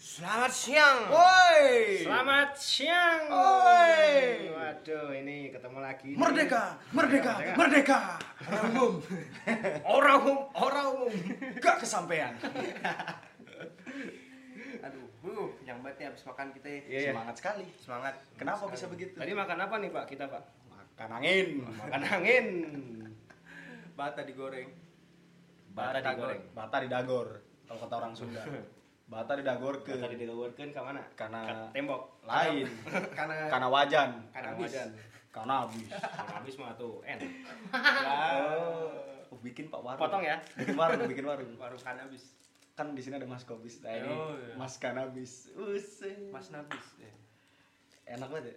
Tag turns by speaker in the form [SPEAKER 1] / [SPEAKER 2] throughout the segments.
[SPEAKER 1] Selamat siang.
[SPEAKER 2] Woi.
[SPEAKER 1] Selamat siang.
[SPEAKER 2] Oi.
[SPEAKER 1] Waduh, ini ketemu lagi.
[SPEAKER 2] Merdeka, merdeka, merdeka. Orang umum.
[SPEAKER 1] Orang umum, orang umum.
[SPEAKER 2] Gak kesampaian.
[SPEAKER 3] Aduh, uh, yang banget nih abis makan kita ya.
[SPEAKER 1] Iya, iya.
[SPEAKER 2] Semangat sekali.
[SPEAKER 3] Semangat.
[SPEAKER 2] Kenapa
[SPEAKER 3] Sekali.
[SPEAKER 2] bisa begitu?
[SPEAKER 1] Tadi makan apa nih, Pak? Kita, Pak.
[SPEAKER 2] Makan angin.
[SPEAKER 1] Makan angin.
[SPEAKER 3] Bata digoreng.
[SPEAKER 1] Bata digoreng.
[SPEAKER 2] Bata di dagor. Kalau kata orang Sunda. Bata di dagor ke Eh,
[SPEAKER 1] Tadi digorengkan ke mana?
[SPEAKER 2] Karena-
[SPEAKER 1] Ke tembok.
[SPEAKER 2] lain.
[SPEAKER 3] Karena
[SPEAKER 2] Karena wajan.
[SPEAKER 1] Karena
[SPEAKER 3] Habis.
[SPEAKER 1] wajan.
[SPEAKER 2] Karena habis.
[SPEAKER 1] Karena habis mah tuh enak.
[SPEAKER 2] Oh, bikin Pak warung.
[SPEAKER 1] Potong ya.
[SPEAKER 2] Bikin warung, bikin warung.
[SPEAKER 3] warung kanabis.
[SPEAKER 2] Kan di sini ada Mas Kobis. Nah, ini
[SPEAKER 3] Oh, iya.
[SPEAKER 2] Mas Kanabis. Usai.
[SPEAKER 3] Mas Nabis. Ya.
[SPEAKER 2] Enak banget ya?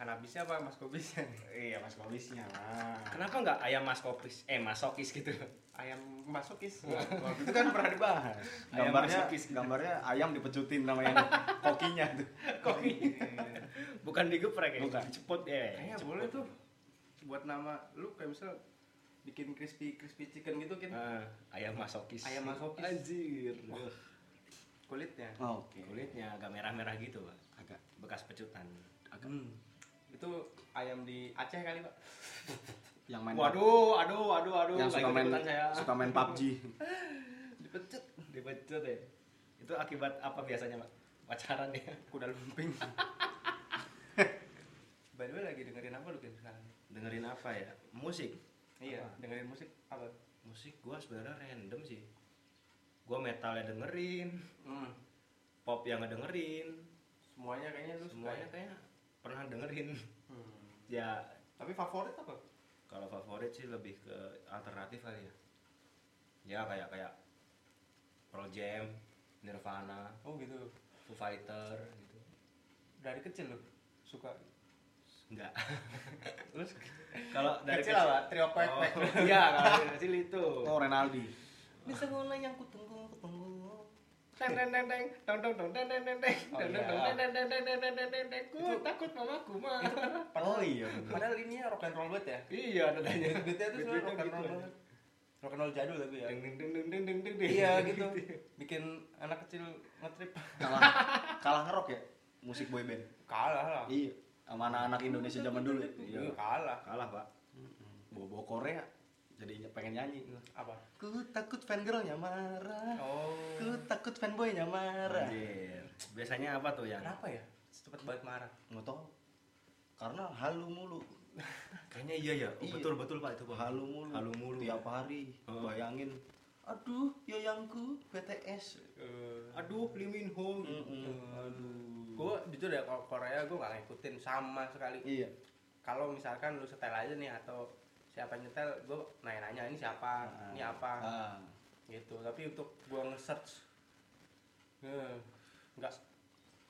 [SPEAKER 3] Kanabisnya apa Mas Kobisnya?
[SPEAKER 2] Iya, Mas Kobisnya.
[SPEAKER 1] Kenapa nggak ayam mas kopis? Eh, mas sokis gitu.
[SPEAKER 3] Ayam masukis.
[SPEAKER 1] Iya.
[SPEAKER 2] Waktu itu kan pernah dibahas.
[SPEAKER 1] Ayam
[SPEAKER 2] Gambarnya,
[SPEAKER 1] masukis.
[SPEAKER 2] gambarnya ayam dipecutin sama yang kokinya tuh.
[SPEAKER 1] Koki. Bukan digeprek ya.
[SPEAKER 2] Bukan.
[SPEAKER 1] Cepot ya. cepot.
[SPEAKER 3] Kayaknya Iya, boleh tuh buat nama lu kayak misal bikin crispy crispy chicken gitu kan
[SPEAKER 1] Ah, ayam mas sokis.
[SPEAKER 3] Ayam mas sokis.
[SPEAKER 1] Anjir.
[SPEAKER 3] kulitnya.
[SPEAKER 2] Oh, Oke.
[SPEAKER 1] Kulitnya agak merah-merah gitu, Pak.
[SPEAKER 2] Agak.
[SPEAKER 1] Bekas pecutan.
[SPEAKER 3] Hmm. Itu ayam di Aceh kali, Pak.
[SPEAKER 2] Yang main
[SPEAKER 1] Waduh, aduh, aduh, aduh.
[SPEAKER 2] yang
[SPEAKER 1] nggak
[SPEAKER 2] suka main
[SPEAKER 1] ikut-ikutan saya.
[SPEAKER 2] suka main PUBG.
[SPEAKER 3] Dipecut
[SPEAKER 1] Dipecut ya. Itu akibat apa biasanya, Pak? Pacaran ya.
[SPEAKER 3] kuda lumping. By the way lagi dengerin apa lu kan sekarang?
[SPEAKER 1] Dengerin apa ya? Musik.
[SPEAKER 3] Iya,
[SPEAKER 1] Apa?
[SPEAKER 3] dengerin musik apa?
[SPEAKER 1] Musik gua sebenarnya random sih. Gua metal ya dengerin,
[SPEAKER 3] Hmm.
[SPEAKER 1] pop yang ngedengerin,
[SPEAKER 3] Semuanya kayaknya lu suka
[SPEAKER 1] semuanya
[SPEAKER 3] ya?
[SPEAKER 1] kayak pernah dengerin.
[SPEAKER 3] Hmm.
[SPEAKER 1] Ya
[SPEAKER 3] Tapi favorit apa?
[SPEAKER 1] kalau favorit sih lebih ke alternatif kali ya. Ya kayak kayak Pearl Jam, Nirvana,
[SPEAKER 3] Oh gitu.
[SPEAKER 1] Foo Fighter gitu.
[SPEAKER 3] Dari kecil lu suka.
[SPEAKER 1] Enggak.
[SPEAKER 3] Terus
[SPEAKER 1] Kalau dari
[SPEAKER 3] Kecil apa? Trio Poek Poek.
[SPEAKER 1] Oh, Iya, kalau dari kecil itu.
[SPEAKER 2] Oh, Renaldi.
[SPEAKER 3] bisa mulai yang kutunggu kutunggu.
[SPEAKER 1] Teng teng teng teng tong tong tong teng teng teng teng
[SPEAKER 3] Oh,
[SPEAKER 1] tong
[SPEAKER 3] iya.
[SPEAKER 1] tong teng teng teng teng teng teng teng teng ku takut mamaku mah.
[SPEAKER 2] Oh iya.
[SPEAKER 3] Padahal ini rock and roll banget ya.
[SPEAKER 1] Iya nadanya.
[SPEAKER 3] Beatnya tuh sebenarnya rock and roll
[SPEAKER 1] gitu.
[SPEAKER 3] banget. Rock and roll jadul tapi ya.
[SPEAKER 1] Deng deng deng deng deng deng deng. deng.
[SPEAKER 3] Iya gitu. Bikin anak kecil ngetrip.
[SPEAKER 2] Kalah kalah ngerok ya musik boy band.
[SPEAKER 3] Kalah lah.
[SPEAKER 2] Iya. Sama anak-anak Indonesia zaman dulu ya.
[SPEAKER 3] Iya, kalah.
[SPEAKER 1] Kalah, Pak.
[SPEAKER 2] Bawa-bawa Korea jadi pengen nyanyi.
[SPEAKER 3] Apa?
[SPEAKER 2] Ku takut fangirlnya marah.
[SPEAKER 3] Oh.
[SPEAKER 2] Ku takut fanboynya marah.
[SPEAKER 1] Anjir. Biasanya apa tuh yang?
[SPEAKER 3] Kenapa ya? Cepet banget marah.
[SPEAKER 2] Mau tau? Karena halu mulu.
[SPEAKER 1] Kayaknya iya ya. Oh,
[SPEAKER 2] Iya.
[SPEAKER 1] Betul betul Pak itu Pak.
[SPEAKER 2] halu mulu
[SPEAKER 1] Halu mulu.
[SPEAKER 2] tiap hari
[SPEAKER 1] Heeh.
[SPEAKER 2] bayangin aduh ya yoyangku BTS
[SPEAKER 1] Aduh, Limin Ho.
[SPEAKER 2] aduh
[SPEAKER 3] Gue jujur ya kalau Korea gue gak ngikutin sama sekali.
[SPEAKER 2] iya
[SPEAKER 3] kalau misalkan lu setel aja nih atau siapa yang nyetel gue nanya-nanya ini siapa
[SPEAKER 2] Ah.
[SPEAKER 3] ini apa
[SPEAKER 2] Ah.
[SPEAKER 3] gitu tapi untuk gue nge-search eh, nggak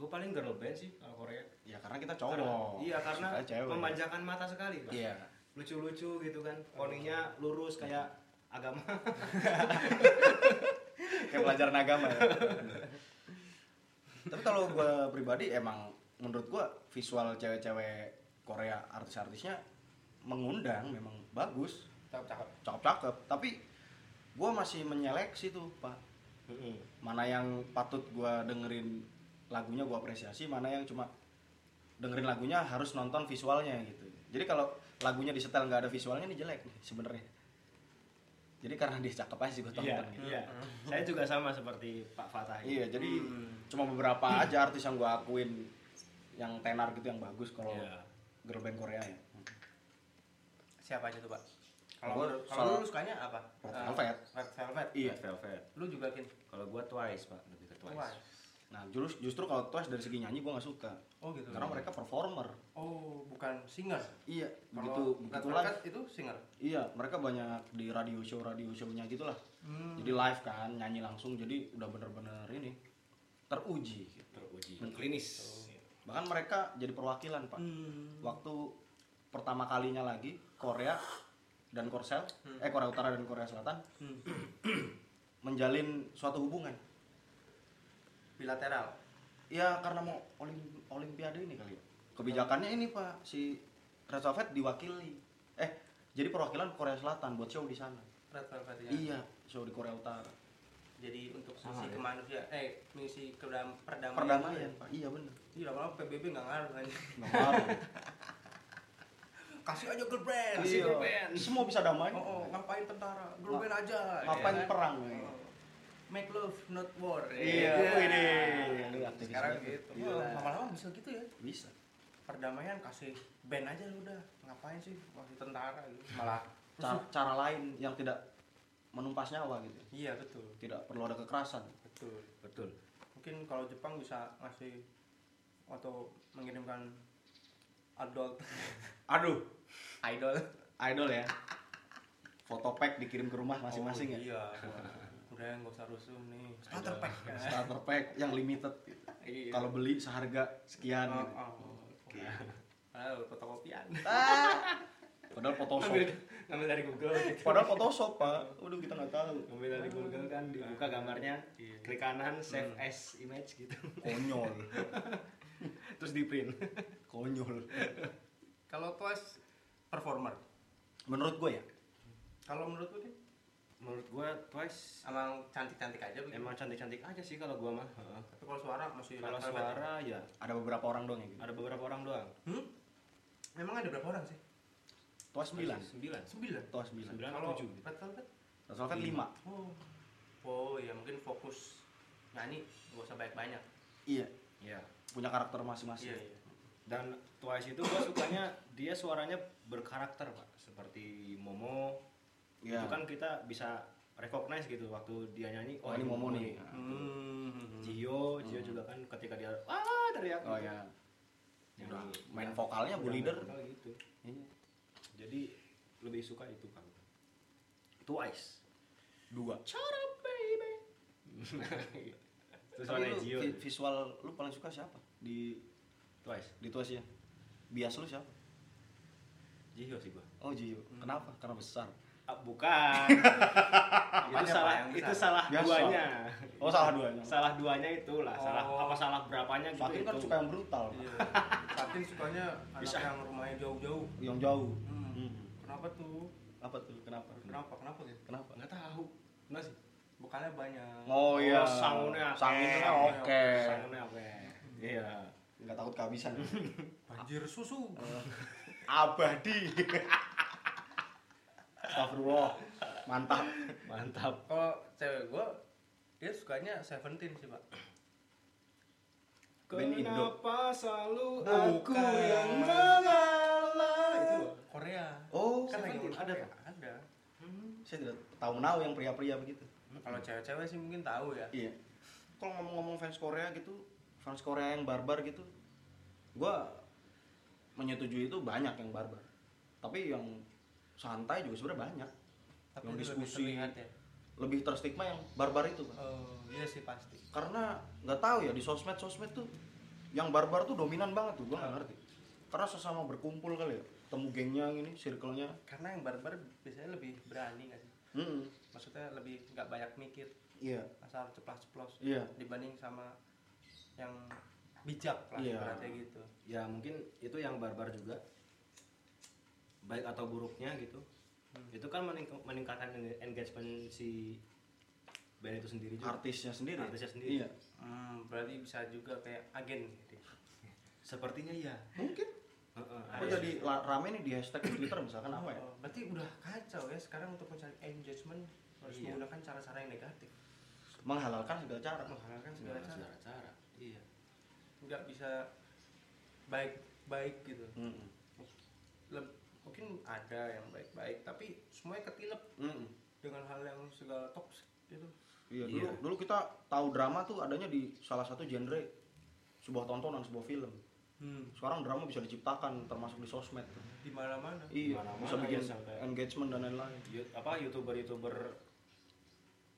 [SPEAKER 1] Gue paling girl band sih kalau Korea.
[SPEAKER 2] ya karena kita
[SPEAKER 1] Karena-
[SPEAKER 2] cowok
[SPEAKER 1] Iya, karena
[SPEAKER 2] Sukanya cewek.
[SPEAKER 1] memanjakan mata sekali, Pak.
[SPEAKER 2] iya Oh.
[SPEAKER 1] lucu-lucu gitu kan poninya lurus kayak agama
[SPEAKER 2] kayak pelajaran agama ya tapi kalau gue pribadi emang menurut gue visual cewek-cewek Korea artis-artisnya mengundang memang bagus
[SPEAKER 3] cakep cakep
[SPEAKER 2] cakep-cakep tapi gue masih menyeleksi tuh pak mana yang patut gua dengerin lagunya gua apresiasi mana yang cuma dengerin lagunya harus nonton visualnya gitu jadi kalau lagunya disetel nggak ada visualnya ini jelek nih sebenarnya jadi karena dia cakep aja sih gua tonton
[SPEAKER 1] iya
[SPEAKER 2] gitu
[SPEAKER 1] iya saya juga sama seperti Pak Fatah
[SPEAKER 2] iya
[SPEAKER 1] ini.
[SPEAKER 2] jadi cuma beberapa aja artis yang gua akuin yang tenar gitu yang bagus kalau
[SPEAKER 1] Iya.
[SPEAKER 2] girl band Korea ya
[SPEAKER 3] siapa aja tuh pak
[SPEAKER 2] Gua
[SPEAKER 3] kalau menurut-
[SPEAKER 2] soal-
[SPEAKER 3] kalau lu sukanya apa
[SPEAKER 2] Red
[SPEAKER 3] Eh,
[SPEAKER 2] Velvet.
[SPEAKER 3] red velvet
[SPEAKER 2] iya
[SPEAKER 1] Red Velvet
[SPEAKER 3] lu juga kin
[SPEAKER 1] kalau gua Twice Pak lebih ke Twice,
[SPEAKER 3] Wah.
[SPEAKER 2] nah justru justru kalau Twice dari segi nyanyi gua nggak suka
[SPEAKER 3] oh gitu
[SPEAKER 2] karena mereka performer
[SPEAKER 3] oh bukan singer
[SPEAKER 2] iya
[SPEAKER 3] kalau
[SPEAKER 2] begitu
[SPEAKER 3] red
[SPEAKER 2] begitu live
[SPEAKER 3] velvet itu singer
[SPEAKER 2] Iya, mereka banyak di radio show radio show-nya gitulah.
[SPEAKER 3] Hmm.
[SPEAKER 2] Jadi live kan, nyanyi langsung jadi udah bener-bener ini teruji.
[SPEAKER 1] teruji klinis
[SPEAKER 2] Bahkan mereka jadi perwakilan, Pak.
[SPEAKER 3] Hmm.
[SPEAKER 2] Waktu pertama kalinya lagi Korea dan Korsel, eh Korea Utara dan Korea Selatan
[SPEAKER 3] Hmm.
[SPEAKER 2] menjalin suatu hubungan.
[SPEAKER 3] bilateral
[SPEAKER 2] Ya karena mau olim- olimpiade ini kali ya. Kebijakannya ini, Pak, si Red Velvet diwakili. Eh, jadi perwakilan Korea Selatan buat show di sana.
[SPEAKER 3] red velvet ya
[SPEAKER 2] Iya, show di Korea Utara.
[SPEAKER 3] jadi untuk
[SPEAKER 1] Sama
[SPEAKER 3] misi
[SPEAKER 1] ya.
[SPEAKER 3] kemanusiaan eh misi kedam perdamaian
[SPEAKER 2] perdamaian pak iya bener
[SPEAKER 3] Ih, lama-lama PBB nggak ngaruh aja
[SPEAKER 2] nggak ngaruh
[SPEAKER 3] kasih aja girl band
[SPEAKER 2] Iya.
[SPEAKER 3] girl band.
[SPEAKER 2] semua bisa damai
[SPEAKER 3] oh, oh, ngapain tentara girl
[SPEAKER 2] Nga-
[SPEAKER 3] band aja
[SPEAKER 2] ngapain
[SPEAKER 3] ya kan?
[SPEAKER 2] perang
[SPEAKER 3] Oh. make love not war
[SPEAKER 2] Iya,
[SPEAKER 3] Ya.
[SPEAKER 2] wih, ini aktivis
[SPEAKER 3] sekarang
[SPEAKER 2] banget. Iya.
[SPEAKER 3] gitu
[SPEAKER 1] Iya.
[SPEAKER 2] Gila.
[SPEAKER 3] Wah, lama-lama bisa gitu ya
[SPEAKER 2] bisa
[SPEAKER 3] perdamaian kasih band aja lu udah ngapain sih masih tentara gitu malah
[SPEAKER 2] cara,
[SPEAKER 3] rusuh.
[SPEAKER 2] cara lain yang tidak menumpas nyawa gitu
[SPEAKER 3] iya betul
[SPEAKER 2] tidak perlu ada kekerasan
[SPEAKER 3] betul
[SPEAKER 1] betul
[SPEAKER 3] mungkin kalau Jepang bisa ngasih atau mengirimkan adult
[SPEAKER 2] aduh
[SPEAKER 3] idol
[SPEAKER 2] idol ya foto pack dikirim ke rumah masing-masing ya
[SPEAKER 3] Oh, iya udah nggak usah rusuh nih starter
[SPEAKER 1] Idol.
[SPEAKER 3] pack
[SPEAKER 2] starter pack yang limited gitu.
[SPEAKER 3] Iya.
[SPEAKER 2] kalau beli seharga sekian
[SPEAKER 3] Oh,
[SPEAKER 2] gitu.
[SPEAKER 3] oh.
[SPEAKER 2] Oke.
[SPEAKER 3] Padahal fotokopian
[SPEAKER 2] Ah. padahal
[SPEAKER 3] ngambil
[SPEAKER 2] Photoshop
[SPEAKER 3] ngambil dari Google gitu.
[SPEAKER 2] padahal Photoshop pak waduh kita nggak tahu
[SPEAKER 1] ngambil dari Google kan dibuka gambarnya
[SPEAKER 3] Iya.
[SPEAKER 1] klik kanan save
[SPEAKER 3] Hmm.
[SPEAKER 1] as image gitu
[SPEAKER 2] konyol
[SPEAKER 1] terus di print
[SPEAKER 2] konyol
[SPEAKER 3] kalau kelas performer
[SPEAKER 2] menurut gue ya
[SPEAKER 3] kalau menurut lu Din,
[SPEAKER 1] menurut gue Twice
[SPEAKER 3] emang cantik-cantik aja begitu
[SPEAKER 1] emang cantik-cantik aja sih kalau gue mah Heeh.
[SPEAKER 3] tapi kalau suara masih
[SPEAKER 1] kalau
[SPEAKER 3] rata-rata.
[SPEAKER 1] suara ya
[SPEAKER 2] ada beberapa orang doang yang gitu
[SPEAKER 1] ada beberapa orang doang
[SPEAKER 3] hmm? emang ada berapa orang sih
[SPEAKER 2] toa sembilan
[SPEAKER 1] sembilan
[SPEAKER 3] sembilan
[SPEAKER 2] toa sembilan
[SPEAKER 1] sembilan
[SPEAKER 3] kalau
[SPEAKER 1] tujuh
[SPEAKER 3] Red Velvet
[SPEAKER 2] Red Velvet lima
[SPEAKER 3] Oh. Oh, ya mungkin fokus nyanyi nggak usah banyak-banyak.
[SPEAKER 2] iya
[SPEAKER 1] ya
[SPEAKER 2] punya karakter masing-masing
[SPEAKER 3] Iya, iya.
[SPEAKER 1] dan Twice itu gue sukanya dia suaranya berkarakter pak seperti Momo
[SPEAKER 2] Iya.
[SPEAKER 1] itu kan kita bisa recognize gitu waktu dia nyanyi
[SPEAKER 2] oh ini momo nih
[SPEAKER 3] Hmm.
[SPEAKER 1] Jio Jio juga kan ketika dia ah teriak
[SPEAKER 2] oh
[SPEAKER 1] gitu.
[SPEAKER 2] ya
[SPEAKER 1] Yang
[SPEAKER 2] Udah,
[SPEAKER 1] di-
[SPEAKER 2] main vokalnya
[SPEAKER 1] udah
[SPEAKER 2] bu
[SPEAKER 1] main
[SPEAKER 2] leader
[SPEAKER 1] vokal gitu
[SPEAKER 2] Iya.
[SPEAKER 1] jadi lebih suka itu kan Twice
[SPEAKER 2] dua
[SPEAKER 1] cara baby itu
[SPEAKER 2] Tapi
[SPEAKER 1] suaranya
[SPEAKER 2] lu
[SPEAKER 1] Jio
[SPEAKER 2] vi- visual lu paling suka siapa di
[SPEAKER 1] Twice
[SPEAKER 2] di tuas ya bias lu siapa
[SPEAKER 1] Jio sih gua
[SPEAKER 2] oh Jiyo kenapa karena besar
[SPEAKER 1] Ah, bukan itu
[SPEAKER 3] Apanya,
[SPEAKER 1] salah
[SPEAKER 3] Pak, yang
[SPEAKER 1] itu
[SPEAKER 3] besar?
[SPEAKER 1] salah
[SPEAKER 2] Biasa.
[SPEAKER 1] duanya
[SPEAKER 2] oh salah duanya
[SPEAKER 1] salah duanya itulah salah
[SPEAKER 3] Oh.
[SPEAKER 1] apa salah berapanya gitu
[SPEAKER 2] Fatin kan
[SPEAKER 1] itu.
[SPEAKER 2] suka yang brutal
[SPEAKER 3] Iya. Fatin sukanya anak
[SPEAKER 1] Bisa.
[SPEAKER 3] yang rumahnya jauh-jauh.
[SPEAKER 2] yang jauh
[SPEAKER 3] Hmm.
[SPEAKER 2] Hmm.
[SPEAKER 3] Kenapa tuh?
[SPEAKER 2] apa tuh kenapa
[SPEAKER 3] Kenapa? Kenapa gitu?
[SPEAKER 2] kenapa
[SPEAKER 1] nggak tahu nggak sih
[SPEAKER 3] Bukannya banyak.
[SPEAKER 2] oh iya
[SPEAKER 1] sangunnya
[SPEAKER 2] sangunnya
[SPEAKER 1] oke.
[SPEAKER 2] oke
[SPEAKER 1] sangunnya oke iya
[SPEAKER 2] nggak takut kehabisan
[SPEAKER 3] Banjir susu.
[SPEAKER 1] Eh.
[SPEAKER 2] abadi Astagfirullah mantap
[SPEAKER 1] mantap
[SPEAKER 3] Kalau cewek gua dia sukanya Seventeen sih, Pak.
[SPEAKER 2] Band Indo.
[SPEAKER 1] selalu
[SPEAKER 2] Bukan.
[SPEAKER 1] mengalah Ah, itu
[SPEAKER 3] Korea.
[SPEAKER 2] oh
[SPEAKER 3] kan lagi
[SPEAKER 1] Seventeen,
[SPEAKER 3] orang
[SPEAKER 1] ada,
[SPEAKER 3] Korea. Ada.
[SPEAKER 2] saya tidak tahu menau yang pria-pria begitu
[SPEAKER 3] Kalau cewek-cewek sih mungkin tahu ya.
[SPEAKER 2] iya kalau ngomong-ngomong fans Korea gitu fans Korea yang barbar gitu gua menyetujui itu banyak yang barbar tapi yang santai juga sebenarnya banyak Yang
[SPEAKER 3] Tapi dia lebih
[SPEAKER 2] diskusi.
[SPEAKER 3] terlihat ya.
[SPEAKER 2] lebih terstigma yang barbar itu Pak.
[SPEAKER 3] Oh, iya sih pasti.
[SPEAKER 2] karena nggak tahu ya di sosmed sosmed tuh yang barbar tuh dominan banget tuh gua nggak ngerti karena sesama berkumpul kali ya temu gengnya yang ini circle-nya
[SPEAKER 3] Karena yang barbar biasanya lebih berani nggak sih?
[SPEAKER 2] Mm-mm.
[SPEAKER 3] maksudnya lebih nggak banyak mikir
[SPEAKER 2] iya
[SPEAKER 3] asal ceplos-ceplos
[SPEAKER 2] iya
[SPEAKER 3] dibanding sama yang bijak lah
[SPEAKER 2] Iya.
[SPEAKER 3] ibaratnya gitu
[SPEAKER 1] ya mungkin itu yang barbar juga baik atau buruknya gitu itu kan mening- meningkatkan en- engagement si band itu sendiri juga
[SPEAKER 2] artisnya sendiri
[SPEAKER 1] Artisnya sendiri.
[SPEAKER 2] iya
[SPEAKER 3] hmm, berarti bisa juga kayak agen gitu.
[SPEAKER 1] sepertinya iya
[SPEAKER 2] mungkin
[SPEAKER 1] Heeh,
[SPEAKER 2] Kok
[SPEAKER 1] ada.
[SPEAKER 2] jadi la- rame nih di hashtag di Twitter misalkan apa ya?
[SPEAKER 3] Oh, berarti udah kacau ya sekarang untuk mencari engagement harus
[SPEAKER 1] Iya.
[SPEAKER 3] menggunakan cara-cara yang negatif
[SPEAKER 2] Menghalalkan segala cara.
[SPEAKER 3] menghalalkan segala
[SPEAKER 1] Segala
[SPEAKER 3] cara
[SPEAKER 1] cara iya
[SPEAKER 3] nggak bisa baik-baik gitu
[SPEAKER 2] Mm-mm.
[SPEAKER 3] Leb- mungkin ada yang baik-baik tapi semuanya ketilep
[SPEAKER 2] Mm-mm.
[SPEAKER 3] dengan hal yang segala toksik gitu
[SPEAKER 2] Iya, dulu,
[SPEAKER 1] Hmm. Iya.
[SPEAKER 2] dulu kita tahu drama tuh adanya di salah satu genre sebuah tontonan, sebuah film.
[SPEAKER 3] hmm.
[SPEAKER 2] Sekarang drama bisa diciptakan termasuk di sosmed.
[SPEAKER 3] di mana-mana
[SPEAKER 2] Iya,
[SPEAKER 1] Mana-mana
[SPEAKER 2] bisa bikin
[SPEAKER 1] ya, sampai-
[SPEAKER 2] engagement dan lain-lain.
[SPEAKER 1] Yu- apa youtuber youtuber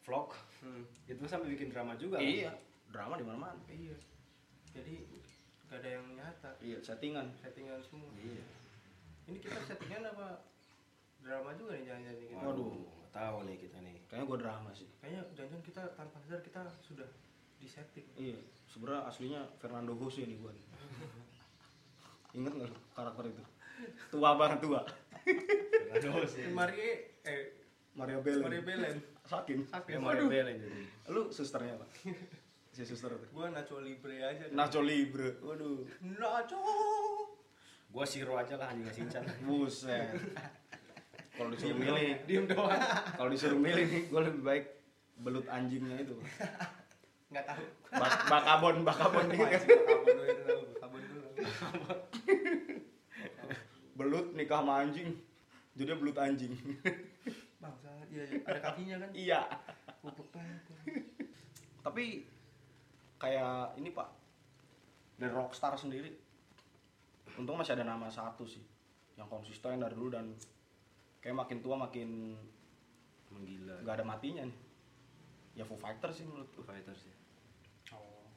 [SPEAKER 1] vlog
[SPEAKER 3] hmm.
[SPEAKER 1] itu sampai bikin drama juga kan?
[SPEAKER 2] Iya, drama di mana-mana.
[SPEAKER 3] Iya. Jadi gak ada yang nyata.
[SPEAKER 2] Iya, settingan.
[SPEAKER 3] Settingan semua.
[SPEAKER 1] iya
[SPEAKER 3] Ini kita settingan apa drama juga nih jangan-jangan nih kita.
[SPEAKER 1] waduh nggak tahu nih kita nih
[SPEAKER 2] Kayaknya gua drama sih.
[SPEAKER 3] Kayaknya jangan-jangan kita tanpa sadar kita sudah di setting.
[SPEAKER 2] Iya, sebenarnya aslinya Fernando Jose nih gua nih. Ingat nggak lu karakter itu? Tua banget tua.
[SPEAKER 3] Iya.
[SPEAKER 1] Nggak tahu sih.
[SPEAKER 3] Marie eh
[SPEAKER 2] Mario Belen.
[SPEAKER 3] Mario Belen.
[SPEAKER 2] Sakin.
[SPEAKER 3] Sakin.
[SPEAKER 1] Ya, mau
[SPEAKER 2] Waduh.
[SPEAKER 1] rebel aja jadi.
[SPEAKER 2] Lu susternya apa? si suster apa?
[SPEAKER 3] Gua Nacho Libre aja. deh.
[SPEAKER 2] Nacho Libre. Waduh.
[SPEAKER 3] Nacho.
[SPEAKER 1] Gua siro aja lah anjing Shincan.
[SPEAKER 2] Buset. Kalau disuruh
[SPEAKER 1] Diem
[SPEAKER 2] milih,
[SPEAKER 1] doang.
[SPEAKER 3] Diem doang.
[SPEAKER 2] kalau disuruh milih nih, gue lebih baik belut anjingnya itu.
[SPEAKER 3] Enggak tahu.
[SPEAKER 2] Bak- bakabon, bakabon nih.
[SPEAKER 3] Apaan sih, Kabun dulu itu tahu. Kabun dulu.
[SPEAKER 2] Belut nikah sama anjing. Jadi belut anjing.
[SPEAKER 3] Bangsa. Iya, iya. ada kakinya kan.
[SPEAKER 2] iya.
[SPEAKER 3] Kupluk banget.
[SPEAKER 2] Tapi kayak ini Pak. Dari Rockstar sendiri. Untung masih ada nama satu sih yang konsisten dari dulu dan kayak makin tua makin
[SPEAKER 1] Menggila.
[SPEAKER 2] nggak ada matinya nih. Ya Foo Fighters sih menurut
[SPEAKER 1] Foo Fighters ya.
[SPEAKER 3] Oh.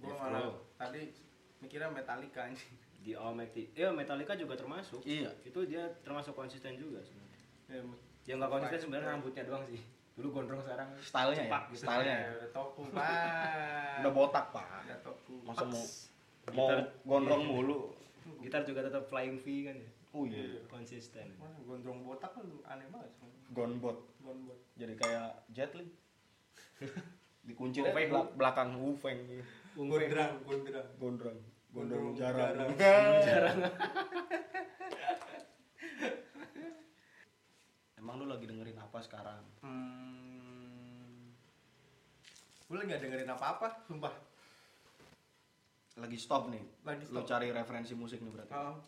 [SPEAKER 3] Gua
[SPEAKER 1] Yes,
[SPEAKER 3] malah
[SPEAKER 1] bro.
[SPEAKER 3] tadi mikirnya Metallica anjing.
[SPEAKER 1] Di Almighty. Ya Metallica juga termasuk.
[SPEAKER 2] Iya.
[SPEAKER 1] Itu dia termasuk konsisten juga sebenarnya.
[SPEAKER 3] Ya,
[SPEAKER 1] Yang nggak konsisten sebenarnya rambutnya doang sih. Dulu gondrong sekarang
[SPEAKER 2] Stylenya ya?
[SPEAKER 1] cepak gitu.
[SPEAKER 2] Stylenya ya?
[SPEAKER 3] Udah topu, Pak.
[SPEAKER 2] Udah botak Pak.
[SPEAKER 3] Udah topu.
[SPEAKER 2] Masa mau mau
[SPEAKER 1] Gitar.
[SPEAKER 2] gondrong mulu.
[SPEAKER 1] Gitar juga tetap flying V kan ya.
[SPEAKER 2] Oh iya.
[SPEAKER 1] Konsisten.
[SPEAKER 3] Mana gondrong botak lu aneh banget sebenarnya.
[SPEAKER 2] Gonbot.
[SPEAKER 3] Gondrong.
[SPEAKER 2] Jadi kayak Jet Li. Dikunci
[SPEAKER 1] Ufeng.
[SPEAKER 2] dari belak- belakang Ufeng
[SPEAKER 3] Gondrong, gondrong.
[SPEAKER 2] gondrong.
[SPEAKER 3] Gondrong
[SPEAKER 2] Gondrong jarang.
[SPEAKER 3] jarang.
[SPEAKER 2] jarang. Emang lu lagi dengerin apa sekarang?
[SPEAKER 3] Hmm. Gue lagi gak dengerin apa-apa, sumpah.
[SPEAKER 2] Lagi stop nih.
[SPEAKER 3] Lagi
[SPEAKER 2] Lu
[SPEAKER 3] stop.
[SPEAKER 2] cari referensi musik nih berarti.
[SPEAKER 3] Oh.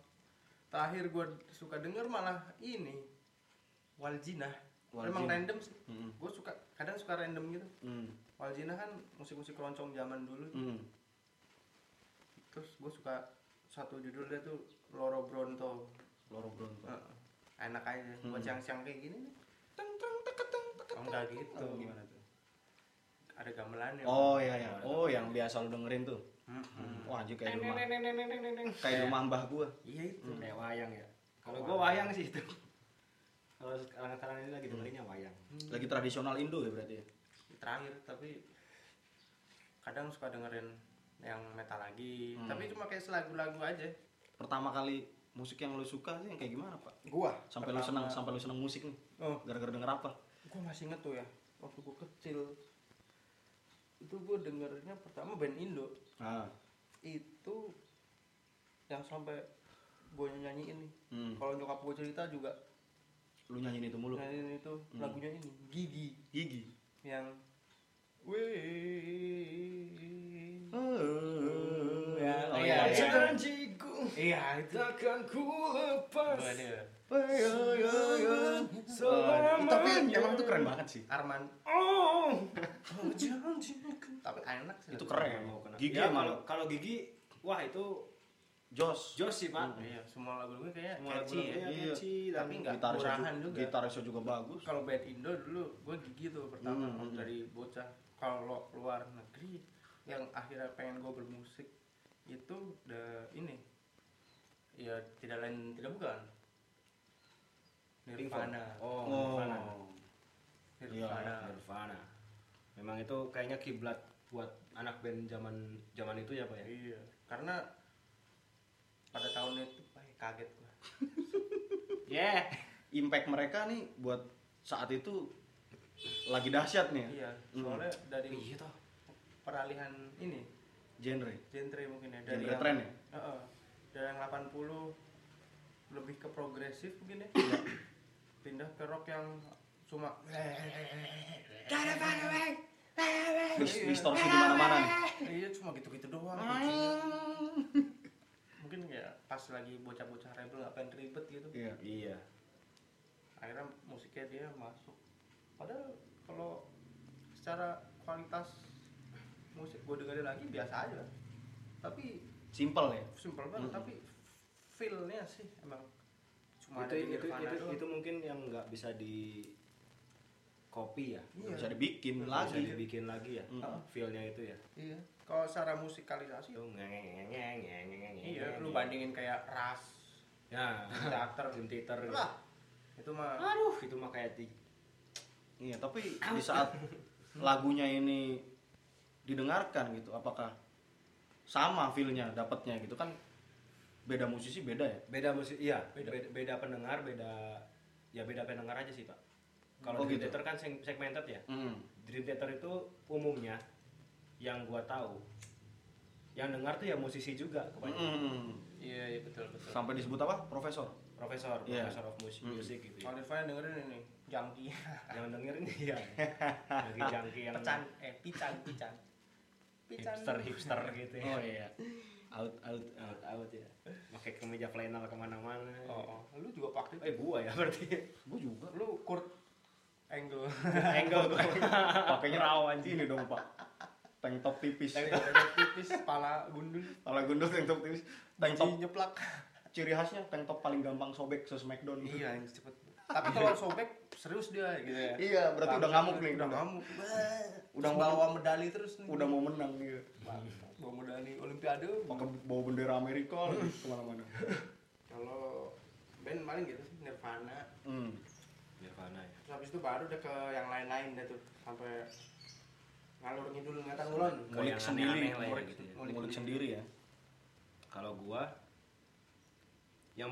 [SPEAKER 3] Terakhir gue suka denger malah ini. Waljina. Emang
[SPEAKER 2] Waljina.
[SPEAKER 3] random sih.
[SPEAKER 2] Mm-mm.
[SPEAKER 3] Gue suka kadang suka random gitu.
[SPEAKER 2] Hmm.
[SPEAKER 3] Waljina kan musik-musik keroncong zaman dulu.
[SPEAKER 2] Hmm.
[SPEAKER 3] Terus gue suka satu judul dia tuh Loro Bronto.
[SPEAKER 2] Loro Bronto.
[SPEAKER 3] Heeh. Enak aja buat
[SPEAKER 2] Mm.
[SPEAKER 3] siang-siang kayak gini nih. Teng teng tek teng tek
[SPEAKER 2] Oh,
[SPEAKER 3] enggak gitu.
[SPEAKER 2] Oh, gimana
[SPEAKER 3] tuh? Ada gamelannya.
[SPEAKER 2] Oh iya ya. Oh yang biasa lu dengerin tuh. Wah anjir kayak di rumah. Kayak di rumah mbah gua.
[SPEAKER 3] Mm-hmm. Iya itu.
[SPEAKER 1] Hmm. Kayak wayang ya. Kalau
[SPEAKER 3] Oh,
[SPEAKER 1] gua
[SPEAKER 3] wayang.
[SPEAKER 1] wayang sih itu. Kalau sekarang-sekarang ini lagi dengerinnya wayang.
[SPEAKER 3] Hmm.
[SPEAKER 2] Lagi tradisional Indo ya berarti ya.
[SPEAKER 3] terakhir tapi kadang suka dengerin yang metal lagi
[SPEAKER 2] Hmm.
[SPEAKER 3] tapi cuma kayak selagu-lagu aja
[SPEAKER 2] Pertama kali musik yang lu suka tuh yang kayak gimana, Pak?
[SPEAKER 3] gua
[SPEAKER 2] Sampai lu senang, sampai lu senang musik nih.
[SPEAKER 3] oh
[SPEAKER 2] Gara-gara denger apa?
[SPEAKER 3] gua masih inget tuh ya waktu gua kecil itu gua dengernya pertama band Indo
[SPEAKER 2] Ah.
[SPEAKER 3] itu yang sampai gua nyanyiin nih
[SPEAKER 2] Hmm.
[SPEAKER 3] kalau nyokap gua cerita juga
[SPEAKER 2] Lu nyanyiin itu mulu.
[SPEAKER 3] nyanyiin itu lagunya ini gigi
[SPEAKER 2] Gigi.
[SPEAKER 3] yang Oh, Iya, Wih.
[SPEAKER 2] Oh,
[SPEAKER 3] Ya,
[SPEAKER 2] oh,
[SPEAKER 3] iya,
[SPEAKER 2] iya,
[SPEAKER 3] iya.
[SPEAKER 2] iya.
[SPEAKER 1] Janjiku
[SPEAKER 3] iya itu
[SPEAKER 1] takkan ku lepas.
[SPEAKER 3] Waduh.
[SPEAKER 2] Oh, iya, iya, iya.
[SPEAKER 1] Selamanya.
[SPEAKER 2] Tapi emang itu keren banget sih.
[SPEAKER 3] Arman
[SPEAKER 1] Oh.
[SPEAKER 3] tapi enak sih
[SPEAKER 2] Itu
[SPEAKER 3] lagu.
[SPEAKER 2] keren.
[SPEAKER 1] Mau kena-
[SPEAKER 2] Gigi
[SPEAKER 1] Ya,
[SPEAKER 2] emang
[SPEAKER 1] kalau kalau gigi wah itu
[SPEAKER 2] Jos.
[SPEAKER 1] jos sih, Pak.
[SPEAKER 3] iya semua lagu gue kayaknya
[SPEAKER 1] Semua
[SPEAKER 3] catchy ya
[SPEAKER 1] lagu-lagunya
[SPEAKER 2] Iya.
[SPEAKER 1] catchy dan
[SPEAKER 3] Tapi nggak
[SPEAKER 2] Gitarisnya
[SPEAKER 3] murahan
[SPEAKER 2] ju-
[SPEAKER 3] juga.
[SPEAKER 2] Gitarisnya juga bagus.
[SPEAKER 3] kalau band Indo dulu gue gigi tuh pertama
[SPEAKER 2] Hmm, hmm.
[SPEAKER 3] dari bocah kalau luar negeri yang akhirnya pengen gue bermusik itu the ini ya tidak lain tidak bukan
[SPEAKER 1] Pink Floyd.
[SPEAKER 3] Nirvana
[SPEAKER 1] Oh,
[SPEAKER 2] Oh.
[SPEAKER 1] Nirvana.
[SPEAKER 3] Nirvana
[SPEAKER 1] Nirvana. Memang itu kayaknya kiblat buat anak band zaman zaman itu ya, Pak ya.
[SPEAKER 3] iya karena pada tahun itu ay, kaget gue
[SPEAKER 1] Yeah.
[SPEAKER 2] Impact mereka nih buat saat itu lagi dahsyat nih. ya.
[SPEAKER 3] iya
[SPEAKER 2] Hmm.
[SPEAKER 3] soalnya dari
[SPEAKER 1] Iya toh.
[SPEAKER 3] peralihan ini
[SPEAKER 2] Genre.
[SPEAKER 3] genre mungkin ya dari
[SPEAKER 2] Genre
[SPEAKER 3] yang,
[SPEAKER 2] tren ya.
[SPEAKER 3] Heeh. dari yang 80 lebih ke progresif mungkin ya pindah ke rock yang cuma
[SPEAKER 2] Dis-
[SPEAKER 3] Iya.
[SPEAKER 2] Distorsi di mana-mana nih.
[SPEAKER 3] iya cuma gitu-gitu doang kuncinya. mungkin kayak pas lagi bocah-bocah rebel nggak pengen ribet gitu
[SPEAKER 2] Iya.
[SPEAKER 1] Iya.
[SPEAKER 3] akhirnya musiknya dia masuk padahal kalau secara kualitas musik gue dengerin lagi biasa aja tapi
[SPEAKER 2] Simple ya.
[SPEAKER 3] simple banget tapi feelnya sih emang cuma
[SPEAKER 1] itu
[SPEAKER 3] ada di
[SPEAKER 1] itu,
[SPEAKER 3] Nirvana
[SPEAKER 1] itu,
[SPEAKER 3] doang.
[SPEAKER 1] itu mungkin yang nggak bisa di copy ya
[SPEAKER 3] Iya.
[SPEAKER 2] Bisa dibikin
[SPEAKER 1] nggak bisa
[SPEAKER 2] lagi.
[SPEAKER 1] dibikin lagi ya
[SPEAKER 2] Mm.
[SPEAKER 1] feelnya itu ya
[SPEAKER 3] Iya. Kalau secara musikalisasi,
[SPEAKER 1] itu ngengengengeng, ngengengengeng.
[SPEAKER 3] iya, lu bandingin kayak Ras,
[SPEAKER 1] ya
[SPEAKER 3] Teater,
[SPEAKER 1] Dream Theater gitu.
[SPEAKER 3] lah, itu mah
[SPEAKER 1] aduh itu mah kayak di
[SPEAKER 2] Iya, tapi di saat lagunya ini didengarkan gitu, apakah sama feel-nya dapatnya gitu kan beda musisi beda ya.
[SPEAKER 1] beda musik iya
[SPEAKER 3] Beda.
[SPEAKER 1] beda. beda pendengar beda ya beda pendengar aja sih pak Kalau
[SPEAKER 2] Oh,
[SPEAKER 1] Dream
[SPEAKER 2] gitu.
[SPEAKER 1] Theater kan seg- segmented ya.
[SPEAKER 2] Hmm.
[SPEAKER 1] Dream Theater itu umumnya yang gua tahu yang dengar tuh ya musisi juga kebanyakan.
[SPEAKER 2] Hmm.
[SPEAKER 3] Iya, iya betul betul.
[SPEAKER 2] Sampai disebut apa? Profesor.
[SPEAKER 1] Profesor,
[SPEAKER 2] Iya.
[SPEAKER 1] profesor of music, music gitu. ya.
[SPEAKER 3] Kalau Nirvana dengerin ini, jangki.
[SPEAKER 1] Yang dengerin ya jangki-jangki yang
[SPEAKER 3] Pecan, eh pican, pican.
[SPEAKER 1] hipster hipster gitu ya.
[SPEAKER 2] iya. Out out out.
[SPEAKER 1] Out out ya. Pakai kemeja flanel kemana-mana.
[SPEAKER 3] Oh, oh. lu juga pakai.
[SPEAKER 1] Eh gua ya berarti.
[SPEAKER 2] Gue juga.
[SPEAKER 3] Lu Kurt Angle.
[SPEAKER 1] Angle gua.
[SPEAKER 2] Pakainya rawan ini dong pak. Tank top tipis.
[SPEAKER 3] Yang ada tipis, pala gundul,
[SPEAKER 2] Kalau gundul tank top tipis. Tank top
[SPEAKER 3] jadi nyeplak.
[SPEAKER 2] ciri khasnya tank top paling gampang sobek se Smackdown.
[SPEAKER 3] Iya, anjing, cepet. Tapi kalau sobek serius dia gitu ya.
[SPEAKER 2] Iya, berarti udah ngamuk nih.
[SPEAKER 3] Udah ngamuk.
[SPEAKER 2] Udah
[SPEAKER 3] Udah bawa medali terus nih.
[SPEAKER 2] Udah mau menang nih.
[SPEAKER 3] Mantap. bawa medali olimpiade.
[SPEAKER 2] Pakai bawa bendera Amerika lagi kemana-mana.
[SPEAKER 3] Kalau band paling gitu sih Nirvana.
[SPEAKER 2] Hmm.
[SPEAKER 1] Nirvana ya.
[SPEAKER 3] Terus habis itu baru udah ke yang lain-lain deh tuh sampai ngalur ngidul ngatang ngulon.
[SPEAKER 1] Ke
[SPEAKER 2] Ngulik
[SPEAKER 1] yang
[SPEAKER 2] sendiri,
[SPEAKER 1] aneh-aneh lah ya
[SPEAKER 3] ngulik-
[SPEAKER 1] gitu ya.
[SPEAKER 2] Ngulik sendiri ya.
[SPEAKER 1] Kalau gua yang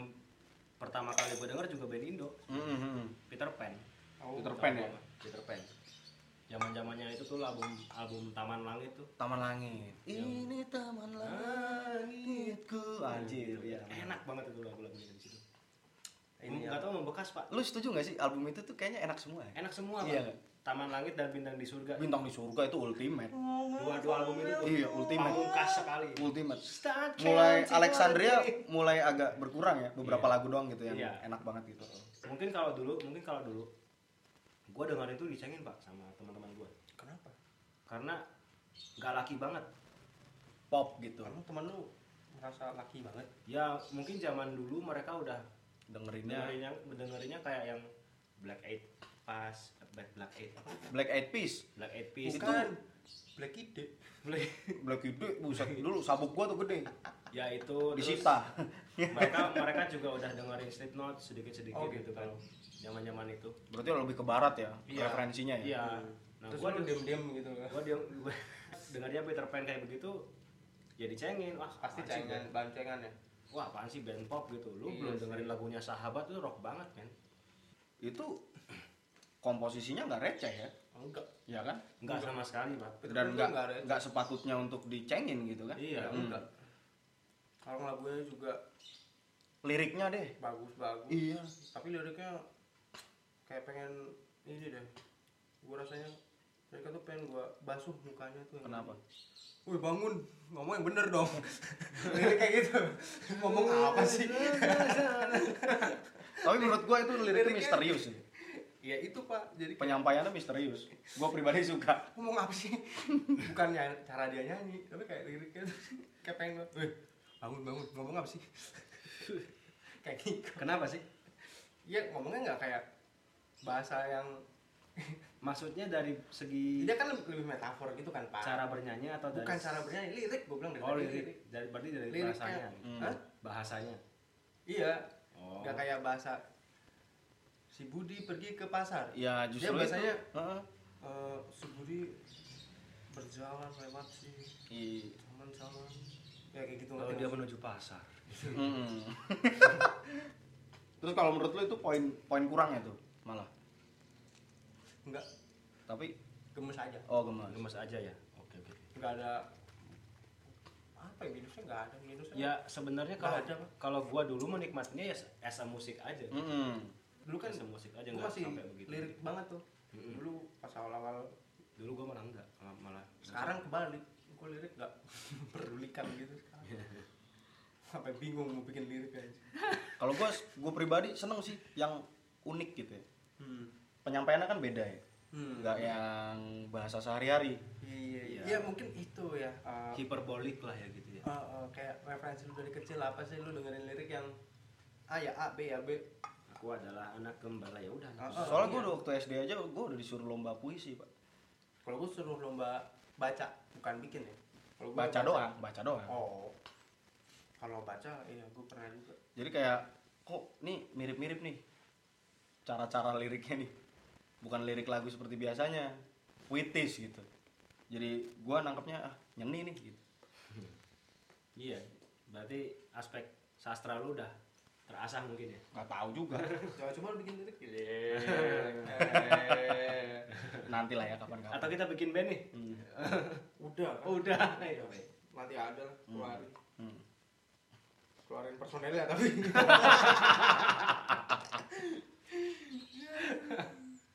[SPEAKER 1] pertama kali gua denger juga band Indo,
[SPEAKER 2] Hmm, hmm.
[SPEAKER 1] Peter Pan.
[SPEAKER 3] Oh,
[SPEAKER 2] Peter Pan ya.
[SPEAKER 1] Peter Pan. Zaman-zamannya itu tuh album album Taman Langit tuh.
[SPEAKER 2] Taman Langit.
[SPEAKER 1] Iya.
[SPEAKER 2] Ini Taman Langitku. Anjir, ya.
[SPEAKER 1] iya. Enak banget itu lagu-lagunya di situ. Iya.
[SPEAKER 3] Ini
[SPEAKER 1] Gitu, Ini
[SPEAKER 3] ya.
[SPEAKER 1] enggak tahu membekas, Pak.
[SPEAKER 2] Lu setuju gak sih album itu tuh kayaknya enak semua ya?
[SPEAKER 1] Enak semua, Pak.
[SPEAKER 2] Iya.
[SPEAKER 1] Taman Langit dan Bintang di Surga.
[SPEAKER 2] Bintang di surga itu ultimate.
[SPEAKER 1] Oh. Dua-dua album itu tuh
[SPEAKER 2] Iya, ultimate.
[SPEAKER 1] pamungkas sekali.
[SPEAKER 2] Ultimate.
[SPEAKER 1] Start
[SPEAKER 2] Mulai
[SPEAKER 1] counting
[SPEAKER 2] Alexandria
[SPEAKER 1] on the day.
[SPEAKER 2] mulai agak berkurang ya, beberapa
[SPEAKER 1] Iya.
[SPEAKER 2] lagu doang gitu yang
[SPEAKER 1] Iya.
[SPEAKER 2] enak banget gitu.
[SPEAKER 1] Mungkin kalau dulu, mungkin kalau dulu gua dengerin itu dicengin, Pak, sama teman-teman gua.
[SPEAKER 3] Kenapa?
[SPEAKER 1] Karena nggak laki banget.
[SPEAKER 2] Pop gitu.
[SPEAKER 3] Kamu teman lu merasa laki banget.
[SPEAKER 1] Ya, mungkin zaman dulu mereka udah
[SPEAKER 2] Dengerinnya
[SPEAKER 1] dengerinnya dengerinnya kayak yang Black Eyed pas Black Black Eyed
[SPEAKER 2] Black Eyed Peas.
[SPEAKER 1] Black Eyed Peas Kan? itu
[SPEAKER 3] Bukan. Black Ide.
[SPEAKER 1] Black
[SPEAKER 2] Black Eyed buset dulu sabuk gua tuh gede.
[SPEAKER 1] ya itu terus
[SPEAKER 2] Disita. Iya.
[SPEAKER 1] mereka mereka juga udah dengerin Slipknot sedikit sedikit
[SPEAKER 3] Oh,
[SPEAKER 1] gitu
[SPEAKER 3] gitu.
[SPEAKER 1] kan zaman zaman itu
[SPEAKER 2] Berarti lebih ke barat ya
[SPEAKER 1] Iya.
[SPEAKER 2] referensinya ya.
[SPEAKER 1] iya nah
[SPEAKER 3] Hmm. Terus
[SPEAKER 1] gua
[SPEAKER 3] lu
[SPEAKER 1] deng-
[SPEAKER 3] diem-diem gitu.
[SPEAKER 1] gua deng- gua dengarnya Peter Pan kayak begitu ya dicengin wah
[SPEAKER 3] Pasti
[SPEAKER 1] apaan sih
[SPEAKER 3] cengan,
[SPEAKER 1] band-
[SPEAKER 3] bahan cengan ya.
[SPEAKER 1] wah apaan sih band pop gitu lu
[SPEAKER 3] Iya
[SPEAKER 1] belum
[SPEAKER 3] sih.
[SPEAKER 1] dengerin lagunya sahabat tuh rock banget kan
[SPEAKER 2] Itu komposisinya nggak receh ya,
[SPEAKER 3] Enggak.
[SPEAKER 2] ya kan?
[SPEAKER 1] nggak sama sekali pak
[SPEAKER 3] Peter Pan
[SPEAKER 2] Dan
[SPEAKER 3] tuh
[SPEAKER 2] nggak
[SPEAKER 3] nggak receh.
[SPEAKER 2] nggak sepatutnya untuk dicengin gitu kan?
[SPEAKER 1] iya
[SPEAKER 2] Hmm.
[SPEAKER 3] Enggak. Ya Kalau lagunya juga
[SPEAKER 2] Liriknya deh.
[SPEAKER 3] bagus-bagus.
[SPEAKER 2] Iya.
[SPEAKER 3] Tapi liriknya kayak pengen ini deh. Gua rasanya mereka tuh pengen gua basuh mukanya tuh. yang-
[SPEAKER 2] Kenapa?
[SPEAKER 3] Wih bangun, ngomong yang bener dong. Lirik kayak gitu. Ngomong apa sih?
[SPEAKER 2] Tapi menurut gua itu liriknya
[SPEAKER 3] Liriknya-
[SPEAKER 2] misterius sih.
[SPEAKER 3] ya itu pak, jadi kayak,
[SPEAKER 2] Penyampaiannya misterius. Gua pribadi suka.
[SPEAKER 3] ngomong apa sih? Bukan ny- cara dia nyanyi, tapi kayak liriknya tuh kayak pengen gua, Wih bangun bangun, ngomong apa sih? kayak gitu.
[SPEAKER 1] kenapa sih
[SPEAKER 3] Ya ngomongnya nggak kayak bahasa yang
[SPEAKER 1] maksudnya dari segi
[SPEAKER 3] dia kan lebih, lebih metafor gitu kan pak.
[SPEAKER 1] cara bernyanyi atau dari
[SPEAKER 3] Bukan cara bernyanyi, lirik gue bilang dari
[SPEAKER 1] oh
[SPEAKER 3] tadi,
[SPEAKER 1] lirik dari berarti dari
[SPEAKER 3] Liriknya.
[SPEAKER 1] bahasanya
[SPEAKER 2] Hmm.
[SPEAKER 3] Hah?
[SPEAKER 1] bahasanya
[SPEAKER 3] Iya,
[SPEAKER 1] oh
[SPEAKER 3] nggak kayak bahasa si Budi pergi ke pasar.
[SPEAKER 2] Ya justru
[SPEAKER 3] Dia biasanya-
[SPEAKER 2] itu. Heeh.
[SPEAKER 3] Eh, si Budi berjalan lewat si
[SPEAKER 2] Iya.
[SPEAKER 3] taman-taman ya kayak gitu
[SPEAKER 1] kalau
[SPEAKER 3] ngerti
[SPEAKER 1] Oh, dia
[SPEAKER 3] nggak sih?
[SPEAKER 1] menuju pasar
[SPEAKER 2] Mm. Terus kalau menurut lu itu poin poin kurangnya tuh malah.
[SPEAKER 3] nggak
[SPEAKER 2] Tapi
[SPEAKER 3] gemes aja
[SPEAKER 2] oh gemas.
[SPEAKER 1] gemes aja ya oke oke
[SPEAKER 3] nggak ada apa ya minusnya nggak ada minusnya
[SPEAKER 1] ya sebenarnya kalau
[SPEAKER 3] Nggak ada, Pak.
[SPEAKER 1] kalau gua dulu menikmatinya ya as a musik aja
[SPEAKER 2] Mm-mm.
[SPEAKER 3] dulu kan
[SPEAKER 1] as a musik ya aja
[SPEAKER 3] gue
[SPEAKER 1] nggak
[SPEAKER 3] masih
[SPEAKER 1] sampai begitu
[SPEAKER 3] lirik banget tuh
[SPEAKER 1] Mm-mm.
[SPEAKER 3] dulu pas awal-awal
[SPEAKER 1] dulu gua malah enggak malah, malah
[SPEAKER 3] sekarang kebalik gue lirik nggak pedulikan gitu sekarang
[SPEAKER 1] Ya.
[SPEAKER 3] sampai bingung mau bikin lirik aja
[SPEAKER 2] Kalau gua gua pribadi seneng sih yang unik gitu ya.
[SPEAKER 3] hmm.
[SPEAKER 2] Penyampaiannya kan beda ya.
[SPEAKER 3] Hmm.
[SPEAKER 2] Enggak yang bahasa sehari-hari.
[SPEAKER 3] iya iya iya
[SPEAKER 1] Iya.
[SPEAKER 3] Ya, mungkin itu ya eh,
[SPEAKER 1] hiperbolik lah ya gitu ya
[SPEAKER 3] Eh, eh, kayak referensi lu dari kecil apa sih lu dengerin lirik yang A ya A, B ya B.
[SPEAKER 1] aku adalah anak gembala ya udah anak
[SPEAKER 3] Ah,
[SPEAKER 1] gembala.
[SPEAKER 3] ah.
[SPEAKER 2] Soalnya
[SPEAKER 3] iya.
[SPEAKER 2] gua udah waktu SD aja gua udah disuruh lomba puisi, Pak.
[SPEAKER 3] Kalau gue suruh lomba baca, bukan bikin ya. Kalau gua
[SPEAKER 2] Baca doang, baca doang.
[SPEAKER 3] Oh. Kalau baca iya gue pernah juga.
[SPEAKER 2] Jadi kayak kok nih mirip-mirip nih cara-cara liriknya nih. Bukan lirik lagu seperti biasanya, puitis gitu. Jadi gua nangkepnya ah nyeni nih gitu.
[SPEAKER 1] iya berarti aspek sastra lu udah terasah mungkin ya
[SPEAKER 2] nggak tahu juga
[SPEAKER 3] Jangan cuma lu bikin lirik gitu.
[SPEAKER 2] Iya. nanti lah ya kapan-kapan
[SPEAKER 1] atau kita bikin band nih
[SPEAKER 2] Hmm.
[SPEAKER 3] Udah. kan?
[SPEAKER 1] Udah.
[SPEAKER 3] Udah. Nanti ada lah keluarin.
[SPEAKER 2] Hmm.
[SPEAKER 3] Keluarin personelnya tapi.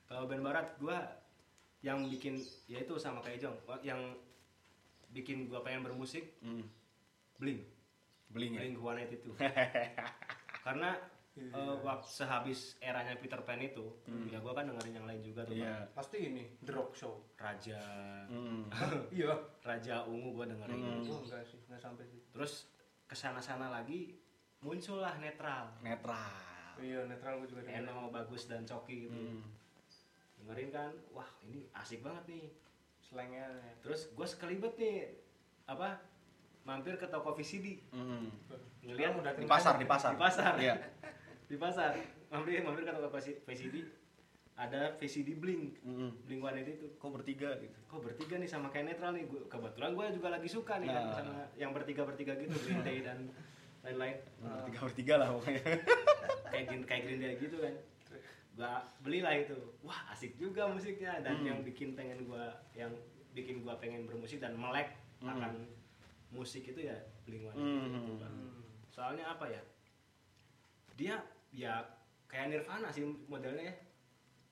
[SPEAKER 1] kalau band barat gua yang bikin ya itu sama kayak Jong yang bikin gua pengen bermusik
[SPEAKER 2] Hmm.
[SPEAKER 1] bling
[SPEAKER 2] Bling ya?
[SPEAKER 1] bling Juanet itu karena
[SPEAKER 3] Iya.
[SPEAKER 1] eh, waktu sehabis eranya Peter Pan itu ya gua kan dengerin yang lain juga tuh
[SPEAKER 2] Iya.
[SPEAKER 1] Bang.
[SPEAKER 3] Pasti ini The Rock Show.
[SPEAKER 1] Raja
[SPEAKER 2] Hmm.
[SPEAKER 3] Iya.
[SPEAKER 1] Raja Ungu gua dengerin
[SPEAKER 3] Oh, enggak sih, enggak sampai sih.
[SPEAKER 1] terus kesana-sana lagi muncullah netral
[SPEAKER 2] Netral.
[SPEAKER 3] Iya, netral gue juga dengerin.
[SPEAKER 1] Eno bagus dan Coki gitu
[SPEAKER 2] Hmm.
[SPEAKER 1] dengerin kan wah ini asik banget nih
[SPEAKER 3] Slangnya ya.
[SPEAKER 1] terus gue sekelibet nih apa mampir ke toko VCD
[SPEAKER 2] Hmm.
[SPEAKER 1] Ngeliat
[SPEAKER 3] Orang udah
[SPEAKER 2] Di
[SPEAKER 3] kenal.
[SPEAKER 2] pasar, di pasar.
[SPEAKER 1] Di pasar.
[SPEAKER 2] Iya.
[SPEAKER 1] di pasar mampir mampir ke toko VC- VCD ada VCD Blink
[SPEAKER 2] Hmm.
[SPEAKER 1] Blink One itu
[SPEAKER 2] Kok bertiga gitu?
[SPEAKER 1] kok bertiga nih sama kayak netral nih Gua- kebetulan gue juga lagi suka nih kan
[SPEAKER 2] Nah.
[SPEAKER 1] sama yang bertiga bertiga gitu Green Day dan lain-lain
[SPEAKER 2] Bertiga bertiga lah pokoknya.
[SPEAKER 1] kayak Green kayak Green Day gitu kan gua belilah itu wah asik juga musiknya dan
[SPEAKER 3] Hmm.
[SPEAKER 1] yang bikin pengen gua yang bikin gua pengen bermusik dan melek
[SPEAKER 3] Hmm.
[SPEAKER 1] akan musik itu ya Blink One
[SPEAKER 2] Hmm.
[SPEAKER 1] soalnya apa ya dia ya kayak Nirvana sih modelnya ya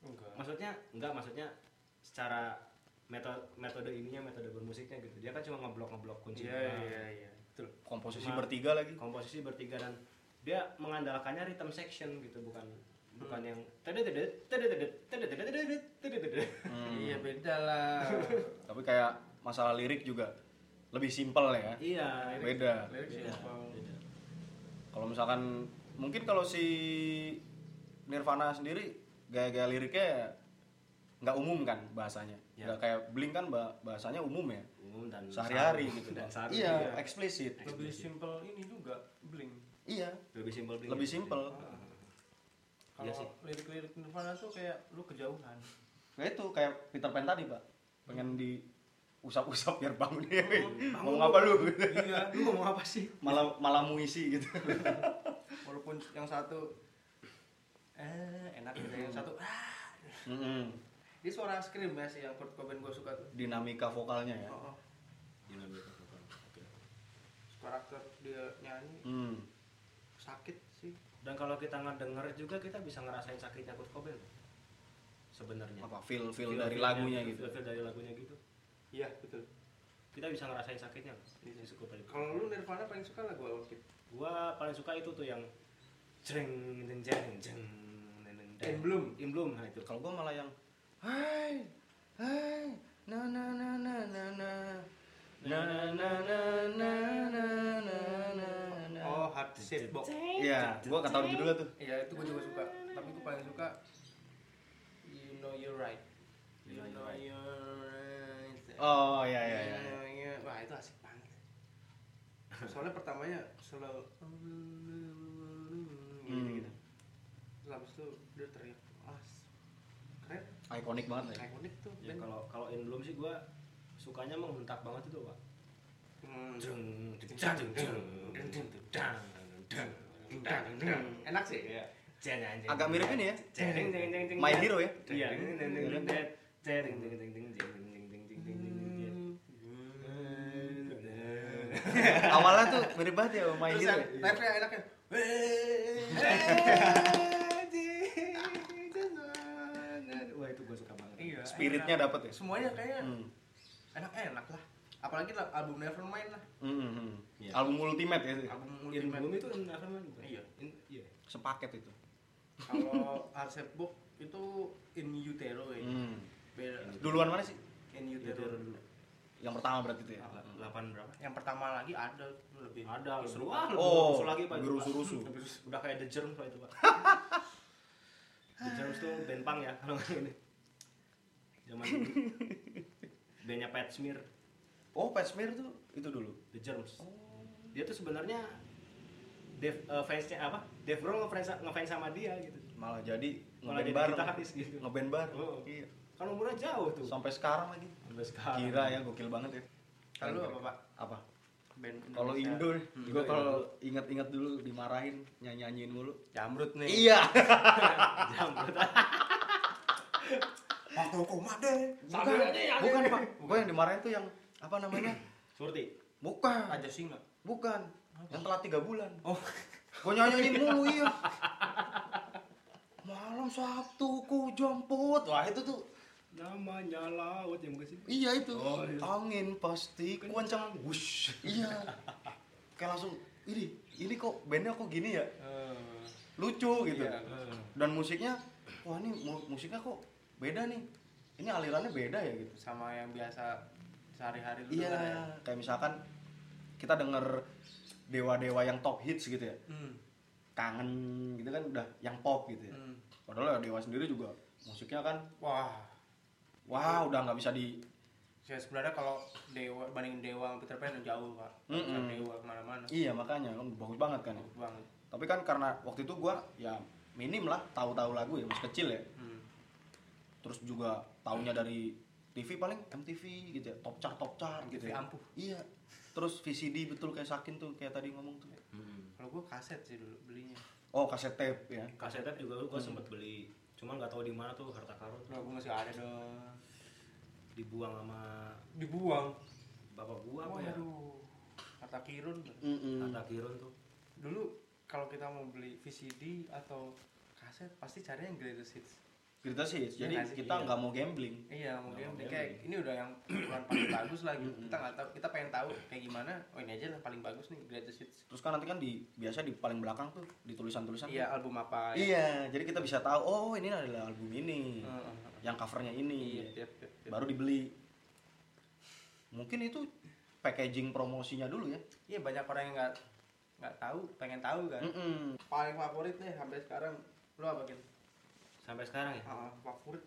[SPEAKER 3] Enggak.
[SPEAKER 1] maksudnya enggak maksudnya secara metode metode ininya metode bermusiknya gitu dia kan cuma ngeblok ngeblok kunci
[SPEAKER 3] Iya,
[SPEAKER 1] doang.
[SPEAKER 3] iya, iya. Betul.
[SPEAKER 2] Komposisi
[SPEAKER 1] Cuma-
[SPEAKER 2] bertiga lagi.
[SPEAKER 1] komposisi bertiga dan dia mengandalkannya rhythm section gitu bukan bukan yang tedededet, tedededet, tedededet, tedededet.
[SPEAKER 3] Iya, beda lah.
[SPEAKER 2] Tapi kayak masalah lirik juga lebih simpel ya.
[SPEAKER 1] iya
[SPEAKER 2] Beda.
[SPEAKER 3] Lirik sih
[SPEAKER 1] Beda.
[SPEAKER 3] apa?
[SPEAKER 2] Kalau misalkan mungkin kalau si Nirvana sendiri gaya-gaya liriknya nggak umum kan bahasanya.
[SPEAKER 1] Ya.
[SPEAKER 2] Nggak kayak Blink kan bah- bahasanya umum ya.
[SPEAKER 1] umum dan
[SPEAKER 2] Sehari-hari
[SPEAKER 1] saru.
[SPEAKER 2] gitu.
[SPEAKER 1] dan saru
[SPEAKER 2] iya,
[SPEAKER 1] juga.
[SPEAKER 2] eksplisit.
[SPEAKER 3] Lebih simple ini juga, bling.
[SPEAKER 2] Iya,
[SPEAKER 1] lebih simpel
[SPEAKER 2] lebih simpel.
[SPEAKER 1] Iya
[SPEAKER 3] Kalau
[SPEAKER 1] sih.
[SPEAKER 3] lirik-lirik Nirvana tuh kayak lu kejauhan.
[SPEAKER 2] Ya itu kayak Peter Pan tadi, Pak. Pengen di usap-usap biar bangun dewe. Mau
[SPEAKER 1] Oh, Bangun,
[SPEAKER 2] ngapa lu?
[SPEAKER 1] iya lu ngomong apa sih
[SPEAKER 2] malah malah muisi gitu.
[SPEAKER 3] Walaupun yang satu eh enak gitu yang satu ah.
[SPEAKER 2] Mm-mm.
[SPEAKER 3] Ini suara scream ya sih yang Kurt Cobain gue suka tuh.
[SPEAKER 2] Dinamika vokalnya ya.
[SPEAKER 3] Oh, oh.
[SPEAKER 1] Dinamika vokal. Oke.
[SPEAKER 3] karakter dia nyanyi
[SPEAKER 2] Hmm.
[SPEAKER 3] sakit sih.
[SPEAKER 1] dan kalau kita ngedenger juga kita bisa ngerasain sakitnya Kurt Cobain sebenarnya
[SPEAKER 2] Apa feel feel dari lagunya gitu.
[SPEAKER 1] feel dari lagunya gitu
[SPEAKER 3] Iya, betul.
[SPEAKER 1] kita bisa ngerasain sakitnya
[SPEAKER 3] Iya.
[SPEAKER 1] si Kurt Cobain.
[SPEAKER 3] Kalau lu Nirvana paling suka lagu apa Kit?
[SPEAKER 1] gua paling suka itu tuh yang jeng jeng jeng jeng
[SPEAKER 3] Emblem.
[SPEAKER 1] Emblem, nah itu
[SPEAKER 2] Kalau gua malah yang hai hai na na na na na na na na na na na na na na na.
[SPEAKER 3] Oh, Hard Shape Box.
[SPEAKER 2] Iya, gua ketahuan judulnya tuh.
[SPEAKER 3] Iya, itu gue juga suka. Tapi gue paling suka You Know You're Right. You Know You're Right.
[SPEAKER 2] Oh iya iya iya.
[SPEAKER 3] Iya, iya. Wah, itu asik banget. Soalnya pertamanya selalu gitu-gitu. Terus habis itu dia teriak, "Mas, keren,
[SPEAKER 2] Ikonik banget lah. ya.
[SPEAKER 3] ikonik tuh."
[SPEAKER 1] ya
[SPEAKER 3] band."
[SPEAKER 1] kalau kalau Emblem sih gua sukanya menghentak banget itu pak
[SPEAKER 3] Hmm.
[SPEAKER 1] jeng jeng jeng jeng jeng jeng jeng dang dang dang dang
[SPEAKER 3] Enak sih.
[SPEAKER 1] jeng jeng jeng
[SPEAKER 2] Agak mirip ini ya.
[SPEAKER 1] jeng jeng jeng jeng jeng
[SPEAKER 2] My Hero ya.
[SPEAKER 1] iya jeng jeng jeng jeng jeng jeng jeng jeng jeng jeng jeng jeng jeng jeng jeng
[SPEAKER 2] Awalnya tuh mirip banget ya sama My
[SPEAKER 3] Terus
[SPEAKER 2] Hero.
[SPEAKER 3] yang
[SPEAKER 2] ya.
[SPEAKER 3] refnya enaknya.
[SPEAKER 1] wah itu gua suka banget
[SPEAKER 3] Iya,
[SPEAKER 2] Spiritnya
[SPEAKER 3] enak.
[SPEAKER 2] dapet ya?
[SPEAKER 3] Semuanya kayaknya
[SPEAKER 2] Hmm.
[SPEAKER 3] enak-enak lah. Apalagi lah album Nevermind lah.
[SPEAKER 2] Mm, mm, mm.
[SPEAKER 1] Iya.
[SPEAKER 2] Album ultimate ya.
[SPEAKER 3] Album Ultimate.
[SPEAKER 1] Emblem itu kenapa man
[SPEAKER 3] Iya.
[SPEAKER 1] In- iya
[SPEAKER 2] Sepaket itu.
[SPEAKER 3] kalau Arsep Book itu in utero ya
[SPEAKER 2] Hmm.
[SPEAKER 3] beda
[SPEAKER 2] Duluan mana sih?
[SPEAKER 3] in
[SPEAKER 1] itu
[SPEAKER 3] utero
[SPEAKER 1] dulu
[SPEAKER 2] Yang pertama berarti itu ya.
[SPEAKER 1] delapan berapa
[SPEAKER 3] yang pertama lagi ada itu lebih
[SPEAKER 1] Ada,
[SPEAKER 3] lebih
[SPEAKER 1] seru ah,
[SPEAKER 3] wah,
[SPEAKER 1] lebih
[SPEAKER 2] Oh,
[SPEAKER 1] rusuh lagi pak.
[SPEAKER 2] lebih rusuh-rusuh.
[SPEAKER 1] Lebih rusuh. Udah kayak The Germs pak itu pak. The Germs tuh band punk ya kalau nggak ini. Zaman dulu. Bandnya Pat Smear,
[SPEAKER 2] Oh, Pesmir tuh itu dulu.
[SPEAKER 1] The Germs. Dia tuh sebenarnya Dev eh, fansnya apa? Dev Grohl ngefans ngefans sama dia gitu.
[SPEAKER 2] Malah jadi ngeband
[SPEAKER 1] Malah jadi
[SPEAKER 2] bareng.
[SPEAKER 1] gitaris gitu.
[SPEAKER 2] Ngeband bareng.
[SPEAKER 1] Oh.
[SPEAKER 2] Iya.
[SPEAKER 1] Kan umurnya jauh tuh.
[SPEAKER 2] Sampai sekarang lagi.
[SPEAKER 1] Sampai sekarang.
[SPEAKER 2] Kira ya gokil banget ya.
[SPEAKER 3] kalau lu apa pak
[SPEAKER 2] Apa?
[SPEAKER 3] band
[SPEAKER 2] Kalau Indo, nih,
[SPEAKER 3] Hmm.
[SPEAKER 2] gua kalau ingat-ingat dulu dimarahin, nyanyi-nyanyiin mulu.
[SPEAKER 3] Jamrut nih.
[SPEAKER 2] Iya.
[SPEAKER 1] Jamrut.
[SPEAKER 3] Waktu komade.
[SPEAKER 2] Bukan, bukan Pak. Gua yang dimarahin tuh yang apa namanya?
[SPEAKER 1] Surti.
[SPEAKER 2] Bukan.
[SPEAKER 3] Raja Singa.
[SPEAKER 2] Bukan. Yang telat tiga bulan.
[SPEAKER 3] Oh,
[SPEAKER 2] Gua nyanyiin mulu iya. Malam Sabtu ku jemput. Wah, itu tuh
[SPEAKER 1] Namanya laut ya mungkin sih.
[SPEAKER 2] Iya itu.
[SPEAKER 1] Oh, iya.
[SPEAKER 2] Angin pasti kuancang. Wush. Iya. Kayak langsung ini ini kok bandnya kok gini ya?
[SPEAKER 3] eh,
[SPEAKER 2] Lucu gitu.
[SPEAKER 3] Iya.
[SPEAKER 2] Dan musiknya wah ini mu- musiknya kok beda nih. Ini alirannya beda ya gitu.
[SPEAKER 3] sama yang biasa sehari-hari lu
[SPEAKER 2] Iya,
[SPEAKER 3] denger ya.
[SPEAKER 2] kayak misalkan kita denger dewa-dewa yang top hits gitu ya.
[SPEAKER 3] Hmm.
[SPEAKER 2] Kangen gitu kan udah yang pop gitu ya.
[SPEAKER 3] hmm.
[SPEAKER 2] Padahal ya dewa sendiri juga musiknya kan
[SPEAKER 3] Wah,
[SPEAKER 2] wah udah nggak bisa di
[SPEAKER 3] saya sebenarnya kalau dewa banding dewa sama Peter Pan jauh pak,
[SPEAKER 2] Mm-mm.
[SPEAKER 3] Sama dewa kemana-mana,
[SPEAKER 2] iya makanya kan bagus banget kan ya.
[SPEAKER 3] Jauh banget.
[SPEAKER 2] tapi kan karena waktu itu gua ya minim lah tahu-tahu lagu ya masih kecil ya
[SPEAKER 3] Hmm.
[SPEAKER 2] terus juga taunya dari TV paling MTV gitu ya top chart top chart gitu
[SPEAKER 3] MTV
[SPEAKER 2] ya
[SPEAKER 3] ampuh.
[SPEAKER 2] iya terus VCD betul kayak Sakin tuh kayak tadi ngomong tuh
[SPEAKER 3] Kalau gua kaset sih dulu belinya,
[SPEAKER 2] oh kaset tape ya
[SPEAKER 1] Kasetnya juga gua sempet beli. Cuman nggak tahu di mana tuh harta karun tuh
[SPEAKER 3] kalau gua masih ada dong,
[SPEAKER 1] dibuang sama
[SPEAKER 3] dibuang.
[SPEAKER 1] bapak gua apa ya?
[SPEAKER 3] Waduh, kata kirun.
[SPEAKER 2] Mm-mm.
[SPEAKER 1] Harta kirun tuh.
[SPEAKER 3] Dulu kalau kita mau beli VCD atatau kaset pasti cari yang greatest hits.
[SPEAKER 2] Gerita sih
[SPEAKER 3] Iya
[SPEAKER 2] jadi
[SPEAKER 3] nggak sih?
[SPEAKER 2] kita
[SPEAKER 3] Iya.
[SPEAKER 2] nggak mau gambling
[SPEAKER 3] Iya
[SPEAKER 1] Nggak
[SPEAKER 3] mungkin
[SPEAKER 1] mau
[SPEAKER 3] kayak ini udah yang ukuran paling bagus lah gitu. Kita nggak tahu, kita pengen tahu kayak gimana. Oh ini aja yang paling bagus nih greatest hits.
[SPEAKER 2] terus kan nanti kan di biasa di paling belakang tuh di tulisan-tulisan tuh.
[SPEAKER 3] Iya album apa? ya.
[SPEAKER 2] iya jadi kita bisa tahu oh ini adalah album ini
[SPEAKER 3] Heeh, heeh.
[SPEAKER 2] yang covernya ini
[SPEAKER 3] Iya. tiap, tiap, tiap.
[SPEAKER 2] baru dibeli mungkin itu packaging promosinya dulu ya
[SPEAKER 3] Iya banyak orang yang nggak nggak tahu, pengen tahu kan.
[SPEAKER 2] Mm-mm.
[SPEAKER 3] Paling favorit deh sampai sekarang lo apa kan?
[SPEAKER 1] Sampai sekarang ya?
[SPEAKER 3] Ah. favorit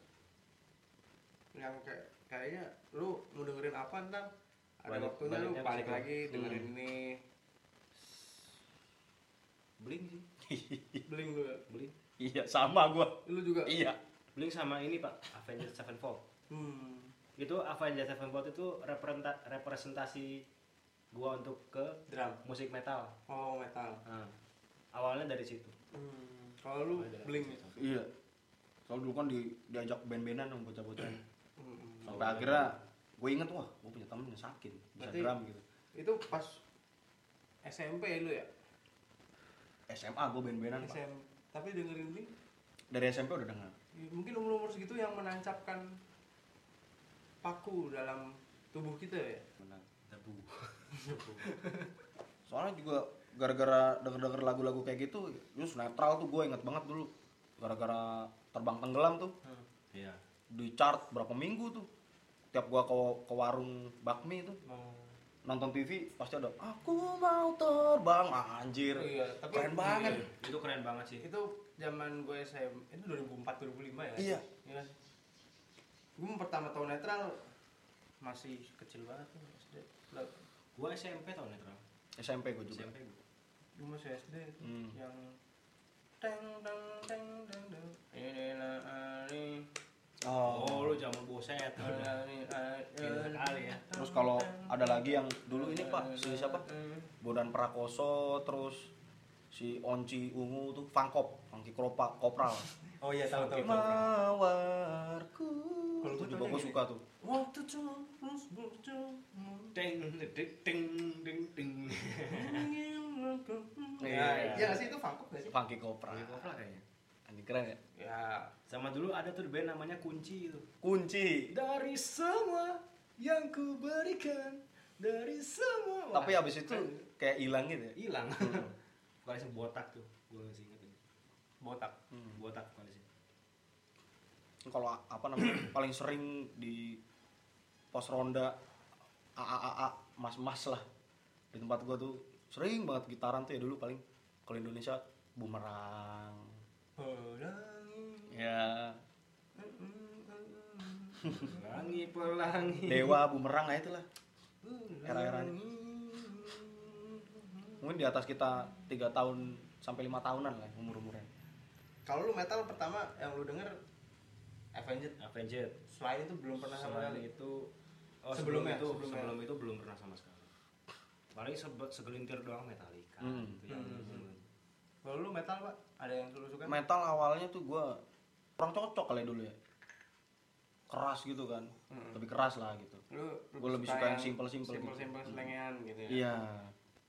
[SPEAKER 3] yang kayak kayaknya lu mau dengerin apa ntar ada
[SPEAKER 1] Balik-
[SPEAKER 3] waktunya lu
[SPEAKER 1] baliknya ke
[SPEAKER 3] balik
[SPEAKER 1] situ.
[SPEAKER 3] lagi dengerin ini
[SPEAKER 1] Bling sih.
[SPEAKER 3] bling lu ya?
[SPEAKER 1] Bling.
[SPEAKER 2] iya sama gua
[SPEAKER 3] lu juga
[SPEAKER 2] iya
[SPEAKER 1] Bling sama ini pak. Avengers Sevenfold.
[SPEAKER 3] hmm.
[SPEAKER 1] Itu Avengers Sevenfold itu representa- representasi gua untuk ke
[SPEAKER 3] drum
[SPEAKER 1] musik metal.
[SPEAKER 3] oh metal
[SPEAKER 1] Nah, awalnya dari situ.
[SPEAKER 3] hmm. kalau lu bling ya
[SPEAKER 2] iya soal dulu kan di, diajak band-bandan sama bocah-bocah
[SPEAKER 3] Hmm.
[SPEAKER 2] sampai akhirnya gue inget wah gue punya temen yang sakit bisa
[SPEAKER 3] Berarti-
[SPEAKER 2] drum gitu
[SPEAKER 3] itu pas SMP ya lu ya
[SPEAKER 2] SMA gue band-bandan Pak.
[SPEAKER 3] SMP tapi dengerin bling
[SPEAKER 2] dari SMP udah dengar
[SPEAKER 3] ya mungkin umur umur segitu yang menancapkan paku dalam tubuh kita ya
[SPEAKER 2] benar
[SPEAKER 1] Debu.
[SPEAKER 2] soalnya juga gara-gara denger-denger lagu-lagu kayak gitu terus netral tuh gue inget banget dulu gara-gara terbang tenggelam tuh
[SPEAKER 3] Hmm.
[SPEAKER 1] Iya.
[SPEAKER 2] di chart berapa minggu tuh tiap gua ke, ke warung bakmi itu
[SPEAKER 3] mau
[SPEAKER 2] nonton TV pasti ada aku mau terbang Ah, anjir
[SPEAKER 3] Iya, tapi-
[SPEAKER 2] keren banget
[SPEAKER 3] Iya.
[SPEAKER 1] Itu keren banget sih.
[SPEAKER 3] itu zaman gue SM itu 2004 2005 ya
[SPEAKER 2] Iya.
[SPEAKER 3] kan? gue pertama tahun netral masih kecil banget tuh SD Lah,
[SPEAKER 1] Gua SMP tahun netral.
[SPEAKER 2] SMP gue juga
[SPEAKER 1] SMP gua.
[SPEAKER 3] gue masih SD
[SPEAKER 2] Hmm.
[SPEAKER 3] yang teng teng teng teng teng ini lah ini
[SPEAKER 1] Oh, lu zaman boset.
[SPEAKER 3] Ah.
[SPEAKER 1] Gila sekali ya.
[SPEAKER 2] terus kalau ada lagi yang dulu ini pak si siapa Bodan Prakoso terus si Onci Ungu tuh Fangkop Fangki Kropa Kopral
[SPEAKER 3] oh iya tahu tahu
[SPEAKER 2] Mawarku
[SPEAKER 3] Kalau
[SPEAKER 2] itu
[SPEAKER 3] gua
[SPEAKER 2] juga gue
[SPEAKER 3] tanya gini.
[SPEAKER 2] suka tuh
[SPEAKER 3] waktu terus berjumpa
[SPEAKER 1] Ding ding ding ding ding.
[SPEAKER 3] ya
[SPEAKER 2] Iya.
[SPEAKER 3] iya nggak sih itu vakum gak sih
[SPEAKER 2] Fangki Kopral
[SPEAKER 1] Lagi kopra kayaknya.
[SPEAKER 2] anjir keren ya
[SPEAKER 3] ya
[SPEAKER 1] Sama dulu ada tuh band namanya Kunci itu.
[SPEAKER 2] kunci
[SPEAKER 1] Dari semua yang ku berikan dari semua. Wah,
[SPEAKER 2] tapi
[SPEAKER 3] ya-
[SPEAKER 2] abis itu kayak hilang gitu ya
[SPEAKER 1] hilang.
[SPEAKER 3] Hmm.
[SPEAKER 1] Vokalisnya botak tuh. Gua masih ingat ini. Hmm.
[SPEAKER 3] botak
[SPEAKER 1] Botak vokalisnya.
[SPEAKER 2] kalau a- apa namanya paling sering di pos ronda AAAA mas-mas lah di tempat gua tuh sering banget gitaran tuh ya dulu paling kalau Indonesia bumerang
[SPEAKER 3] Pelangi.
[SPEAKER 2] ya
[SPEAKER 1] Pelangi pelangi.
[SPEAKER 2] dewa bumerang nah itulah Era-eranya.
[SPEAKER 3] Pelangi.
[SPEAKER 2] mungkin di atas kita tiga tahun sampai lima tahunan lah umur umurnya
[SPEAKER 3] Kalau lu metal pertama yang lu denger Avenged
[SPEAKER 1] Avenged.
[SPEAKER 3] selain itu belum pernah sama
[SPEAKER 1] Selain
[SPEAKER 3] kali.
[SPEAKER 1] itu oh, sebelum
[SPEAKER 3] Sebelumnya,
[SPEAKER 1] itu
[SPEAKER 3] sebelumnya.
[SPEAKER 1] sebelum itu belum pernah sama sekali. paling sebe- segelintir doang Metallica
[SPEAKER 2] Hmm.
[SPEAKER 1] gitu yang
[SPEAKER 3] Hmm.
[SPEAKER 1] dulu.
[SPEAKER 3] Kalau lu metal pak, ada yang dulu suka?
[SPEAKER 2] metal awalnya tuh gue kurang cocok kali dulu ya keras gitu kan
[SPEAKER 3] Mm.
[SPEAKER 2] lebih keras lah gitu
[SPEAKER 3] Lu, lu
[SPEAKER 2] Gua lebih suka yang simple-simple gitu.
[SPEAKER 3] Simple-simple selengean gitu ya.
[SPEAKER 2] iya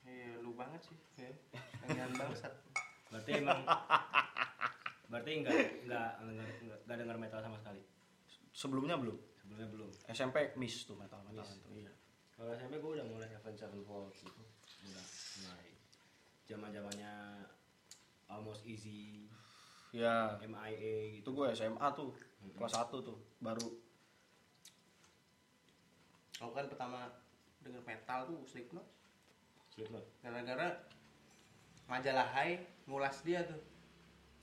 [SPEAKER 3] Iya, lu banget sih. Ya. Selengean bangsat.
[SPEAKER 1] berarti emang berarti enggak enggak enggak enggak, enggak dengar metal sama sekali
[SPEAKER 2] sebelumnya belum
[SPEAKER 1] sebelumnya belum
[SPEAKER 2] SMP miss tuh metal metal
[SPEAKER 1] Miss.
[SPEAKER 2] itu iya
[SPEAKER 1] kalau SMP gue udah mulai Heaven Sevenfold gitu udah mulai zaman zamannya Almost Easy
[SPEAKER 2] ya itu
[SPEAKER 1] MIA gitu
[SPEAKER 2] gue SMA tuh kelas 1 tuh baru
[SPEAKER 3] Kalau kan pertama denger metal tuh Slipknot.
[SPEAKER 1] Slipknot
[SPEAKER 3] Gara-gara majalah Hai ngulas dia tuh.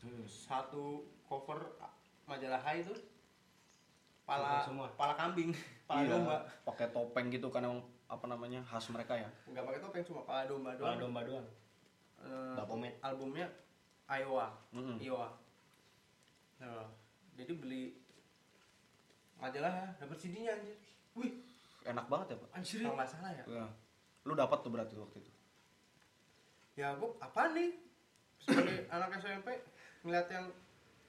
[SPEAKER 1] hmm.
[SPEAKER 3] Satu cover majalah Hai tuh pala
[SPEAKER 1] Cover semua.
[SPEAKER 3] pala kambing, pala
[SPEAKER 2] iya,
[SPEAKER 3] domba.
[SPEAKER 2] pakai topeng gitu kan emang apa namanya khas mereka ya
[SPEAKER 3] Enggak pakai topeng cuma pala domba
[SPEAKER 1] Kepala
[SPEAKER 3] doang.
[SPEAKER 1] domba doang
[SPEAKER 3] Eh,
[SPEAKER 1] Bapomet.
[SPEAKER 3] albumnya Iowa
[SPEAKER 2] Mm-mm.
[SPEAKER 3] Iowa nah, jadi beli majalah dapat CD-nya anjir wih
[SPEAKER 2] enak banget ya pak
[SPEAKER 1] anjir
[SPEAKER 3] kalau nggak salah ya
[SPEAKER 2] Ya. lu dapat tuh berarti waktu itu
[SPEAKER 3] ya gue apa nih sebagai anak SMP ngeliat yang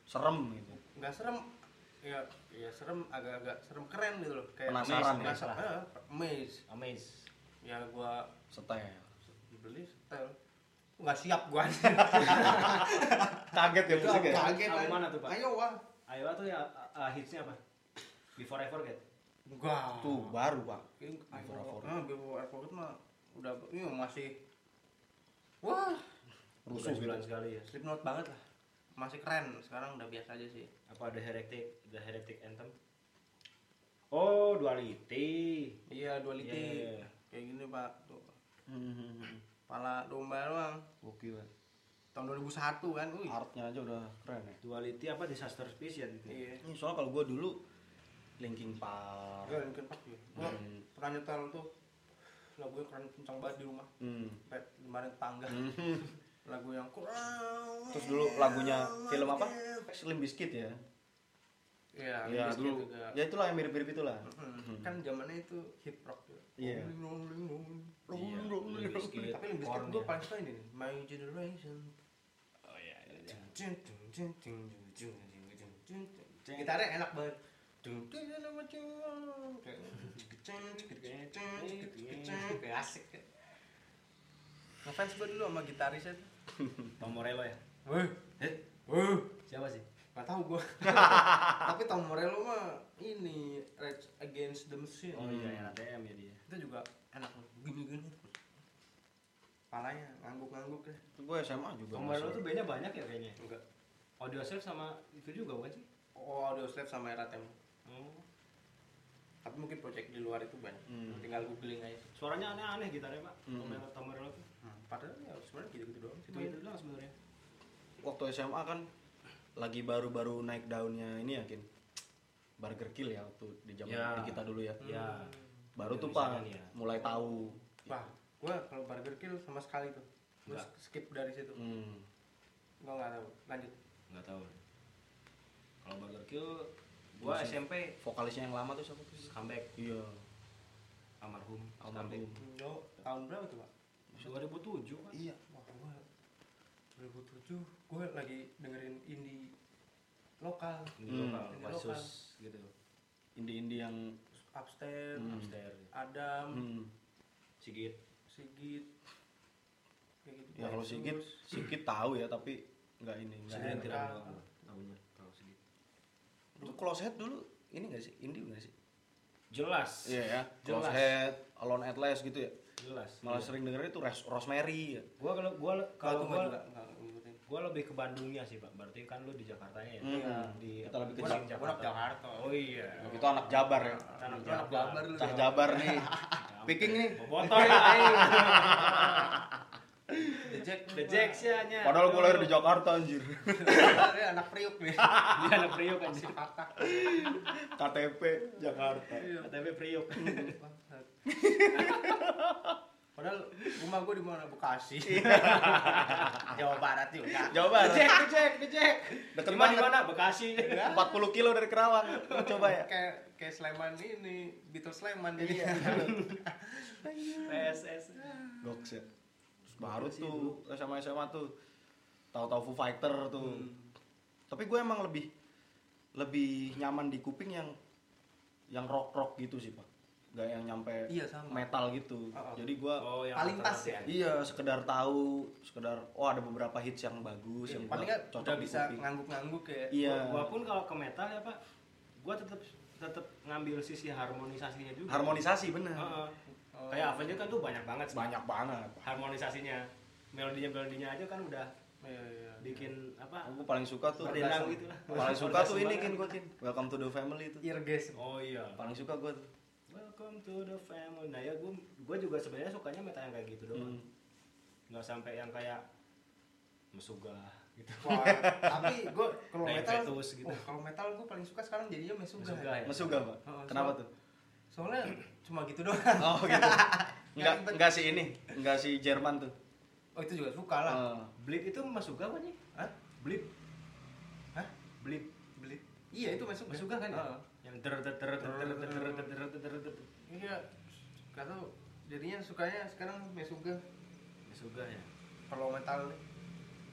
[SPEAKER 2] serem gitu
[SPEAKER 3] nggak serem ya ya serem agak-agag serem keren gitu loh kayak
[SPEAKER 2] Penasaran
[SPEAKER 1] ya?
[SPEAKER 3] ya amaze
[SPEAKER 1] Amaze
[SPEAKER 3] ya gua
[SPEAKER 2] setel
[SPEAKER 3] beli setel nggak siap gua
[SPEAKER 2] kaget ya musik ya
[SPEAKER 3] kaget
[SPEAKER 1] Album
[SPEAKER 3] anjir.
[SPEAKER 1] mana tuh, Pak?
[SPEAKER 3] ayo wah
[SPEAKER 1] Iowa tuh ya uh, hitsnya apa? Before I Forget
[SPEAKER 3] enggak
[SPEAKER 2] tuh baru pak
[SPEAKER 3] Kayaknya
[SPEAKER 2] Before
[SPEAKER 3] iPhone-
[SPEAKER 2] Forget.
[SPEAKER 3] ah, Before I Forget mah udah ini masih wah
[SPEAKER 2] rusuh gitu
[SPEAKER 1] bulan sekali ya
[SPEAKER 3] Slipknot banget lah masih keren sekarang udah biasa aja sih
[SPEAKER 1] apa The Heretic The Heretic Anthem oh Duality
[SPEAKER 3] iya duality
[SPEAKER 1] Iya, iya, iya.
[SPEAKER 3] kayak gini pak tuh
[SPEAKER 2] Hmm,
[SPEAKER 3] pala domba doang
[SPEAKER 1] gokil kan
[SPEAKER 3] tahun 2001 kan wih
[SPEAKER 2] artnya aja udah keren ya
[SPEAKER 1] Duality apa Disaster Species gitu
[SPEAKER 3] iya
[SPEAKER 2] Ini soalnya kalau gue dulu Linkin Park
[SPEAKER 3] gue mungkin pas gue
[SPEAKER 1] Iya.
[SPEAKER 3] Gua
[SPEAKER 2] Hmm.
[SPEAKER 3] pernah nyetel tuh lagu yang keren kencang banget di rumah
[SPEAKER 2] Hmm.
[SPEAKER 3] sampai kemarin tangga lagu yang kurang
[SPEAKER 2] terus dulu lagunya film apa Slim Biscuit ya
[SPEAKER 3] iya
[SPEAKER 2] ya
[SPEAKER 3] Limp Bizkit
[SPEAKER 2] dulu
[SPEAKER 3] juga.
[SPEAKER 2] ya itulah yang mirip-mirip itulah
[SPEAKER 3] Hmm. kan zamannya itu hip rock gitu.
[SPEAKER 2] Iya.
[SPEAKER 3] Rolling, rolling, rolling, rolling,
[SPEAKER 1] Iya,
[SPEAKER 3] rolling,
[SPEAKER 1] Limp
[SPEAKER 3] rolling.
[SPEAKER 1] Bizkit,
[SPEAKER 3] Tapi Limp Bizkit
[SPEAKER 1] Korn
[SPEAKER 3] gue
[SPEAKER 1] ya.
[SPEAKER 3] paling suka ini nih, My Generation.
[SPEAKER 1] oh iya
[SPEAKER 3] Jung, jung, jung, jung, jung, jung, jung, jung, jung. Gitarnya enak banget. Jung, jung, jung, jung, jung. Kayak jung, jung, jung, jung, jung, jung, jung. Kayak asik kan. Ngefans gue dulu sama gitarisnya tuh.
[SPEAKER 1] Tom Morello ya
[SPEAKER 3] Wuh,
[SPEAKER 1] eh
[SPEAKER 3] wuh.
[SPEAKER 1] siapa sih
[SPEAKER 3] Gak tau gue Tapi Tom Morello mah ini Rage Against the Machine
[SPEAKER 1] oh iya RTM ya dia
[SPEAKER 3] itu juga enak gini-gini palanya ngangguk-ngangguk deh
[SPEAKER 2] itu gue SMA juga
[SPEAKER 1] Tom
[SPEAKER 2] masih.
[SPEAKER 1] Morello tuh bandnya banyak ya kayaknya
[SPEAKER 3] enggak
[SPEAKER 1] Audio Slave sama itu juga bukan sih
[SPEAKER 3] oh audio slave sama eratem
[SPEAKER 1] oh.
[SPEAKER 3] tapi mungkin project di luar itu banyak
[SPEAKER 2] Hmm.
[SPEAKER 3] tinggal googling aja
[SPEAKER 1] suaranya aneh-aneh gitarnya pak Tom
[SPEAKER 2] Hmm.
[SPEAKER 1] Morello- Tom Morello tuh
[SPEAKER 3] hmm. padahal ya sebenarnya gitu-gitu doang sih
[SPEAKER 1] itu itu doang sebenarnya
[SPEAKER 2] waktu SMA kan lagi baru-baru naik daunnya ini yakin Burger Kill ya waktu di zaman
[SPEAKER 1] Ya.
[SPEAKER 2] di kita dulu ya
[SPEAKER 3] Iya.
[SPEAKER 1] ya
[SPEAKER 2] baru tuh
[SPEAKER 1] Indonesia
[SPEAKER 2] pak
[SPEAKER 1] kan ya.
[SPEAKER 2] mulai tahu
[SPEAKER 3] Hmm. wah gua kalau burger kill sama sekali tuh gua
[SPEAKER 1] Enggak.
[SPEAKER 3] skip dari situ
[SPEAKER 2] Hmm.
[SPEAKER 3] gua nggak tahu lanjut
[SPEAKER 1] nggak tahu kalau Burger Kill gua
[SPEAKER 2] Masih.
[SPEAKER 1] SMP
[SPEAKER 2] vokalisnya yang lama tuh siapa tuh
[SPEAKER 1] comeback
[SPEAKER 2] iya
[SPEAKER 1] almarhum
[SPEAKER 2] almarhum
[SPEAKER 3] Lo tahun berapa tuh pak
[SPEAKER 1] 2007 kan
[SPEAKER 3] iya wah gua 2007 gua lagi dengerin indie lokal
[SPEAKER 1] di
[SPEAKER 2] Hmm.
[SPEAKER 1] lokal
[SPEAKER 3] Di lokal.
[SPEAKER 1] Wasus gitu
[SPEAKER 2] indie-indie yang
[SPEAKER 3] upstairs
[SPEAKER 2] Hmm.
[SPEAKER 1] upstairs
[SPEAKER 3] adam
[SPEAKER 2] hmm,
[SPEAKER 1] Sigit
[SPEAKER 3] Sigit kayak gitu.
[SPEAKER 2] ya kalau Sigit
[SPEAKER 3] Terus,
[SPEAKER 2] Sigit tahu ya tapi nggak ini nggak
[SPEAKER 1] Sigit
[SPEAKER 2] enak.
[SPEAKER 1] tidak tahu tahunya kalau Sigit
[SPEAKER 2] Itu close head dulu ini gak sih? Indie gak sih?
[SPEAKER 1] jelas
[SPEAKER 2] Iya ya.
[SPEAKER 1] jelas
[SPEAKER 2] Close head, Alone at Last gitu ya.
[SPEAKER 1] jelas
[SPEAKER 2] Malah
[SPEAKER 1] Iya.
[SPEAKER 2] sering dengerin itu Ros- Rosemary ya.
[SPEAKER 1] gua kalau gua kalau
[SPEAKER 3] kalau gua
[SPEAKER 1] gua
[SPEAKER 3] juga nggak ngikutin.
[SPEAKER 1] gua lebih ke Bandungnya sih pak berarti kan lu di Jakarta ya
[SPEAKER 2] Hmm.
[SPEAKER 1] di
[SPEAKER 2] Kita lebih ke
[SPEAKER 1] Pusing
[SPEAKER 3] Gua anak Jakarta.
[SPEAKER 1] oh iya
[SPEAKER 2] Kita anak Jabar ya.
[SPEAKER 1] tanam
[SPEAKER 3] Gua anak Jabar lu.
[SPEAKER 2] Cah Jabar nih.
[SPEAKER 1] Jabar.
[SPEAKER 2] Picking nih.
[SPEAKER 1] Bobotoy lah aing.
[SPEAKER 3] The Jack.
[SPEAKER 1] The Jacks ya nya.
[SPEAKER 2] Padahal gue lahir di Jakarta anjir.
[SPEAKER 3] Dia Eh, anak Priuk nih.
[SPEAKER 1] Dia anak Priok kan sih.
[SPEAKER 3] Patah.
[SPEAKER 2] KTP Jakarta.
[SPEAKER 1] KTP Priok.
[SPEAKER 3] Bangsat. Padahal rumah gue di mana Bekasi. Jawa Barat juga.
[SPEAKER 2] Jawa Barat.
[SPEAKER 1] Dicek, dicek, dicek.
[SPEAKER 2] Deket
[SPEAKER 1] Cuma di
[SPEAKER 2] banget.
[SPEAKER 1] mana? Bekasi.
[SPEAKER 2] 40 kilo dari Kerawang. Lu Coba ya. Iya.
[SPEAKER 3] Kayak kayak Sleman ini, Beatles Sleman jadi. ya.
[SPEAKER 1] PSS.
[SPEAKER 2] Goks ya. Terus baru tuh SMA SMA tuh tahu-tahu Foo Fighter tuh. Tapi gue emang lebih lebih nyaman di kuping yang yang rock rock gitu sih pak. Gak yang nyampe
[SPEAKER 3] Iya, sama.
[SPEAKER 2] metal gitu.
[SPEAKER 3] Oh, oh.
[SPEAKER 2] Jadi gue
[SPEAKER 1] Oh, yang
[SPEAKER 3] Paling pas ya?
[SPEAKER 1] alternatif.
[SPEAKER 2] iya sekedar tahu, sekedar oh ada beberapa hits yang bagus yang
[SPEAKER 3] Iya, Paling
[SPEAKER 2] gua
[SPEAKER 3] nggak udah
[SPEAKER 2] di
[SPEAKER 3] bisa
[SPEAKER 2] kuping.
[SPEAKER 3] ngangguk-ngangguk ya.
[SPEAKER 2] Iya.
[SPEAKER 1] Gua pun kalau ke metal ya, Pak, gua tetap tetap ngambil sisi harmonisasinya juga. Ah,
[SPEAKER 2] Harmonisasi bener.
[SPEAKER 1] Heeh.
[SPEAKER 3] Oh.
[SPEAKER 1] Kayak Avenged kan tuh banyak banget sih.
[SPEAKER 2] Banyak banget.
[SPEAKER 1] harmonisasinya. Melodinya-melodinya aja kan udah
[SPEAKER 3] Iya, iya.
[SPEAKER 1] bikin apa?
[SPEAKER 2] Aku paling suka tuh.
[SPEAKER 1] Berdendang gitu lah.
[SPEAKER 2] Paling suka tuh ini
[SPEAKER 1] kan
[SPEAKER 2] kin gue kin. Welcome to the family tuh.
[SPEAKER 3] Irges.
[SPEAKER 1] Oh iya.
[SPEAKER 2] Paling suka gue tuh.
[SPEAKER 1] Welcome to the family. Nah ya gue gue juga sebenarnya sukanya metal yang kayak gitu doang.
[SPEAKER 2] Hmm.
[SPEAKER 1] Nggak sampai yang kayak mesugah gitu.
[SPEAKER 3] Wah, tapi gue kalau
[SPEAKER 2] Nah,
[SPEAKER 1] Kayak
[SPEAKER 3] metal,
[SPEAKER 1] fetus gitu.
[SPEAKER 3] oh, kalau metal gue paling suka sekarang jadinya mesuga.
[SPEAKER 1] Mesuga ya?
[SPEAKER 2] Masuk gak pak?
[SPEAKER 3] Heeh,
[SPEAKER 2] Kenapa
[SPEAKER 3] suka.
[SPEAKER 2] tuh?
[SPEAKER 3] Soalnya cuma gitu doang.
[SPEAKER 2] Oh gitu. Enggak
[SPEAKER 3] Nggak ribet.
[SPEAKER 2] enggak si ini, enggak si Jerman tuh.
[SPEAKER 3] Oh itu juga suka lah.
[SPEAKER 2] Heeh.
[SPEAKER 1] Bleed itu mesugah apa nih?
[SPEAKER 3] Hah?
[SPEAKER 1] Bleed,
[SPEAKER 3] Hah?
[SPEAKER 1] bleed,
[SPEAKER 3] Beli? Iya itu mesuga. Ah.
[SPEAKER 1] mesugah kan ya?
[SPEAKER 2] Oh.
[SPEAKER 3] Heeh.
[SPEAKER 1] Yang der der der der der der der der der der der der.
[SPEAKER 3] Iya. Gak tau. Jadinya sukanya sekarang mesuga.
[SPEAKER 1] mesugah ya.
[SPEAKER 3] Kalau metal nih.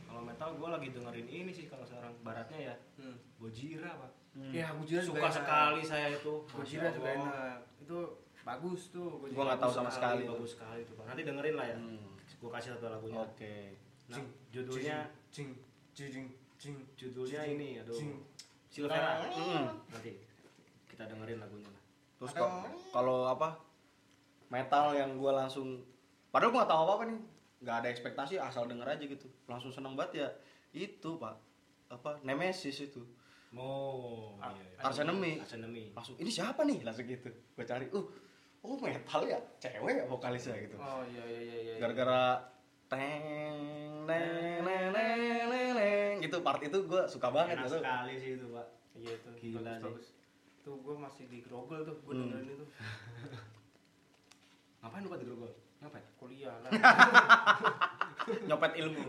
[SPEAKER 1] Kalau metal gue lagi dengerin ini sih kalau sekarang baratnya ya
[SPEAKER 3] Hmm.
[SPEAKER 1] Gojira pak.
[SPEAKER 2] Iya.
[SPEAKER 3] Ya, Gojira juga
[SPEAKER 1] suka
[SPEAKER 3] enak.
[SPEAKER 1] sekali saya itu. Masya
[SPEAKER 3] Gojira juga
[SPEAKER 1] Allah.
[SPEAKER 3] enak. Itu bagus tuh. Gojira.
[SPEAKER 2] Gua nggak tahu sama sekali tuh.
[SPEAKER 1] Bagus sekali tuh pak. Nanti dengerin lah ya.
[SPEAKER 2] Hmm.
[SPEAKER 1] Gue kasih satu lagunya.
[SPEAKER 2] Oke.
[SPEAKER 1] Nah, judulnya
[SPEAKER 3] Jing, jing, jing, jing.
[SPEAKER 1] judulnya ini aduh
[SPEAKER 3] Jing.
[SPEAKER 1] Silvera
[SPEAKER 2] Hmm.
[SPEAKER 1] nanti kita dengerin lagunya lah
[SPEAKER 2] Terus
[SPEAKER 3] Ada-
[SPEAKER 2] kok kalau apa? Metal yang gua langsung padahal gua nggak tahu apa-apa nih. Nggak ada ekspektasi asal denger aja gitu. Langsung seneng banget ya. Itu, Pak. Apa? Nemesis itu.
[SPEAKER 1] oh
[SPEAKER 3] Ar-
[SPEAKER 1] iya, iya.
[SPEAKER 2] Ars Enemy.
[SPEAKER 1] Ars Enemy.
[SPEAKER 2] Langsung ini siapa nih? Langsung gitu. Gua cari, uh. Oh, metal ya. Cewek ya vokalisnya gitu.
[SPEAKER 3] Oh iya iya iya iya.
[SPEAKER 2] gara-gara teng neng neng neng neng neng gitu part itu gue suka banget
[SPEAKER 1] enak
[SPEAKER 2] gitu
[SPEAKER 1] sekali sih itu pak
[SPEAKER 3] Iya itu.
[SPEAKER 1] Gila
[SPEAKER 3] bagus,
[SPEAKER 1] sih.
[SPEAKER 3] bagus. Tuh gue masih di grogol tuh. Gue
[SPEAKER 2] Hmm.
[SPEAKER 3] dengerin itu.
[SPEAKER 1] ngapain lu pak di Grogol
[SPEAKER 3] Ngapain? Kuliah lah.
[SPEAKER 2] nyopet ilmu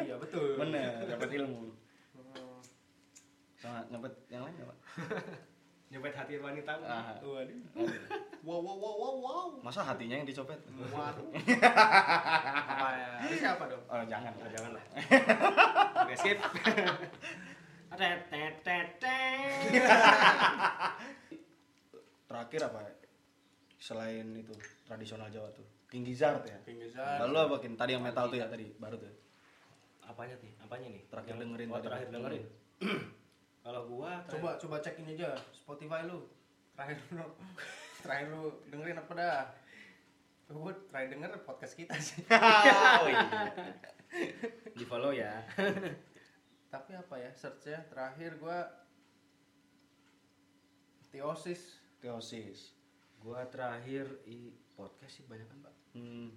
[SPEAKER 3] iya betul.
[SPEAKER 2] bener nyopet ilmu
[SPEAKER 3] Oh.
[SPEAKER 2] sama nyopet yang lain apa
[SPEAKER 1] nyopet hati wanita Pak.
[SPEAKER 2] Ah.
[SPEAKER 1] waduh
[SPEAKER 3] Wow wow wow wow wow.
[SPEAKER 2] masa hatinya yang dicopet
[SPEAKER 3] Waduh. Apa ya? Siapa dong?
[SPEAKER 2] oh jangan
[SPEAKER 1] nah, jangan lah oke skip ada tet tet tet
[SPEAKER 2] terakhir apa ya? selain itu tradisional Jawa tuh King Gizzard ya
[SPEAKER 3] Pinggiran.
[SPEAKER 2] lalu apa Kin? tadi yang metal tuh ya tadi baru tuh
[SPEAKER 1] apanya nih apanya nih
[SPEAKER 2] Terakhir
[SPEAKER 1] Yang-
[SPEAKER 2] dengerin
[SPEAKER 1] oh,
[SPEAKER 2] tadi.
[SPEAKER 1] terakhir dengerin kalau gua terakhir-
[SPEAKER 3] Coba coba cek ini aja Spotify lu. Terakhir lu terakhir lu dengerin apa dah? Gue terakhir denger podcast kita sih.
[SPEAKER 2] oh, iya.
[SPEAKER 1] di follow ya
[SPEAKER 3] Tapi apa ya? Searchnya terakhir gua Teosis.
[SPEAKER 2] Teosis
[SPEAKER 1] gua terakhir i podcast sih banyak kan pak
[SPEAKER 2] hmm.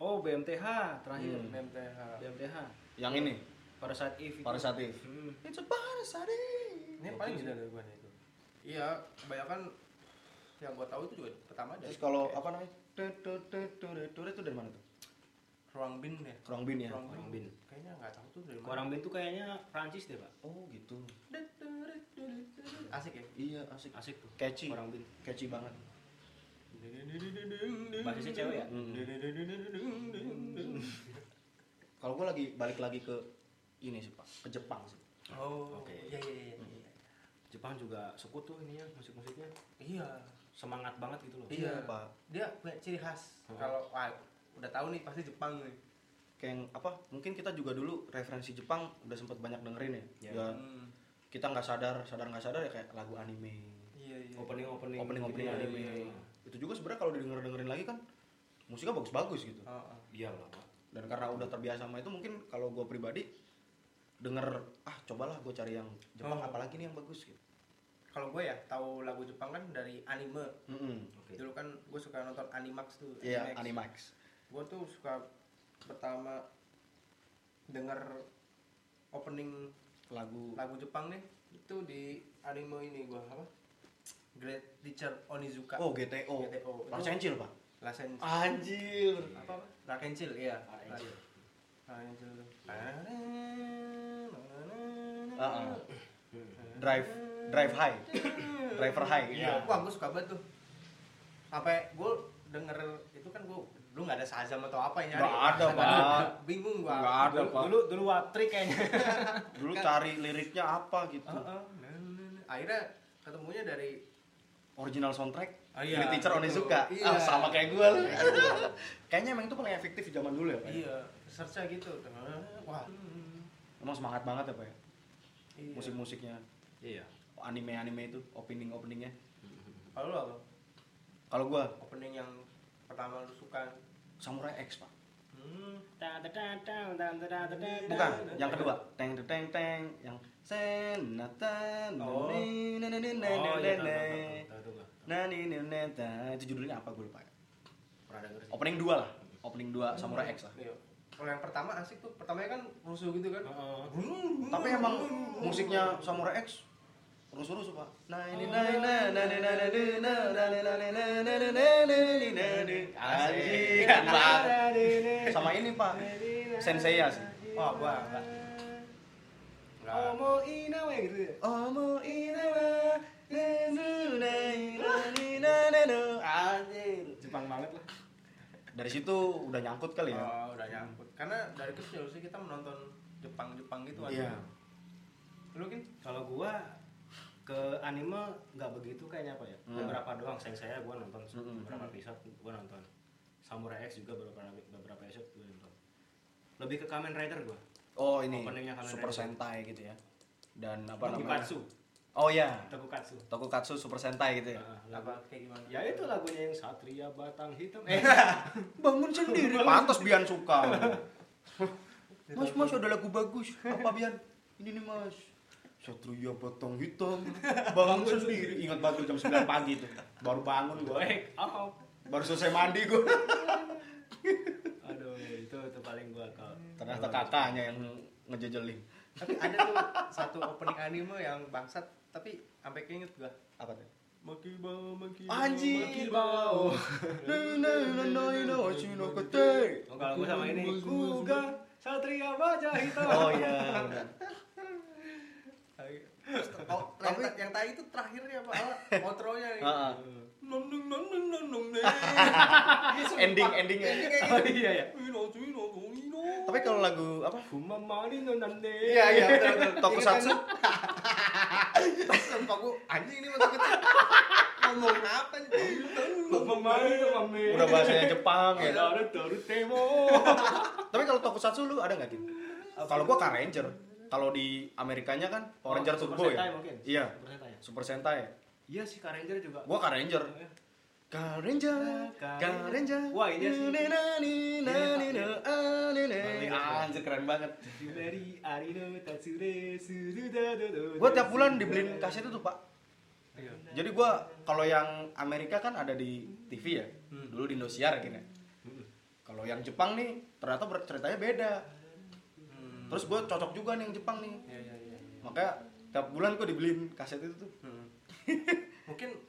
[SPEAKER 1] oh BMTH terakhir
[SPEAKER 2] Hmm.
[SPEAKER 3] BMTH.
[SPEAKER 1] BMTH
[SPEAKER 2] yang ini
[SPEAKER 1] pada saat if itu.
[SPEAKER 2] Parasatif
[SPEAKER 1] Hmm.
[SPEAKER 2] it's a Parasatif
[SPEAKER 3] Ini paling gila dari gua nih itu. Iya, kebanyakan yang gua tahu itu juga pertama dari
[SPEAKER 2] Terus kalau apa namanya? Tutur itu dari mana tuh?
[SPEAKER 3] ruang bin ya.
[SPEAKER 2] Kerong bin ya.
[SPEAKER 1] Ruang bin.
[SPEAKER 3] Kayaknya nggak tahu tuh dari mana.
[SPEAKER 1] Orang Bin tuh kayaknya Prancis deh pak
[SPEAKER 2] Oh gitu.
[SPEAKER 3] Asik ya.
[SPEAKER 2] Iya asik.
[SPEAKER 1] asik tuh
[SPEAKER 2] Catchy.
[SPEAKER 1] Orang Bin
[SPEAKER 2] Catchy banget.
[SPEAKER 1] basisnya cewek ya
[SPEAKER 3] Hmm.
[SPEAKER 2] Kalau gua lagi balik lagi ke ini sih pak, ke Jepang sih.
[SPEAKER 3] Oh,
[SPEAKER 1] Oke.
[SPEAKER 3] iya iya iya. iya.
[SPEAKER 1] Jepang juga sekutu ininya musik-musiknya
[SPEAKER 3] Iya.
[SPEAKER 1] semangat banget gitu loh
[SPEAKER 3] Iya.
[SPEAKER 2] Pak.
[SPEAKER 3] Dia punya ciri khas.
[SPEAKER 1] Hmm.
[SPEAKER 3] Kalau wah, udah tahu nih pasti Jepang nih.
[SPEAKER 2] Kayak yang apa? Mungkin kita juga dulu referensi Jepang udah sempat banyak dengerin ya.
[SPEAKER 1] Iya.
[SPEAKER 2] Ya
[SPEAKER 3] Hmm.
[SPEAKER 2] kita nggak sadar, sadar nggak sadar ya kayak lagu anime.
[SPEAKER 3] Iya iya.
[SPEAKER 1] opening opening
[SPEAKER 2] Opening opening
[SPEAKER 3] Iya,
[SPEAKER 2] anime.
[SPEAKER 3] iya, iya.
[SPEAKER 2] Itu juga sebenarnya kalau didengar dengerin lagi kan musiknya bagus-bagus gitu.
[SPEAKER 3] Oh, oh.
[SPEAKER 1] iya lah pak
[SPEAKER 2] dan karena udah terbiasa sama itu mungkin kalau gue pribadi denger ah cobalah gue cari yang Jepang
[SPEAKER 3] Oh.
[SPEAKER 2] apalagi nih yang bagus gitu
[SPEAKER 3] Kalau gue ya tahu lagu Jepang kan dari anime.
[SPEAKER 2] Mm-mm.
[SPEAKER 1] oke
[SPEAKER 3] Dulu kan gue suka nonton Animax tuh.
[SPEAKER 2] iya Animax
[SPEAKER 3] Gue tuh suka pertama denger opening
[SPEAKER 2] lagu
[SPEAKER 3] lagu Jepang nih itu di anime ini gue apa? Great Teacher Onizuka.
[SPEAKER 2] oh Ah. GTO,
[SPEAKER 3] GTO.
[SPEAKER 2] Bang
[SPEAKER 3] Itu-
[SPEAKER 2] Sencil pak
[SPEAKER 3] Lasen
[SPEAKER 1] Anjir.
[SPEAKER 3] apa apa? Rakencil, iya.
[SPEAKER 1] Anjir.
[SPEAKER 3] Rakencil.
[SPEAKER 2] Heeh. Uh-uh. Drive drive high. Driver high.
[SPEAKER 3] Iya.
[SPEAKER 1] Iya.
[SPEAKER 3] Wah, gue suka banget tuh. Sampai gue denger itu kan gue dulu nggak ada sazam atau apa yang nyari.
[SPEAKER 2] Nggak ada,
[SPEAKER 3] Sampai
[SPEAKER 2] Pak.
[SPEAKER 3] gua Bingung gua.
[SPEAKER 2] Nggak ada,
[SPEAKER 1] Dulu,
[SPEAKER 2] Pak.
[SPEAKER 1] dulu dulu watri kayaknya.
[SPEAKER 2] Dulu cari liriknya apa gitu.
[SPEAKER 3] Heeh. Nah, nah, nah. Akhirnya ketemunya dari
[SPEAKER 2] Original soundtrack.
[SPEAKER 3] Oh, iya,
[SPEAKER 2] Dari teacher
[SPEAKER 3] gitu.
[SPEAKER 2] Onizuka. Ah,
[SPEAKER 3] Iya.
[SPEAKER 2] sama kayak gue lu. Kayaknya emang itu paling efektif di zaman dulu ya, Pak. ya?
[SPEAKER 3] iya, search gitu. Wah.
[SPEAKER 2] Emang semangat banget ya, Pak. ya?
[SPEAKER 3] Iya.
[SPEAKER 2] Musik-musiknya,
[SPEAKER 1] Iya.
[SPEAKER 2] anime-anime itu, opening-openingnya.
[SPEAKER 3] Kalau lu apa?
[SPEAKER 2] Kalau gua
[SPEAKER 3] Opening yang pertama lu suka?
[SPEAKER 2] Samurai X, Pak.
[SPEAKER 3] Hmm.
[SPEAKER 1] Iya,
[SPEAKER 2] Bukan, yang kedua. Teng teng, teng teng yang senatan.
[SPEAKER 3] Oh.
[SPEAKER 1] Oh iya tahu, tahu, tahu, tahu, tahu gua.
[SPEAKER 2] itu judulnya apa gue lupa. ya?
[SPEAKER 1] Pernah denger sih.
[SPEAKER 2] Opening 2 lah. Opening 2 Samurai X lah.
[SPEAKER 3] Iya. Kalau yang pertama asik tuh, pertamanya kan rusuh gitu kan.
[SPEAKER 1] Heeh.
[SPEAKER 2] Tapi emang musiknya Samurai X rusuh-rusuh, Pak. Nah, ini nah Anjing,
[SPEAKER 1] Iya,
[SPEAKER 2] kan banget. Sama ini, Pak. Sensei ya sih.
[SPEAKER 3] Wah, gua enggak. Enggak.
[SPEAKER 1] Omo inawe gitu ya.
[SPEAKER 2] Omo inawa nezu nai nani nanenu. Anjir.
[SPEAKER 1] Jepang banget lah.
[SPEAKER 2] Dari situ udah nyangkut kali ya.
[SPEAKER 3] Oh, udah nyangkut. Karena dari kecil sih kita menonton Jepang-Jepang gitu
[SPEAKER 2] Iya.
[SPEAKER 3] Lu kan
[SPEAKER 1] Kalau gua ke anime nggak begitu kayaknya apa ya
[SPEAKER 2] Hmm.
[SPEAKER 1] beberapa doang saya saya gua nonton
[SPEAKER 2] Mm-mm.
[SPEAKER 1] beberapa episode gua nonton Samurai X juga beberapa beberapa episode gua nonton lebih ke Kamen Rider gua
[SPEAKER 2] Oh ini
[SPEAKER 1] Openingnya Kamen
[SPEAKER 2] Super
[SPEAKER 1] Rider.
[SPEAKER 2] Sentai gitu ya. Dan apa namanya?
[SPEAKER 1] Tokusatsu
[SPEAKER 2] Oh ya.
[SPEAKER 1] Tokusatsu
[SPEAKER 2] Tokukatsu Super Sentai gitu ya.
[SPEAKER 1] Ah, lagu-
[SPEAKER 3] apa kayak gimana?
[SPEAKER 1] ya itu lagunya yang Satria Batang Hitam eh
[SPEAKER 2] Bangun sendiri. Pantas Bian suka. mas mas ada lagu bagus. Apa Bian? Ini nih mas. Satria batang hitam. Bangun sendiri. Ingat banget jam 9 pagi tuh. Baru bangun gue.
[SPEAKER 1] eh apa
[SPEAKER 2] Baru selesai mandi gue.
[SPEAKER 1] aduh itu itu paling gua ke
[SPEAKER 2] Ternyata katanya yang ngejejelin.
[SPEAKER 3] tapi ada tuh satu opening anime yang bangsat tapi sampai keinget gua.
[SPEAKER 2] Apa tuh?
[SPEAKER 3] Maki bao, maki
[SPEAKER 2] Anjing.
[SPEAKER 3] maki bao.
[SPEAKER 1] Oh, kalau gua sama ini Kuga Satria Baja Hitam
[SPEAKER 2] Oh iya. benar.
[SPEAKER 3] Oh, tapi yang tadi itu terakhirnya Pak, outro-nya nih.
[SPEAKER 2] Heeh.
[SPEAKER 3] Nong nong nong nong nong nong neng.
[SPEAKER 2] Ending endingnya.
[SPEAKER 3] gitu.
[SPEAKER 1] oh iya ya
[SPEAKER 3] Ino ino ino.
[SPEAKER 2] Tapi kalau lagu apa?
[SPEAKER 1] Kuma mari no nande
[SPEAKER 3] Iya iya betul Iya, betul.
[SPEAKER 2] Tokusatsu.
[SPEAKER 3] Sumpah gua anjing ini masa kecil. Ngomong apa nih?
[SPEAKER 1] Kuma mari no mame
[SPEAKER 2] Udah bahasanya Jepang ya.
[SPEAKER 1] Ada daru temo
[SPEAKER 2] Tapi kalau Tokusatsu lu ada nggak Din? Kalau gua Car Ranger. Kalau di Amerikanya kan Power Ranger
[SPEAKER 1] Oh, Super
[SPEAKER 2] Turbo
[SPEAKER 1] Sentai
[SPEAKER 2] ya.
[SPEAKER 1] mungkin.
[SPEAKER 2] Iya.
[SPEAKER 1] Super Sentai ya?
[SPEAKER 2] Super Sentai.
[SPEAKER 1] Iya sih Kak Ranger juga
[SPEAKER 2] Gua Car Ranger. Car Ranger, Car Ranger.
[SPEAKER 1] Wah, iya sih.
[SPEAKER 2] Nene, nani, nani,
[SPEAKER 1] Iya.
[SPEAKER 2] no, ah, nene.
[SPEAKER 1] Balik.
[SPEAKER 2] Anjir keren banget.
[SPEAKER 1] Dari Arino Tatsure Surudadodo
[SPEAKER 2] Gua tiap bulan dibeliin kaset itu Pak.
[SPEAKER 3] Iya.
[SPEAKER 2] Jadi gua kalau yang Amerika kan ada di TV ya.
[SPEAKER 3] Hmm.
[SPEAKER 2] Dulu di Indosiar akhirnya. Kalau yang Jepang nih ternyata ber- ceritanya beda.
[SPEAKER 3] Hmm.
[SPEAKER 2] Terus gua cocok juga nih yang Jepang nih.
[SPEAKER 3] Iya iya iya.
[SPEAKER 2] Makanya tiap bulan gua dibeliin kaset itu tuh.
[SPEAKER 3] Hmm. Mungkin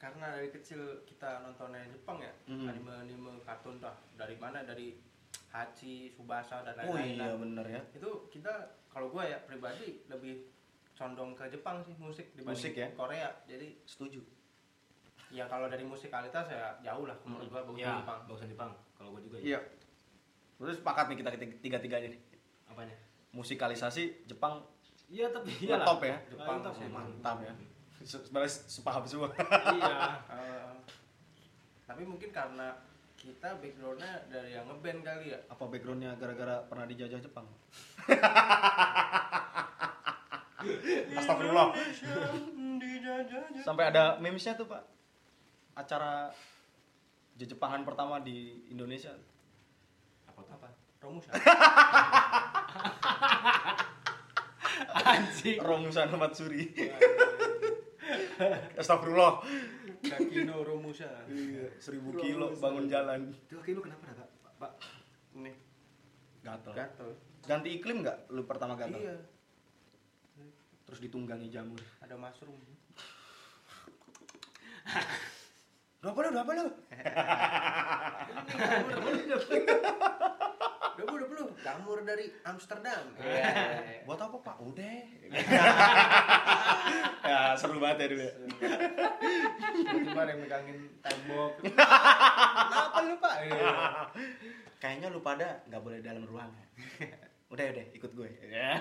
[SPEAKER 3] karena dari kecil kita nontonnya Jepang ya,
[SPEAKER 2] Hmm.
[SPEAKER 3] anime-anime kartun dah dari mana dari Hachi, Subasa dan
[SPEAKER 2] Oh
[SPEAKER 3] lain-lain.
[SPEAKER 2] iya
[SPEAKER 3] lah.
[SPEAKER 2] bener ya.
[SPEAKER 3] Itu kita kalau gua ya pribadi lebih condong ke Jepang sih musik dibanding
[SPEAKER 2] Musik ya?
[SPEAKER 3] Korea. Jadi
[SPEAKER 2] Setuju.
[SPEAKER 3] ya kalau dari musikalitas ya jauh lah menurut gua bagus
[SPEAKER 1] Iya,
[SPEAKER 3] Jepang.
[SPEAKER 1] bagusan Jepang Kalau gua juga ya
[SPEAKER 2] Iya. Terus sepakat nih kita ketiga- tiga-tiganya nih.
[SPEAKER 1] Apanya?
[SPEAKER 2] Musikalisasi Jepang
[SPEAKER 1] Iya tapi iyalah
[SPEAKER 2] ngetop ya.
[SPEAKER 1] Jepang
[SPEAKER 3] Ngetop
[SPEAKER 1] sih.
[SPEAKER 3] ya.
[SPEAKER 2] Mantap ya. Se- Sebenarnya sepaham semua.
[SPEAKER 1] Iya
[SPEAKER 3] Eh, tapi mungkin karena kita backgroundnya dari yang ngeband kali ya.
[SPEAKER 2] Apa backgroundnya gara-gara pernah dijajah Jepang? Astagfirullah. Sampai ada memesnya tuh pak. Acara Jejepangan pertama di Indonesia.
[SPEAKER 1] Apa tuh?
[SPEAKER 3] Apa? Romus
[SPEAKER 1] Anjing
[SPEAKER 2] Romusan Matsuri. Astagfirullah.
[SPEAKER 3] Kakino Romusa.
[SPEAKER 2] Iya, Seribu kilo bangun jalan.
[SPEAKER 1] Itu kaki lu kenapa dah Kak? Pak? Pak?
[SPEAKER 3] Nih,
[SPEAKER 2] Gatel.
[SPEAKER 3] gatel.
[SPEAKER 2] Kan? Ganti iklim nggak lu pertama gatel?
[SPEAKER 3] Iya,
[SPEAKER 2] Terus ditunggangi jamur.
[SPEAKER 3] ada mushroom.
[SPEAKER 2] Udah apa lu? Udah apa lu?
[SPEAKER 3] Udah bu, udah belum. Jamur dari Amsterdam.
[SPEAKER 2] Iya, Buat apa pak? Udah. ya seru banget ya dulu. ya.
[SPEAKER 3] Cuma ada yang megangin tembok. Iya. Kenapa lu pak?
[SPEAKER 2] Kayaknya lu pada nggak boleh dalam ruangan. udah udah ikut gue. Ya.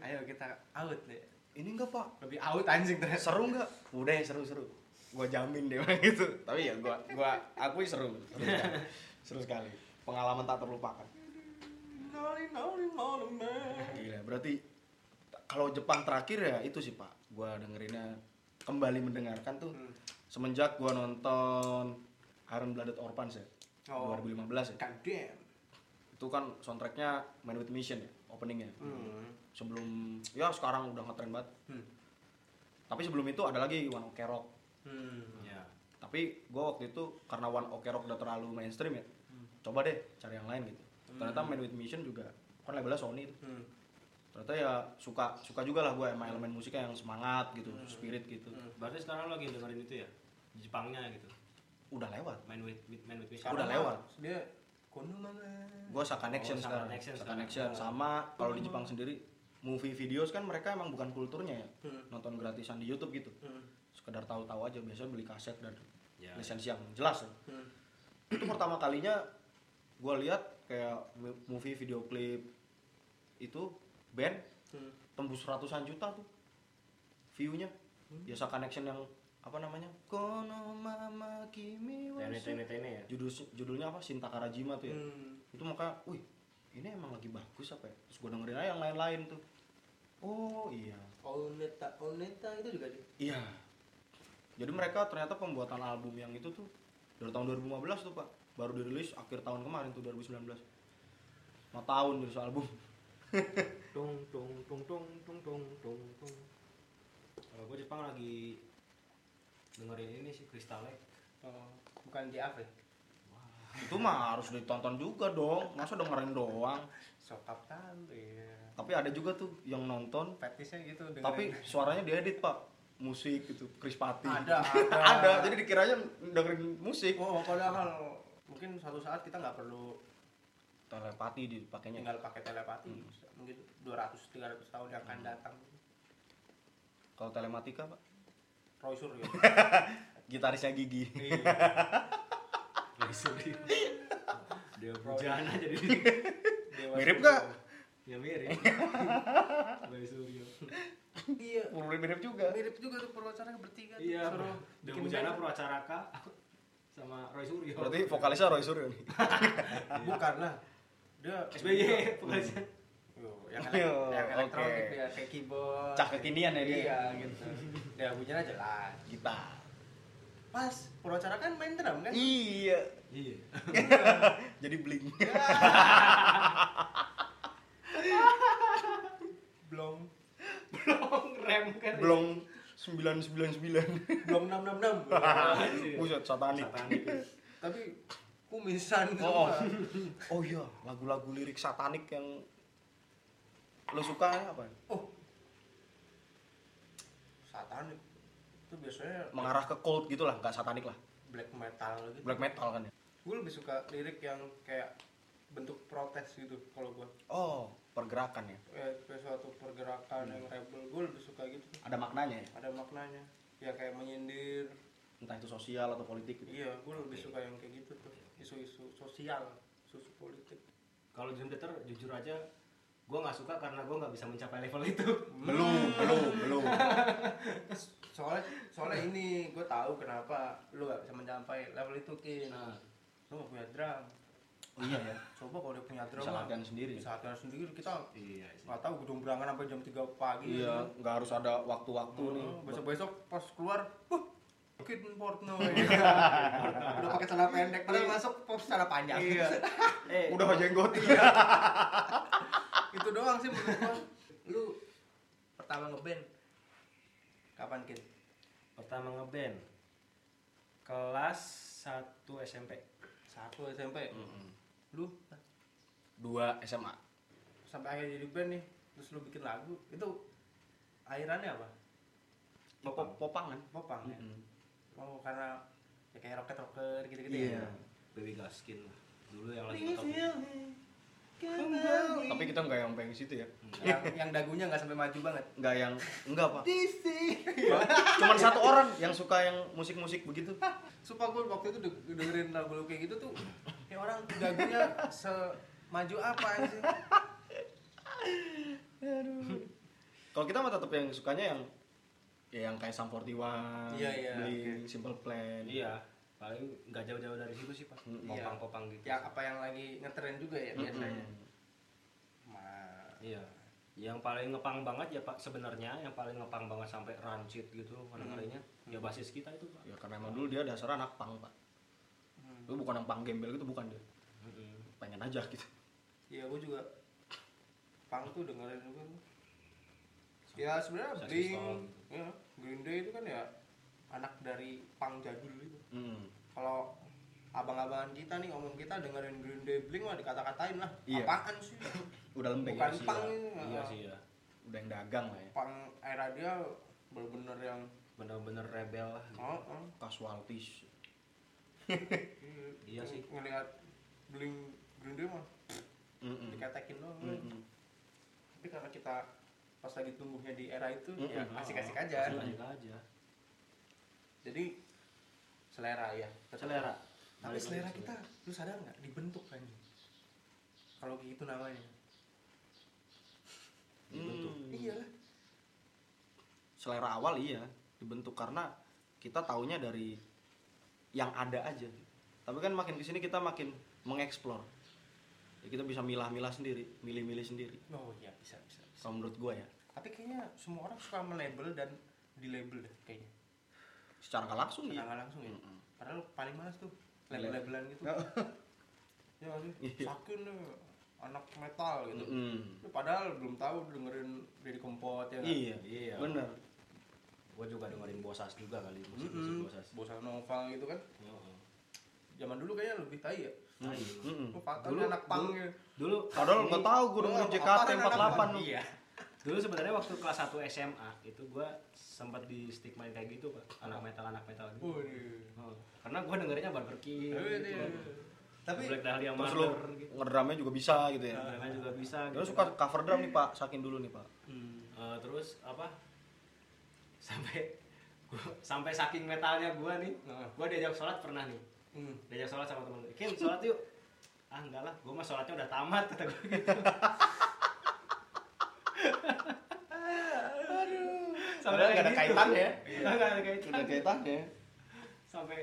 [SPEAKER 3] Ayo kita out deh.
[SPEAKER 2] Ini enggak pak?
[SPEAKER 3] Lebih out anjing ternyata.
[SPEAKER 2] Seru nggak? Udah seru seru. Gue jamin deh bilang gitu. Tapi ya gue gua akui seru. Seru sekali. seru sekali. Pengalaman tak terlupakan. Gila, berarti t- kalau Jepang terakhir ya itu sih Pak. Gua dengerinnya kembali mendengarkan tuh
[SPEAKER 3] Hmm.
[SPEAKER 2] semenjak gua nonton Iron Blooded Orphans ya.
[SPEAKER 3] Oh.
[SPEAKER 2] 2015 ya.
[SPEAKER 3] God damn.
[SPEAKER 2] Itu kan soundtracknya Man with Mission ya, openingnya.
[SPEAKER 3] Hmm.
[SPEAKER 2] Sebelum ya sekarang udah ngetren banget.
[SPEAKER 3] Hmm.
[SPEAKER 2] Tapi sebelum itu ada lagi One Ok Rock.
[SPEAKER 3] Hmm.
[SPEAKER 2] Iya.
[SPEAKER 1] ya
[SPEAKER 2] Tapi gua waktu itu karena One Ok Rock udah terlalu mainstream ya. Coba deh cari yang lain gitu. Ternyata Man with Mission juga kan labelnya Sony itu.
[SPEAKER 3] Hmm.
[SPEAKER 2] ternyata ya suka suka juga lah gue emang elemen musiknya yang semangat gitu spirit gitu
[SPEAKER 3] Hmm.
[SPEAKER 1] berarti sekarang lagi dengerin itu ya Jepangnya gitu
[SPEAKER 2] udah lewat
[SPEAKER 1] main with, with main with Mission
[SPEAKER 2] Udah
[SPEAKER 3] Karena
[SPEAKER 2] lewat.
[SPEAKER 3] Dia kono banget.
[SPEAKER 2] gue saka connection
[SPEAKER 1] Saka
[SPEAKER 2] sekarang
[SPEAKER 1] Connection
[SPEAKER 2] Saka
[SPEAKER 1] sekarang.
[SPEAKER 2] connection
[SPEAKER 3] Hmm.
[SPEAKER 2] sama kalau di Jepang sendiri movie videos kan mereka emang bukan kulturnya ya
[SPEAKER 3] Hmm.
[SPEAKER 2] nonton gratisan di YouTube gitu
[SPEAKER 3] Hmm.
[SPEAKER 2] sekedar tahu-tahu aja biasanya beli kaset dan
[SPEAKER 1] Ya.
[SPEAKER 2] lisensi yang jelas ya.
[SPEAKER 3] Hmm.
[SPEAKER 2] itu pertama kalinya gue lihat kayak mu- movie video klip itu band
[SPEAKER 3] Hmm.
[SPEAKER 2] tembus ratusan juta tuh view-nya biasa connection yang apa namanya kono mama kimi wa
[SPEAKER 1] tene
[SPEAKER 2] su-
[SPEAKER 1] tene tene ya
[SPEAKER 2] judul judulnya apa Shinta Karajima tuh ya
[SPEAKER 3] Hmm.
[SPEAKER 2] itu makanya wih ini emang lagi bagus apa ya terus gue dengerin aja yang lain-lain tuh oh iya
[SPEAKER 3] Oneta, Oneta itu juga dia.
[SPEAKER 2] iya jadi mereka ternyata pembuatan album yang itu tuh dari tahun 2015 tuh pak baru dirilis akhir tahun kemarin tuh 2019 mau tahun dirilis album
[SPEAKER 1] tung tung tung tung tung tung tung tung kalau gue Jepang lagi dengerin ini sih Crystal Lake
[SPEAKER 3] Oh, bukan di Afrik.
[SPEAKER 2] itu mah harus ditonton juga dong masa dengerin doang
[SPEAKER 3] Sokap tahu ya.
[SPEAKER 2] tapi ada juga tuh yang nonton
[SPEAKER 3] Petisnya gitu dengerin.
[SPEAKER 2] tapi suaranya diedit pak musik gitu Chris Patti
[SPEAKER 3] Ada,
[SPEAKER 2] ada.
[SPEAKER 3] ada.
[SPEAKER 2] jadi dikiranya dengerin musik
[SPEAKER 3] oh padahal mungkin suatu saat kita nggak perlu
[SPEAKER 2] telepati dipakainya
[SPEAKER 3] tinggal pakai telepati.
[SPEAKER 2] Hmm.
[SPEAKER 3] Mungkin 200 300 tahun yang akan datang.
[SPEAKER 2] kalau telematika pak
[SPEAKER 3] Roy Suryo.
[SPEAKER 2] gitarisnya gigi
[SPEAKER 1] Roy Suryo dia bujana jadi
[SPEAKER 3] Dewa
[SPEAKER 2] Mirip
[SPEAKER 3] Suryo.
[SPEAKER 2] nggak?
[SPEAKER 1] ya mirip Roy Suryo
[SPEAKER 3] Iya.
[SPEAKER 2] mirip mirip juga
[SPEAKER 3] Mirip juga tuh perwacara bertiga. tuh,
[SPEAKER 1] iya
[SPEAKER 3] suruh
[SPEAKER 1] dia
[SPEAKER 3] bikin
[SPEAKER 1] bujana
[SPEAKER 3] band.
[SPEAKER 1] Purwacaraka sama Roy Suryo
[SPEAKER 2] berarti vokalisnya Roy Suryo nih
[SPEAKER 3] Ah, bukan lah. Dia
[SPEAKER 1] SBY
[SPEAKER 2] Hmm.
[SPEAKER 1] vokalisnya
[SPEAKER 3] Yo, yang, elek-
[SPEAKER 2] Yo,
[SPEAKER 3] yang elektronik
[SPEAKER 2] oke.
[SPEAKER 3] ya kayak keyboard.
[SPEAKER 2] Cah kekinian ya dia.
[SPEAKER 3] Iya gitu. Ya bunyinya jelas.
[SPEAKER 2] gitar
[SPEAKER 3] Pas Purwacara kan main drum kan?
[SPEAKER 2] iya
[SPEAKER 1] iya
[SPEAKER 2] jadi bling
[SPEAKER 3] Belum
[SPEAKER 1] belum rem kan ya?
[SPEAKER 2] blong 999
[SPEAKER 3] belum 666.
[SPEAKER 2] buset satanik
[SPEAKER 1] Satanik.
[SPEAKER 3] Tapi kumisan
[SPEAKER 2] Oh.
[SPEAKER 3] semua.
[SPEAKER 2] oh iya lagu-lagu lirik satanik yang lo suka apa ya?
[SPEAKER 3] Oh. Satanik. Itu biasanya
[SPEAKER 2] mengarah ke cold gitu lah nggak satanik lah
[SPEAKER 3] black metal gitu.
[SPEAKER 2] black metal kan ya
[SPEAKER 3] Gue lebih suka lirik yang kayak bentuk protes gitu kalau gue
[SPEAKER 2] oh pergerakan ya
[SPEAKER 3] kayak kayak suatu pergerakan
[SPEAKER 2] Hmm.
[SPEAKER 3] yang rebel gue lebih suka gitu
[SPEAKER 2] ada maknanya ya
[SPEAKER 3] ada maknanya ya kayak menyindir
[SPEAKER 2] entah itu sosial atau politik gitu
[SPEAKER 3] Iya, gue lebih suka yang kayak gitu tuh isu-isu sosial, isu politik.
[SPEAKER 1] kalau Dream Theater jujur aja gue nggak suka karena gue nggak bisa mencapai level itu
[SPEAKER 3] Hmm.
[SPEAKER 2] belum belum belum
[SPEAKER 3] Soalnya soalnya ini gue tahu kenapa lu gak bisa mencapai level itu kin.
[SPEAKER 1] nah
[SPEAKER 3] Lu gak punya drum.
[SPEAKER 2] oh, iya ya
[SPEAKER 3] Coba kalau udah punya drum,
[SPEAKER 2] bisa latihan sendiri
[SPEAKER 3] bisa latihan sendiri kita
[SPEAKER 1] iya sih
[SPEAKER 3] nggak tahu gedung berangan sampai jam 3 pagi.
[SPEAKER 2] iya nggak harus ada waktu-waktu nih
[SPEAKER 3] Oh, besok besok pas keluar, huh, Kid Portnoy. udah pakai celana pendek, padahal masuk pop celana panjang.
[SPEAKER 2] Iya.
[SPEAKER 1] eh
[SPEAKER 2] udah jenggot
[SPEAKER 3] Iya. itu doang sih menurut gua. Lu pertama ngeband kapan kin?
[SPEAKER 1] pertama ngeband kelas 1 SMP
[SPEAKER 3] Satu SMP. Lu
[SPEAKER 2] dua SMA
[SPEAKER 3] sampai akhirnya jadi band nih, terus lu bikin lagu, itu airannya apa?
[SPEAKER 2] popang kan
[SPEAKER 3] Popang ya? Oh karena ya kayak rocket rocker gitu gitu
[SPEAKER 2] Iya.
[SPEAKER 3] ya
[SPEAKER 1] Baby Gaskin lah. dulu yang
[SPEAKER 3] Iya
[SPEAKER 1] lagi top
[SPEAKER 3] Kembali.
[SPEAKER 2] Tapi kita nggak yang pengen situ ya.
[SPEAKER 3] yang, yang dagunya nggak sampai maju banget Iya.
[SPEAKER 2] Nggak yang enggak pak.
[SPEAKER 3] DC
[SPEAKER 2] Cuman satu orang yang suka yang musik-musik begitu.
[SPEAKER 3] Sumpah gue waktu itu de- dengerin lagu lu kayak gitu tuh kayak orang dagunya semaju apa sih
[SPEAKER 2] Kalau kita mah tetap yang sukanya yang ya yang kayak Sam 41,
[SPEAKER 3] Iya, iya,
[SPEAKER 2] Blink, Simple Plan.
[SPEAKER 1] iya paling nggak jauh-jauh dari situ sih pak
[SPEAKER 2] Mm,
[SPEAKER 3] iya.
[SPEAKER 1] popang-popang gitu
[SPEAKER 3] yang apa yang lagi ngetren juga ya
[SPEAKER 2] Mm-mm.
[SPEAKER 3] biasanya Ma-
[SPEAKER 1] iya yang paling ngepang banget ya pak sebenarnya yang paling ngepang banget sampai rancid gitu kadang-kadangnya ya basis kita itu pak
[SPEAKER 2] Ya karena emang dulu dia dasar anak pang pak.
[SPEAKER 3] Hmm.
[SPEAKER 2] Lu bukan anak pang gembel gitu bukan dia.
[SPEAKER 1] Mm-mm.
[SPEAKER 2] Pengen aja gitu.
[SPEAKER 3] Iya, gue juga punk tuh dengerin juga tuh. Ya sebenarnya
[SPEAKER 1] Sex
[SPEAKER 3] Blink,
[SPEAKER 1] Pistol.
[SPEAKER 3] ya, Green Day itu kan ya anak dari punk jadul itu.
[SPEAKER 2] Hmm.
[SPEAKER 3] Kalau abang-abangan kita nih ngomong kita dengerin Green Day Blink mah dikata-katain lah.
[SPEAKER 2] Iya.
[SPEAKER 3] Apaan sih?
[SPEAKER 2] Udah lembek
[SPEAKER 3] Bukan
[SPEAKER 2] ya.
[SPEAKER 3] punk.
[SPEAKER 1] iya sih ya
[SPEAKER 2] Udah yang dagang lah ya.
[SPEAKER 3] Punk era dia bener-bener yang
[SPEAKER 1] bener-bener rebel lah gitu.
[SPEAKER 3] oh, oh,
[SPEAKER 2] Casualties.
[SPEAKER 1] Iya sih.
[SPEAKER 3] Ngelihat Blink Green Day mah
[SPEAKER 2] Mm-mm.
[SPEAKER 3] dikatekin doang.
[SPEAKER 2] Mm-mm.
[SPEAKER 3] Tapi karena kita pas lagi tumbuhnya di era itu
[SPEAKER 2] Mm-mm.
[SPEAKER 3] ya asik-asik aja.
[SPEAKER 1] Oh, asik-asik aja
[SPEAKER 3] Jadi selera gitu ya.
[SPEAKER 1] selera Balik
[SPEAKER 3] Tapi
[SPEAKER 1] lagi
[SPEAKER 3] selera
[SPEAKER 1] ke
[SPEAKER 3] kita, lu sadar nggak dibentuk kan? Kalau gitu namanya.
[SPEAKER 1] Dibentuk.
[SPEAKER 2] Hmm.
[SPEAKER 3] Iyalah.
[SPEAKER 2] selera awal iya dibentuk karena kita taunya dari yang ada aja tapi kan makin kesini kita makin mengeksplor Ya, kita bisa milah-milah sendiri milih-milih sendiri
[SPEAKER 3] Oh iya bisa bisa. bisa.
[SPEAKER 2] kalau menurut gue ya
[SPEAKER 3] Tapi kayaknya semua orang suka melabel dan dilabel deh kayaknya.
[SPEAKER 2] secara nggak langsung
[SPEAKER 3] Secara
[SPEAKER 2] ya
[SPEAKER 3] nggak langsung ya.
[SPEAKER 2] Mm-mm.
[SPEAKER 3] Padahal paling males tuh label-labelan gitu. ya nggak sih.
[SPEAKER 2] Iya.
[SPEAKER 3] Sakin nih, anak metal gitu.
[SPEAKER 2] Mm-mm.
[SPEAKER 3] Lu Padahal belum tahu dengerin dari kompot ya.
[SPEAKER 2] iya
[SPEAKER 1] Iya.
[SPEAKER 2] bener
[SPEAKER 1] gue juga dengerin bosas juga kali musik-musik
[SPEAKER 3] Mm
[SPEAKER 1] bosas
[SPEAKER 3] Bosa Nova gitu kan.
[SPEAKER 1] Heeh.
[SPEAKER 3] Zaman dulu kayaknya lebih tai ya.
[SPEAKER 1] Tai.
[SPEAKER 2] Mm-mm.
[SPEAKER 3] Lu patah
[SPEAKER 1] Hmm. Dulu-
[SPEAKER 3] lu anak punk
[SPEAKER 1] dulu-
[SPEAKER 3] ya.
[SPEAKER 1] dulu
[SPEAKER 2] padahal nggak tahu gue
[SPEAKER 1] Iya,
[SPEAKER 2] dengerin
[SPEAKER 1] kan
[SPEAKER 2] JKT 48 lu
[SPEAKER 3] Iya.
[SPEAKER 1] dulu sebenarnya waktu kelas 1 SMA itu gua sempat di stigma kayak gitu pak anak metal anak metal gitu
[SPEAKER 3] Waduh. Iya,
[SPEAKER 1] Oh, karena gua dengernya Burger King gitu.
[SPEAKER 3] Tapi
[SPEAKER 1] Black Dahlia
[SPEAKER 2] terus lu
[SPEAKER 1] Murder gitu
[SPEAKER 2] ngedrumnya juga bisa gitu ya
[SPEAKER 1] Mereka juga bisa gitu
[SPEAKER 2] lu suka cover drum nih pak sakin dulu nih pak
[SPEAKER 3] hmm.
[SPEAKER 1] Eh, terus apa sampai gua- sampai saking metalnya gua nih
[SPEAKER 3] Heeh.
[SPEAKER 1] gua diajak sholat pernah nih
[SPEAKER 3] Hmm.
[SPEAKER 1] diajak sholat sama temen Kim sholat yuk ah enggak lah gua mah sholatnya udah tamat kata gua gitu Sampai
[SPEAKER 2] Padahal nggak ada
[SPEAKER 1] kayak gitu.
[SPEAKER 2] kaitannya. ya.
[SPEAKER 1] Padahal nggak ada kaitannya
[SPEAKER 2] udah kaitannya
[SPEAKER 1] sampai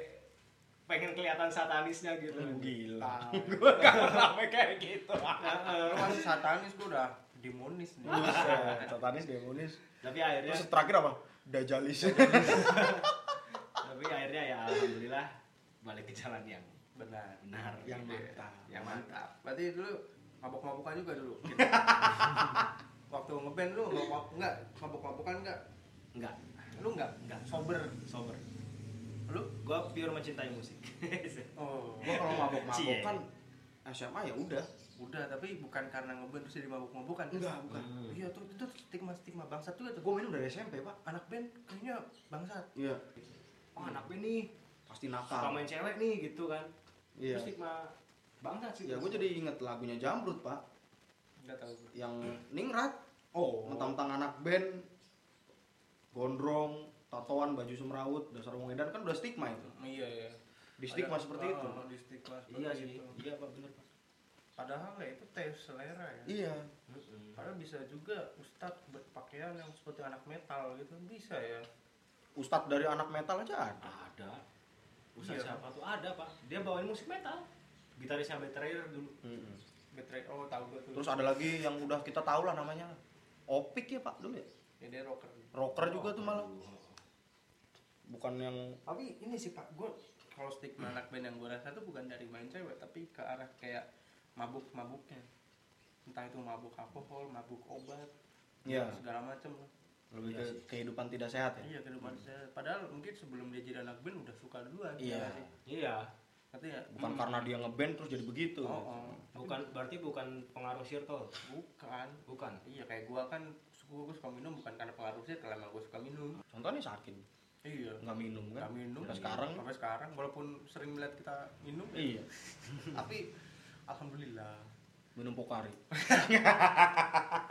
[SPEAKER 1] pengen kelihatan satanisnya gitu. Iya.
[SPEAKER 2] gila
[SPEAKER 3] Gue gak sampai kayak gitu.
[SPEAKER 1] Heeh.
[SPEAKER 3] Lu masih satanis gue udah demonis nih.
[SPEAKER 2] Buset, satanis demonis
[SPEAKER 1] tapi akhirnya
[SPEAKER 2] Terus terakhir apa? Dajalis.
[SPEAKER 1] tapi akhirnya ya alhamdulillah balik ke jalan yang
[SPEAKER 3] Benar.
[SPEAKER 1] benar.
[SPEAKER 2] Yang
[SPEAKER 1] gitu ya.
[SPEAKER 2] mantap.
[SPEAKER 3] Yang mantap. Berarti dulu mabok-mabokan juga dulu.
[SPEAKER 1] Iya.
[SPEAKER 3] Waktu ngeband lu mabok enggak? Mabok-mabokan enggak?
[SPEAKER 1] Enggak,
[SPEAKER 3] Lu enggak?
[SPEAKER 1] Enggak.
[SPEAKER 3] Sober.
[SPEAKER 1] sober.
[SPEAKER 3] Lu?
[SPEAKER 1] Gua pure mencintai musik.
[SPEAKER 3] Oh.
[SPEAKER 2] Gua
[SPEAKER 1] Iya.
[SPEAKER 2] kalau mabok-mabok
[SPEAKER 1] Cie.
[SPEAKER 2] kan SMA ya udah.
[SPEAKER 3] Udah, tapi bukan karena ngeband terus jadi mabok-mabokan.
[SPEAKER 2] Enggak, bukan.
[SPEAKER 1] Hmm.
[SPEAKER 3] Iya, tuh itu stigma-stigma bangsat juga
[SPEAKER 2] Gua
[SPEAKER 3] tuh.
[SPEAKER 2] minum dari SMP, Pak.
[SPEAKER 3] Anak band kayaknya bangsat.
[SPEAKER 2] Iya.
[SPEAKER 1] oh, anak gue nih
[SPEAKER 2] Pasti
[SPEAKER 1] suka
[SPEAKER 2] nakal.
[SPEAKER 1] main cewek nih gitu kan.
[SPEAKER 2] Ah. Iya.
[SPEAKER 1] Terus stigma bangsa sih.
[SPEAKER 2] Ya gua jadi inget lagunya Jamrut, Pak.
[SPEAKER 3] Enggak tahu. gua.
[SPEAKER 2] Yang ningrat,
[SPEAKER 3] Oh.
[SPEAKER 2] mentang-mentang anak band gondrong, tatoan, baju semrawut, dasar wong edan kan udah stigma itu.
[SPEAKER 3] Iya, iya.
[SPEAKER 2] Di stigma
[SPEAKER 3] Ada-
[SPEAKER 2] seperti
[SPEAKER 3] ah,
[SPEAKER 2] itu. gitu.
[SPEAKER 3] Di stigma seperti
[SPEAKER 1] Iya sih.
[SPEAKER 3] itu.
[SPEAKER 1] Iya Pak bener Pak.
[SPEAKER 3] Padahal ya itu teh selera ya.
[SPEAKER 2] Iya.
[SPEAKER 3] Padahal bisa juga ustadz berpakaian yang seperti anak metal gitu bisa ya.
[SPEAKER 2] Ustadz dari anak metal aja ada.
[SPEAKER 1] Ada. Ustaz
[SPEAKER 3] Iya.
[SPEAKER 1] siapa tuh ada Pak. Dia bawain musik metal. Gitarisnya Betrayer dulu.
[SPEAKER 3] Betray oh tahu gue tuh.
[SPEAKER 2] Terus ada lagi yang udah kita tahu lah namanya. Opik ya, Pak, dulu ya.
[SPEAKER 3] ya, dia rocker.
[SPEAKER 2] Rocker juga tuh malah.
[SPEAKER 1] Aduh.
[SPEAKER 2] Bukan yang
[SPEAKER 3] Tapi ini sih Pak, gue kalau stigma anak band yang gue rasa tuh bukan dari main cewek tapi ke arah kayak mabuk-mabuknya. Entah itu mabuk alkohol, mabuk obat,
[SPEAKER 2] Iya.
[SPEAKER 3] segala macem lah.
[SPEAKER 2] lebih
[SPEAKER 1] Iya
[SPEAKER 2] ke
[SPEAKER 1] sih.
[SPEAKER 2] kehidupan tidak sehat ya.
[SPEAKER 3] Iya kehidupan saya. Padahal mungkin sebelum dia jadi anak band udah suka duluan.
[SPEAKER 2] Iya.
[SPEAKER 3] ya nggak sih?
[SPEAKER 1] Iya.
[SPEAKER 3] Tapi ya
[SPEAKER 2] Bukan gitu.
[SPEAKER 3] hmm,
[SPEAKER 2] karena dia ngeband terus jadi begitu.
[SPEAKER 3] Oh, oh.
[SPEAKER 1] Bukan berarti bukan pengaruh circle.
[SPEAKER 3] bukan.
[SPEAKER 1] Bukan.
[SPEAKER 3] Iya kayak gua kan suka gue suka minum bukan karena pengaruh sih, karena emang gue suka minum.
[SPEAKER 2] Contohnya Sakin.
[SPEAKER 3] Iya.
[SPEAKER 2] nggak minum kan
[SPEAKER 3] Nggak minum.
[SPEAKER 2] Sampai sekarang
[SPEAKER 3] Sampai sekarang walaupun sering melihat kita minum.
[SPEAKER 2] iya
[SPEAKER 3] Tapi alhamdulillah.
[SPEAKER 2] minum pokari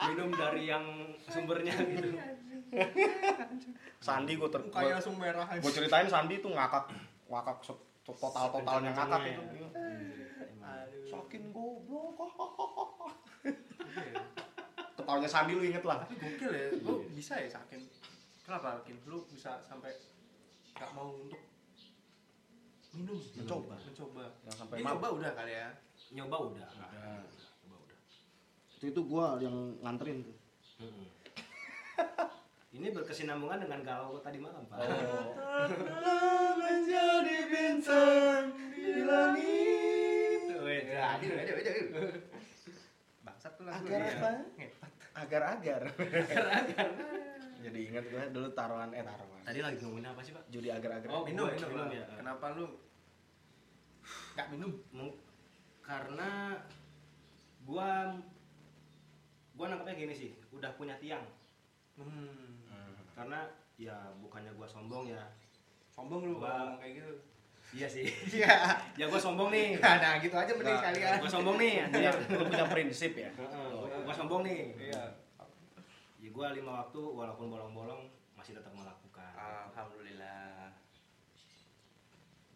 [SPEAKER 1] minum dari yang sumbernya gitu
[SPEAKER 2] Sandi gue ter
[SPEAKER 3] Mukanya langsung merah.
[SPEAKER 2] gue ceritain Sandi tuh ngakak ngakak total totalnya ngakak itu Iya.
[SPEAKER 3] Aduh.
[SPEAKER 2] Saking goblok Iya. ketawanya Sandi lu inget lah
[SPEAKER 3] Tapi gokil ya. Lu
[SPEAKER 2] Iya.
[SPEAKER 3] bisa ya sakin. Kenapa sakin? Lu bisa sampai gak mau untuk minum
[SPEAKER 2] Mencoba.
[SPEAKER 3] mencoba
[SPEAKER 2] Yang sampai
[SPEAKER 3] Ini
[SPEAKER 2] mabuk.
[SPEAKER 3] coba udah kali ya
[SPEAKER 1] nyoba udah Nah,
[SPEAKER 2] Udah.
[SPEAKER 1] Nyoba udah.
[SPEAKER 2] itu itu gue yang nganterin tuh
[SPEAKER 1] Mm-mm. ini berkesinambungan dengan galau tadi malam pak
[SPEAKER 3] Oh. menjadi bintang di langit
[SPEAKER 1] Tuh, itu.
[SPEAKER 3] aduh aduh aduh bangsat tuh lagu
[SPEAKER 2] Agar
[SPEAKER 3] Iya.
[SPEAKER 2] apa?
[SPEAKER 3] Ngepat.
[SPEAKER 2] agar-agar jadi inget gue dulu taruhan eh taruhan
[SPEAKER 1] tadi lagi ngomongin apa sih pak
[SPEAKER 2] judi agar-agar
[SPEAKER 1] Oh,
[SPEAKER 3] minum
[SPEAKER 1] Gua
[SPEAKER 3] minum
[SPEAKER 1] minum
[SPEAKER 3] lah.
[SPEAKER 1] ya.
[SPEAKER 3] kenapa lu nggak minum
[SPEAKER 1] Mung- karena gua gua nangkepnya gini sih udah punya tiang
[SPEAKER 3] hmm.
[SPEAKER 2] Hmm.
[SPEAKER 1] karena ya bukannya gua sombong ya
[SPEAKER 3] sombong
[SPEAKER 1] Gua-
[SPEAKER 3] lu ngomong kayak gitu
[SPEAKER 1] iya sih
[SPEAKER 3] iya
[SPEAKER 1] ya gua sombong nih
[SPEAKER 3] nah gitu aja mending
[SPEAKER 2] Nah,
[SPEAKER 3] sekalian
[SPEAKER 1] gua sombong nih
[SPEAKER 2] Iya,
[SPEAKER 1] anjir.
[SPEAKER 2] lu punya prinsip ya
[SPEAKER 1] Heeh, gua- gua sombong nih
[SPEAKER 3] iya
[SPEAKER 1] ya gua lima waktu walaupun bolong-bolong masih tetap
[SPEAKER 2] Ah.
[SPEAKER 1] melakukan
[SPEAKER 3] alhamdulillah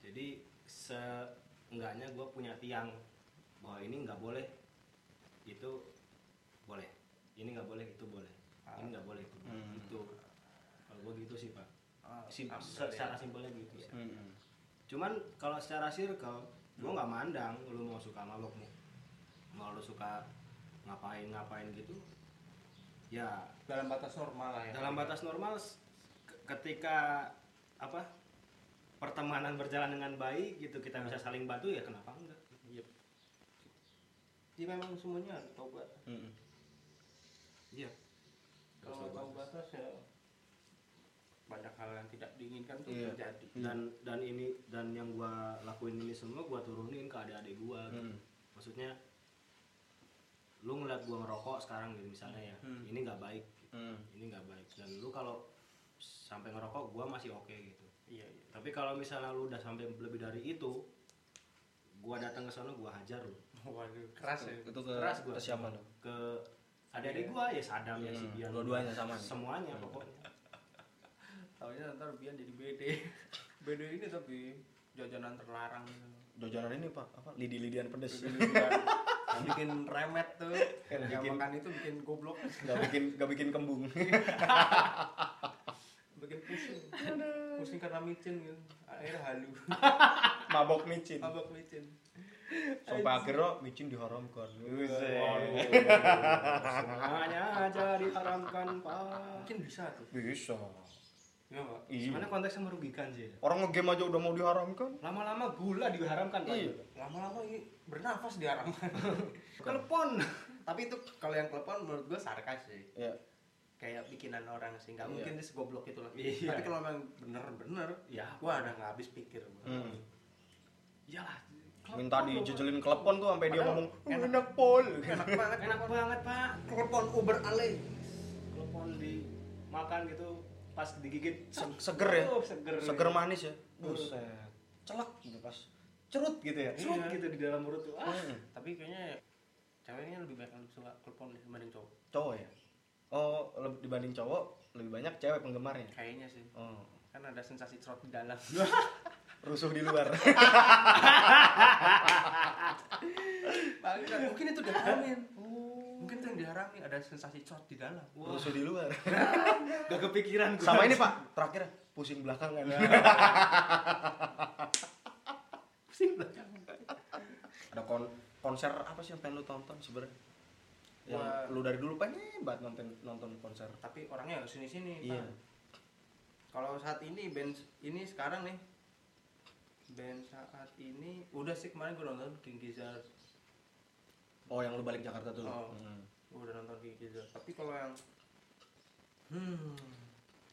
[SPEAKER 1] jadi seenggaknya gua punya tiang bahwa ini nggak boleh itu boleh ini nggak boleh itu boleh ini nggak boleh itu boleh.
[SPEAKER 2] Hmm.
[SPEAKER 1] gitu kalau gua gitu sih pak
[SPEAKER 3] Ah,
[SPEAKER 1] Sim-
[SPEAKER 3] Alhamdulillah.
[SPEAKER 1] secara simpelnya gitu sih.
[SPEAKER 2] Hmm.
[SPEAKER 1] cuman kalau secara circle gua nggak mandang lu mau suka mabok mau mau lu suka ngapain ngapain gitu ya
[SPEAKER 3] dalam batas normal lah ya
[SPEAKER 1] dalam batas normal s- ke- ketika apa pertemanan berjalan dengan baik gitu kita bisa saling bantu ya kenapa enggak
[SPEAKER 3] iya. jadi memang semuanya harus tobat
[SPEAKER 2] Hmm.
[SPEAKER 1] iya
[SPEAKER 3] kalau nggak tahu batas ya banyak hal yang tidak diinginkan tuh
[SPEAKER 2] Iya.
[SPEAKER 3] terjadi
[SPEAKER 1] dan dan ini dan yang gua lakuin ini semua gua turunin ke adik-adik gua gitu.
[SPEAKER 2] Hmm.
[SPEAKER 1] maksudnya lu ngeliat gua ngerokok sekarang gitu misalnya ya
[SPEAKER 3] Hmm.
[SPEAKER 1] ini nggak baik
[SPEAKER 2] Hmm.
[SPEAKER 1] ini nggak baik dan lu kalau sampai ngerokok gua masih oke gitu
[SPEAKER 3] iya iya
[SPEAKER 1] tapi kalau misalnya lu udah sampai lebih dari itu gua datang ke sana gua hajar lu
[SPEAKER 3] waduh keras ya
[SPEAKER 2] itu ke,
[SPEAKER 1] Keras
[SPEAKER 2] ke
[SPEAKER 1] gua.
[SPEAKER 2] siapa lo
[SPEAKER 1] ke adik-adik gua ya sadam ya si
[SPEAKER 2] Hmm,
[SPEAKER 1] Bian
[SPEAKER 2] dua-duanya sama nih.
[SPEAKER 1] semuanya pokoknya
[SPEAKER 3] tahunya ntar Bian jadi BD BD ini tapi jajanan terlarang
[SPEAKER 2] jajanan ini pak apa lidi-lidian pedes
[SPEAKER 3] yang bikin remet tuh yang
[SPEAKER 2] bikin-
[SPEAKER 3] makan itu bikin goblok
[SPEAKER 2] nggak bikin nggak bikin kembung
[SPEAKER 3] bikin pusing pusing karena micin gitu akhirnya halu
[SPEAKER 2] mabok micin
[SPEAKER 3] mabok micin
[SPEAKER 2] sampai akhirnya micin diharamkan
[SPEAKER 1] Waduh, semuanya aja ditaramkan pak
[SPEAKER 3] mungkin bisa tuh
[SPEAKER 2] bisa
[SPEAKER 3] iya pak
[SPEAKER 1] gimana
[SPEAKER 2] iya
[SPEAKER 1] konteksnya merugikan sih ya?
[SPEAKER 2] orang ngegame aja udah mau diharamkan
[SPEAKER 1] lama-lama gula diharamkan pak
[SPEAKER 2] Iya.
[SPEAKER 3] lama-lama ini bernafas diharamkan
[SPEAKER 1] telepon
[SPEAKER 3] tapi itu kalau yang telepon menurut gue sarkas sih
[SPEAKER 2] ya
[SPEAKER 3] kayak bikinan orang sih nggak
[SPEAKER 2] Iya.
[SPEAKER 3] mungkin dia segoblok itu lah
[SPEAKER 1] Iya.
[SPEAKER 3] tapi kalau memang bener-bener
[SPEAKER 1] Iya.
[SPEAKER 3] gua ada nggak habis pikir gua.
[SPEAKER 2] Hmm.
[SPEAKER 1] iyalah
[SPEAKER 2] minta dijejelin kelepon tuh sampai dia
[SPEAKER 3] Padahal
[SPEAKER 2] ngomong
[SPEAKER 3] enak.
[SPEAKER 2] enak pol
[SPEAKER 3] enak banget
[SPEAKER 1] enak banget pak
[SPEAKER 3] telepon Uber Ale
[SPEAKER 1] telepon dimakan gitu pas digigit
[SPEAKER 2] Se- seger ya
[SPEAKER 1] Uh, seger
[SPEAKER 2] seger manis ya buset celak gitu pas cerut gitu ya
[SPEAKER 1] Serut
[SPEAKER 3] Iya.
[SPEAKER 1] gitu di dalam perut tuh ah
[SPEAKER 2] Hmm.
[SPEAKER 3] tapi kayaknya ceweknya lebih banyak yang suka telepon deh dibanding cowok
[SPEAKER 2] cowok ya oh leb- dibanding cowok lebih banyak cewek penggemarnya
[SPEAKER 3] kayaknya sih
[SPEAKER 2] oh
[SPEAKER 3] kan ada sensasi cerot di dalam
[SPEAKER 2] rusuh di luar
[SPEAKER 3] Bangsat, mungkin itu diharamin mungkin itu yang diharamin ada sensasi cerot di dalam
[SPEAKER 2] rusuh di luar
[SPEAKER 1] gak kepikiran gua.
[SPEAKER 2] sama ini pak terakhir pusing belakangan
[SPEAKER 1] pusing belakang
[SPEAKER 2] ada kon- konser apa sih yang pengen lu tonton sebenarnya yang
[SPEAKER 3] Wah.
[SPEAKER 2] lu dari dulu pengen banget nonton nonton konser
[SPEAKER 3] tapi orangnya harus sini sini
[SPEAKER 2] Iya.
[SPEAKER 3] kalau saat ini band ini sekarang nih band saat ini udah sih kemarin gue nonton King Gizzard
[SPEAKER 2] oh yang lu balik Jakarta tuh
[SPEAKER 3] Oh.
[SPEAKER 2] Hmm.
[SPEAKER 3] gue udah nonton King Gizzard tapi kalau yang hmm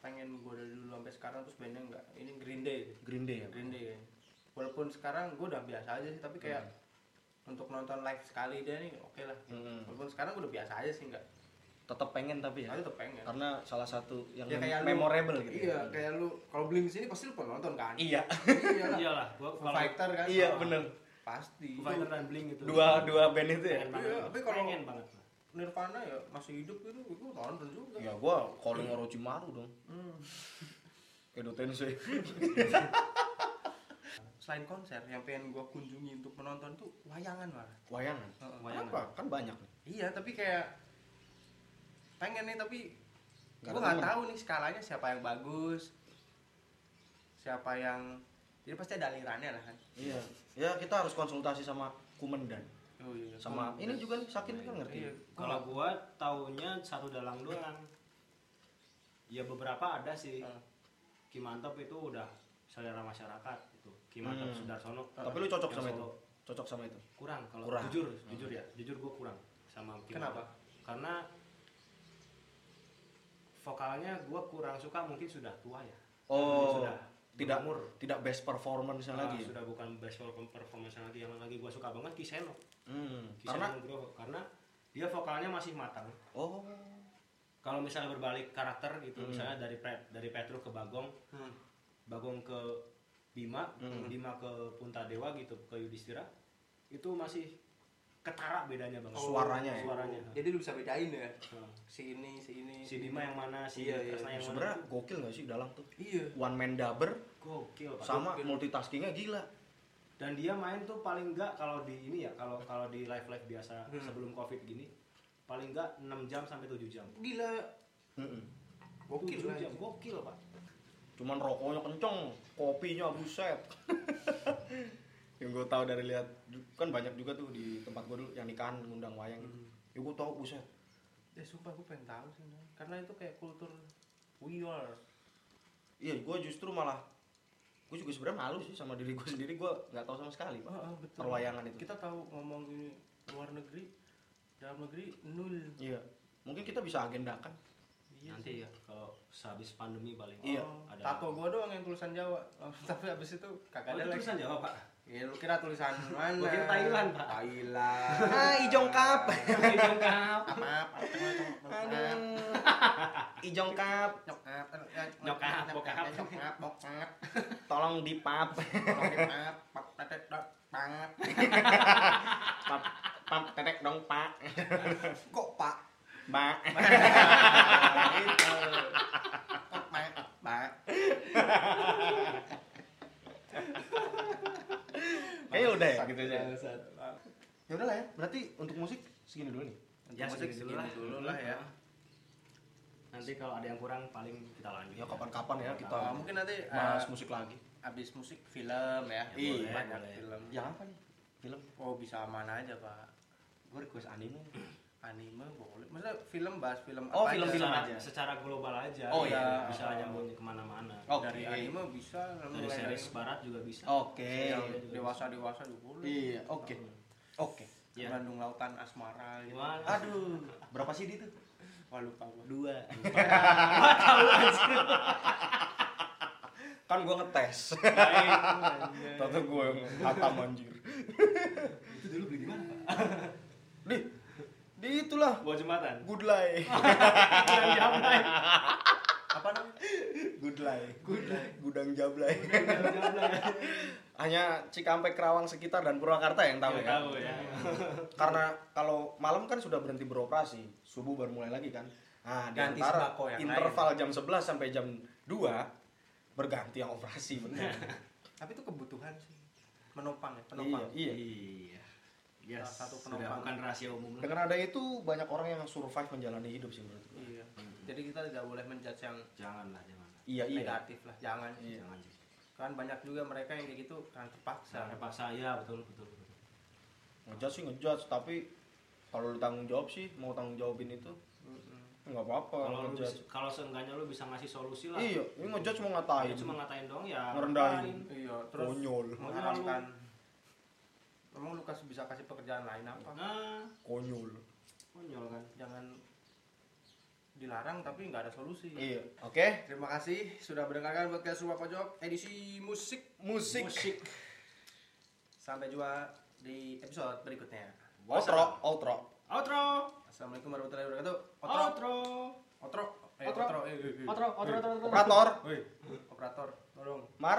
[SPEAKER 3] pengen gue dari dulu sampai sekarang terus bandnya enggak ini Green Day
[SPEAKER 2] Green Day ya Pak?
[SPEAKER 3] Green Day kayaknya. walaupun sekarang gue udah biasa aja sih tapi kayak Hmm. untuk nonton live sekali dia nih oke lah
[SPEAKER 2] Hmm.
[SPEAKER 3] walaupun sekarang gue udah biasa aja sih enggak
[SPEAKER 2] tetap pengen tapi ya
[SPEAKER 3] Aku tetap pengen.
[SPEAKER 2] karena salah satu yang
[SPEAKER 3] Ya
[SPEAKER 2] mem-
[SPEAKER 3] kayak lu-
[SPEAKER 2] memorable gitu
[SPEAKER 3] Iya,
[SPEAKER 2] ya.
[SPEAKER 3] kayak lu kalau beli kesini pasti lu pernah nonton kan?
[SPEAKER 2] iya
[SPEAKER 3] Iya lah.
[SPEAKER 1] iyalah gua
[SPEAKER 3] Foo
[SPEAKER 1] kalau
[SPEAKER 3] Fighter kan?
[SPEAKER 2] iya
[SPEAKER 3] Oh,
[SPEAKER 2] bener
[SPEAKER 3] Pasti.
[SPEAKER 1] Foo Fighter kan? dan Blink itu
[SPEAKER 2] dua dua band itu ya
[SPEAKER 1] pengen banget
[SPEAKER 3] Iya, tapi kalau-
[SPEAKER 1] pengen banget
[SPEAKER 3] Nirvana ya masih hidup gitu, itu nonton juga. Hmm.
[SPEAKER 2] ya gua calling Orochimaru dong Edo ya. Tensei
[SPEAKER 3] Selain konser, yang pengen gua kunjungi untuk menonton tuh wayangan malah.
[SPEAKER 2] wayangan
[SPEAKER 3] Heeh.
[SPEAKER 1] Wayangan.
[SPEAKER 2] apa kan banyak nih
[SPEAKER 3] Iya, tapi kayak pengen nih tapi
[SPEAKER 2] Nggak ada
[SPEAKER 3] gua nggak
[SPEAKER 2] temen.
[SPEAKER 3] tahu nih skalanya siapa yang bagus, siapa yang jadi pasti ada alirannya lah kan.
[SPEAKER 2] iya ya kita harus konsultasi sama Kumendan
[SPEAKER 3] Oh iya.
[SPEAKER 2] sama ini juga nih Sakin kan ngerti
[SPEAKER 3] Iya.
[SPEAKER 1] kalau gua taunya satu dalang doang ya beberapa ada sih
[SPEAKER 3] Ah.
[SPEAKER 1] Kimantop itu udah selera masyarakat itu
[SPEAKER 2] Hmm.
[SPEAKER 1] Kimantop Sudarsono
[SPEAKER 2] tapi lu cocok
[SPEAKER 1] Yang
[SPEAKER 2] sama itu
[SPEAKER 1] solo.
[SPEAKER 2] cocok sama itu
[SPEAKER 1] kurang kalau
[SPEAKER 2] Kurang. Oh, iya.
[SPEAKER 1] jujur jujur ya jujur gue kurang sama Kim
[SPEAKER 3] Kenapa?
[SPEAKER 1] Mantap. karena vokalnya gue kurang suka mungkin sudah tua ya Mungkin
[SPEAKER 2] oh
[SPEAKER 1] sudah
[SPEAKER 2] tidak
[SPEAKER 1] berumur
[SPEAKER 2] tidak best performance
[SPEAKER 1] Ah,
[SPEAKER 2] lagi ya?
[SPEAKER 1] sudah bukan best vocal performance lagi yang lagi gue suka banget Kiseno
[SPEAKER 2] Hmm,
[SPEAKER 1] Kiseno
[SPEAKER 2] karena
[SPEAKER 1] Nugroho. karena dia vokalnya masih matang
[SPEAKER 2] oh
[SPEAKER 1] kalau misalnya berbalik karakter gitu
[SPEAKER 2] Hmm.
[SPEAKER 1] misalnya dari Pet- dari Petru ke Bagong
[SPEAKER 3] Hmm.
[SPEAKER 1] Bagong ke Bima
[SPEAKER 2] Hmm.
[SPEAKER 1] Bima ke Punta Dewa gitu ke Yudhistira itu masih ketara bedanya banget
[SPEAKER 2] Suaranya ya?
[SPEAKER 1] Oh, suaranya
[SPEAKER 3] Jadi lu bisa bedain ya.
[SPEAKER 1] Nah.
[SPEAKER 3] Si ini, si ini.
[SPEAKER 1] si Bima yang mana si
[SPEAKER 3] Iya, iya.
[SPEAKER 1] Kresna yang mana
[SPEAKER 2] sebenarnya gokil gak sih dalang tuh
[SPEAKER 3] Iya.
[SPEAKER 2] one man dubber
[SPEAKER 1] gokil Pak.
[SPEAKER 2] sama
[SPEAKER 3] Gokil.
[SPEAKER 2] multitaskingnya gila
[SPEAKER 1] dan dia main tuh paling enggak kalau di ini ya kalau kalau di live live biasa
[SPEAKER 3] Hmm.
[SPEAKER 1] sebelum covid gini paling enggak 6 jam sampai 7 jam
[SPEAKER 3] Gila.
[SPEAKER 2] Mm-mm.
[SPEAKER 3] Gokil
[SPEAKER 1] 7
[SPEAKER 3] lah.
[SPEAKER 1] jam gokil pak
[SPEAKER 2] cuman rokoknya kenceng kopinya buset yang gue tahu dari lihat kan banyak juga tuh di tempat gue dulu yang nikahan ngundang wayang gitu. ya gue tahu buset
[SPEAKER 3] Ya sumpah gue pengen tahu sih. Nay. Karena itu kayak kultur we are.
[SPEAKER 2] iya gue justru malah gue juga sebenarnya malu sih sama diri gue sendiri gue nggak tahu sama sekali Oh, pak
[SPEAKER 3] Ah, ah, betul.
[SPEAKER 2] perwayangan itu
[SPEAKER 3] Kita tahu ngomong ini luar negeri, dalam negeri nul.
[SPEAKER 2] iya mungkin kita bisa agendakan
[SPEAKER 3] Iya
[SPEAKER 1] nanti
[SPEAKER 3] sih.
[SPEAKER 1] ya kalau sehabis pandemi paling
[SPEAKER 2] Iya.
[SPEAKER 3] Oh,
[SPEAKER 1] ada
[SPEAKER 3] tato gua doang yang tulisan Jawa. Oh, tapi abis itu
[SPEAKER 1] Oh,
[SPEAKER 3] kagak
[SPEAKER 1] itu
[SPEAKER 3] ada lagi.
[SPEAKER 1] tulisan Jawa pak
[SPEAKER 3] Ya lu kira tulisan mana?
[SPEAKER 1] Gua kira Thailand, Pak.
[SPEAKER 3] Thailand.
[SPEAKER 2] Ah, ijongkap.
[SPEAKER 1] Jongkap.
[SPEAKER 3] Maaf, maaf, maaf, maaf, maaf.
[SPEAKER 2] ijongkap
[SPEAKER 3] Nyokap, eh, nyokap,
[SPEAKER 1] Nyokap,
[SPEAKER 3] nyokap,
[SPEAKER 1] bokap.
[SPEAKER 3] nyokap, bokap.
[SPEAKER 2] tolong dipap
[SPEAKER 3] Tolong dimaaf, pak, tetek, dok, pangat.
[SPEAKER 2] pap pap tetek dong pak
[SPEAKER 3] Kok pak?
[SPEAKER 2] pak
[SPEAKER 3] Gitu. Kok pak? Pak.
[SPEAKER 2] kayaknya udah ya gitu aja
[SPEAKER 3] Bangsat.
[SPEAKER 2] ya udah lah ya berarti untuk musik segini dulu nih
[SPEAKER 3] Untuk
[SPEAKER 1] Ya,
[SPEAKER 3] musik
[SPEAKER 1] segini
[SPEAKER 3] segini
[SPEAKER 1] dulu
[SPEAKER 3] dulu
[SPEAKER 1] lah.
[SPEAKER 3] lah ya.
[SPEAKER 1] nanti kalau ada yang kurang paling kita lanjut
[SPEAKER 2] ya kapan-kapan ya kita
[SPEAKER 3] Oh, mungkin nanti eh,
[SPEAKER 2] bahas musik lagi
[SPEAKER 3] abis musik film ya.
[SPEAKER 1] Iya,
[SPEAKER 3] Boleh,
[SPEAKER 1] boleh,
[SPEAKER 3] banyak
[SPEAKER 1] boleh.
[SPEAKER 3] film.
[SPEAKER 2] yang apa nih film
[SPEAKER 3] Oh bisa mana aja pak?
[SPEAKER 2] gue request anime
[SPEAKER 3] Anime boleh. Maksudnya film bahas film
[SPEAKER 2] Oh,
[SPEAKER 3] apa aja?
[SPEAKER 2] film-film
[SPEAKER 1] secara,
[SPEAKER 2] aja.
[SPEAKER 1] secara global aja
[SPEAKER 2] Oh,
[SPEAKER 1] gitu.
[SPEAKER 2] iya.
[SPEAKER 1] bisa nyambung kemana-mana
[SPEAKER 2] Oke. Oh.
[SPEAKER 3] Dari anime bisa.
[SPEAKER 1] dari series barat juga bisa
[SPEAKER 2] oke
[SPEAKER 3] Iya, dewasa dewasa juga boleh.
[SPEAKER 2] iya oke oke
[SPEAKER 1] Iya.
[SPEAKER 3] Bandung lautan asmara. Gitu.
[SPEAKER 1] Wah.
[SPEAKER 2] aduh berapa sih itu
[SPEAKER 3] Wah lupa gua.
[SPEAKER 2] dua kan gue ngetes Tante gue yang hatam anjir
[SPEAKER 1] itu dulu beli di mana pak
[SPEAKER 2] di di itulah
[SPEAKER 1] buat jembatan
[SPEAKER 2] good lie
[SPEAKER 1] Yang jablay.
[SPEAKER 3] Apa namanya?
[SPEAKER 2] good lie gudang jablay
[SPEAKER 1] Yang jablay.
[SPEAKER 2] hanya Cikampek Kerawang sekitar dan Purwakarta yang tahu ya
[SPEAKER 1] Yang tahu ya.
[SPEAKER 2] karena kalau malam kan sudah berhenti beroperasi subuh baru mulai lagi kan nah di
[SPEAKER 3] Ganti
[SPEAKER 2] antara
[SPEAKER 3] sembako yang
[SPEAKER 2] interval jam 11 sampai jam 2 berganti yang operasi benar
[SPEAKER 3] Tapi itu kebutuhan sih. Menopang ya,
[SPEAKER 2] iya
[SPEAKER 3] penopang.
[SPEAKER 2] iya
[SPEAKER 1] Iya. Ya,
[SPEAKER 3] Salah satu
[SPEAKER 1] satu
[SPEAKER 3] penumpang.
[SPEAKER 1] sudah bukan rahasia umum lah.
[SPEAKER 2] dengan ada itu banyak orang yang survive menjalani hidup sih menurut gue
[SPEAKER 3] Iya. Jadi kita tidak boleh menjudge yang
[SPEAKER 1] Janganlah, jangan.
[SPEAKER 2] iya iya
[SPEAKER 3] negatif lah, jangan.
[SPEAKER 2] Iya.
[SPEAKER 1] Jangan sih.
[SPEAKER 3] Kan banyak juga mereka yang kayak gitu karena
[SPEAKER 2] Iya.
[SPEAKER 3] terpaksa.
[SPEAKER 1] Jangan paksa ya, betul betul. betul.
[SPEAKER 2] ngejudge sih ngejudge tapi kalau lu tanggung jawab sih mau tanggung jawabin itu
[SPEAKER 3] Mm-mm.
[SPEAKER 2] nggak apa-apa
[SPEAKER 1] Kalau lu
[SPEAKER 2] ngejudge
[SPEAKER 1] bisa- kalau seenggaknya lu bisa ngasih solusi
[SPEAKER 2] Oh,
[SPEAKER 1] lah.
[SPEAKER 2] iya ini ngejudge mau
[SPEAKER 1] Lu
[SPEAKER 2] ngatain
[SPEAKER 1] cuma ngatain doang ya.
[SPEAKER 2] Ngerendahin.
[SPEAKER 3] Iya, terus
[SPEAKER 2] konyol
[SPEAKER 3] mengharapkan emang lu kasih bisa kasih pekerjaan lain apa
[SPEAKER 1] Nah,
[SPEAKER 2] konyol
[SPEAKER 1] konyol kan.
[SPEAKER 3] jangan dilarang tapi nggak ada solusi
[SPEAKER 2] iya oke
[SPEAKER 3] terima kasih sudah mendengarkan podcast rumah pojok edisi musik
[SPEAKER 2] musik,
[SPEAKER 1] Musik.
[SPEAKER 3] sampai jumpa di episode berikutnya
[SPEAKER 2] outro outro
[SPEAKER 1] Outro.
[SPEAKER 2] Assalamualaikum warahmatullahi wabarakatuh. Otro,
[SPEAKER 1] Outro.
[SPEAKER 2] otro, eh,
[SPEAKER 1] Otro.
[SPEAKER 2] otro, eh, eh, eh.
[SPEAKER 1] Outro, outro, outro, outro.
[SPEAKER 2] Operator,
[SPEAKER 3] Woi,
[SPEAKER 2] operator,
[SPEAKER 3] tolong.
[SPEAKER 2] Mar.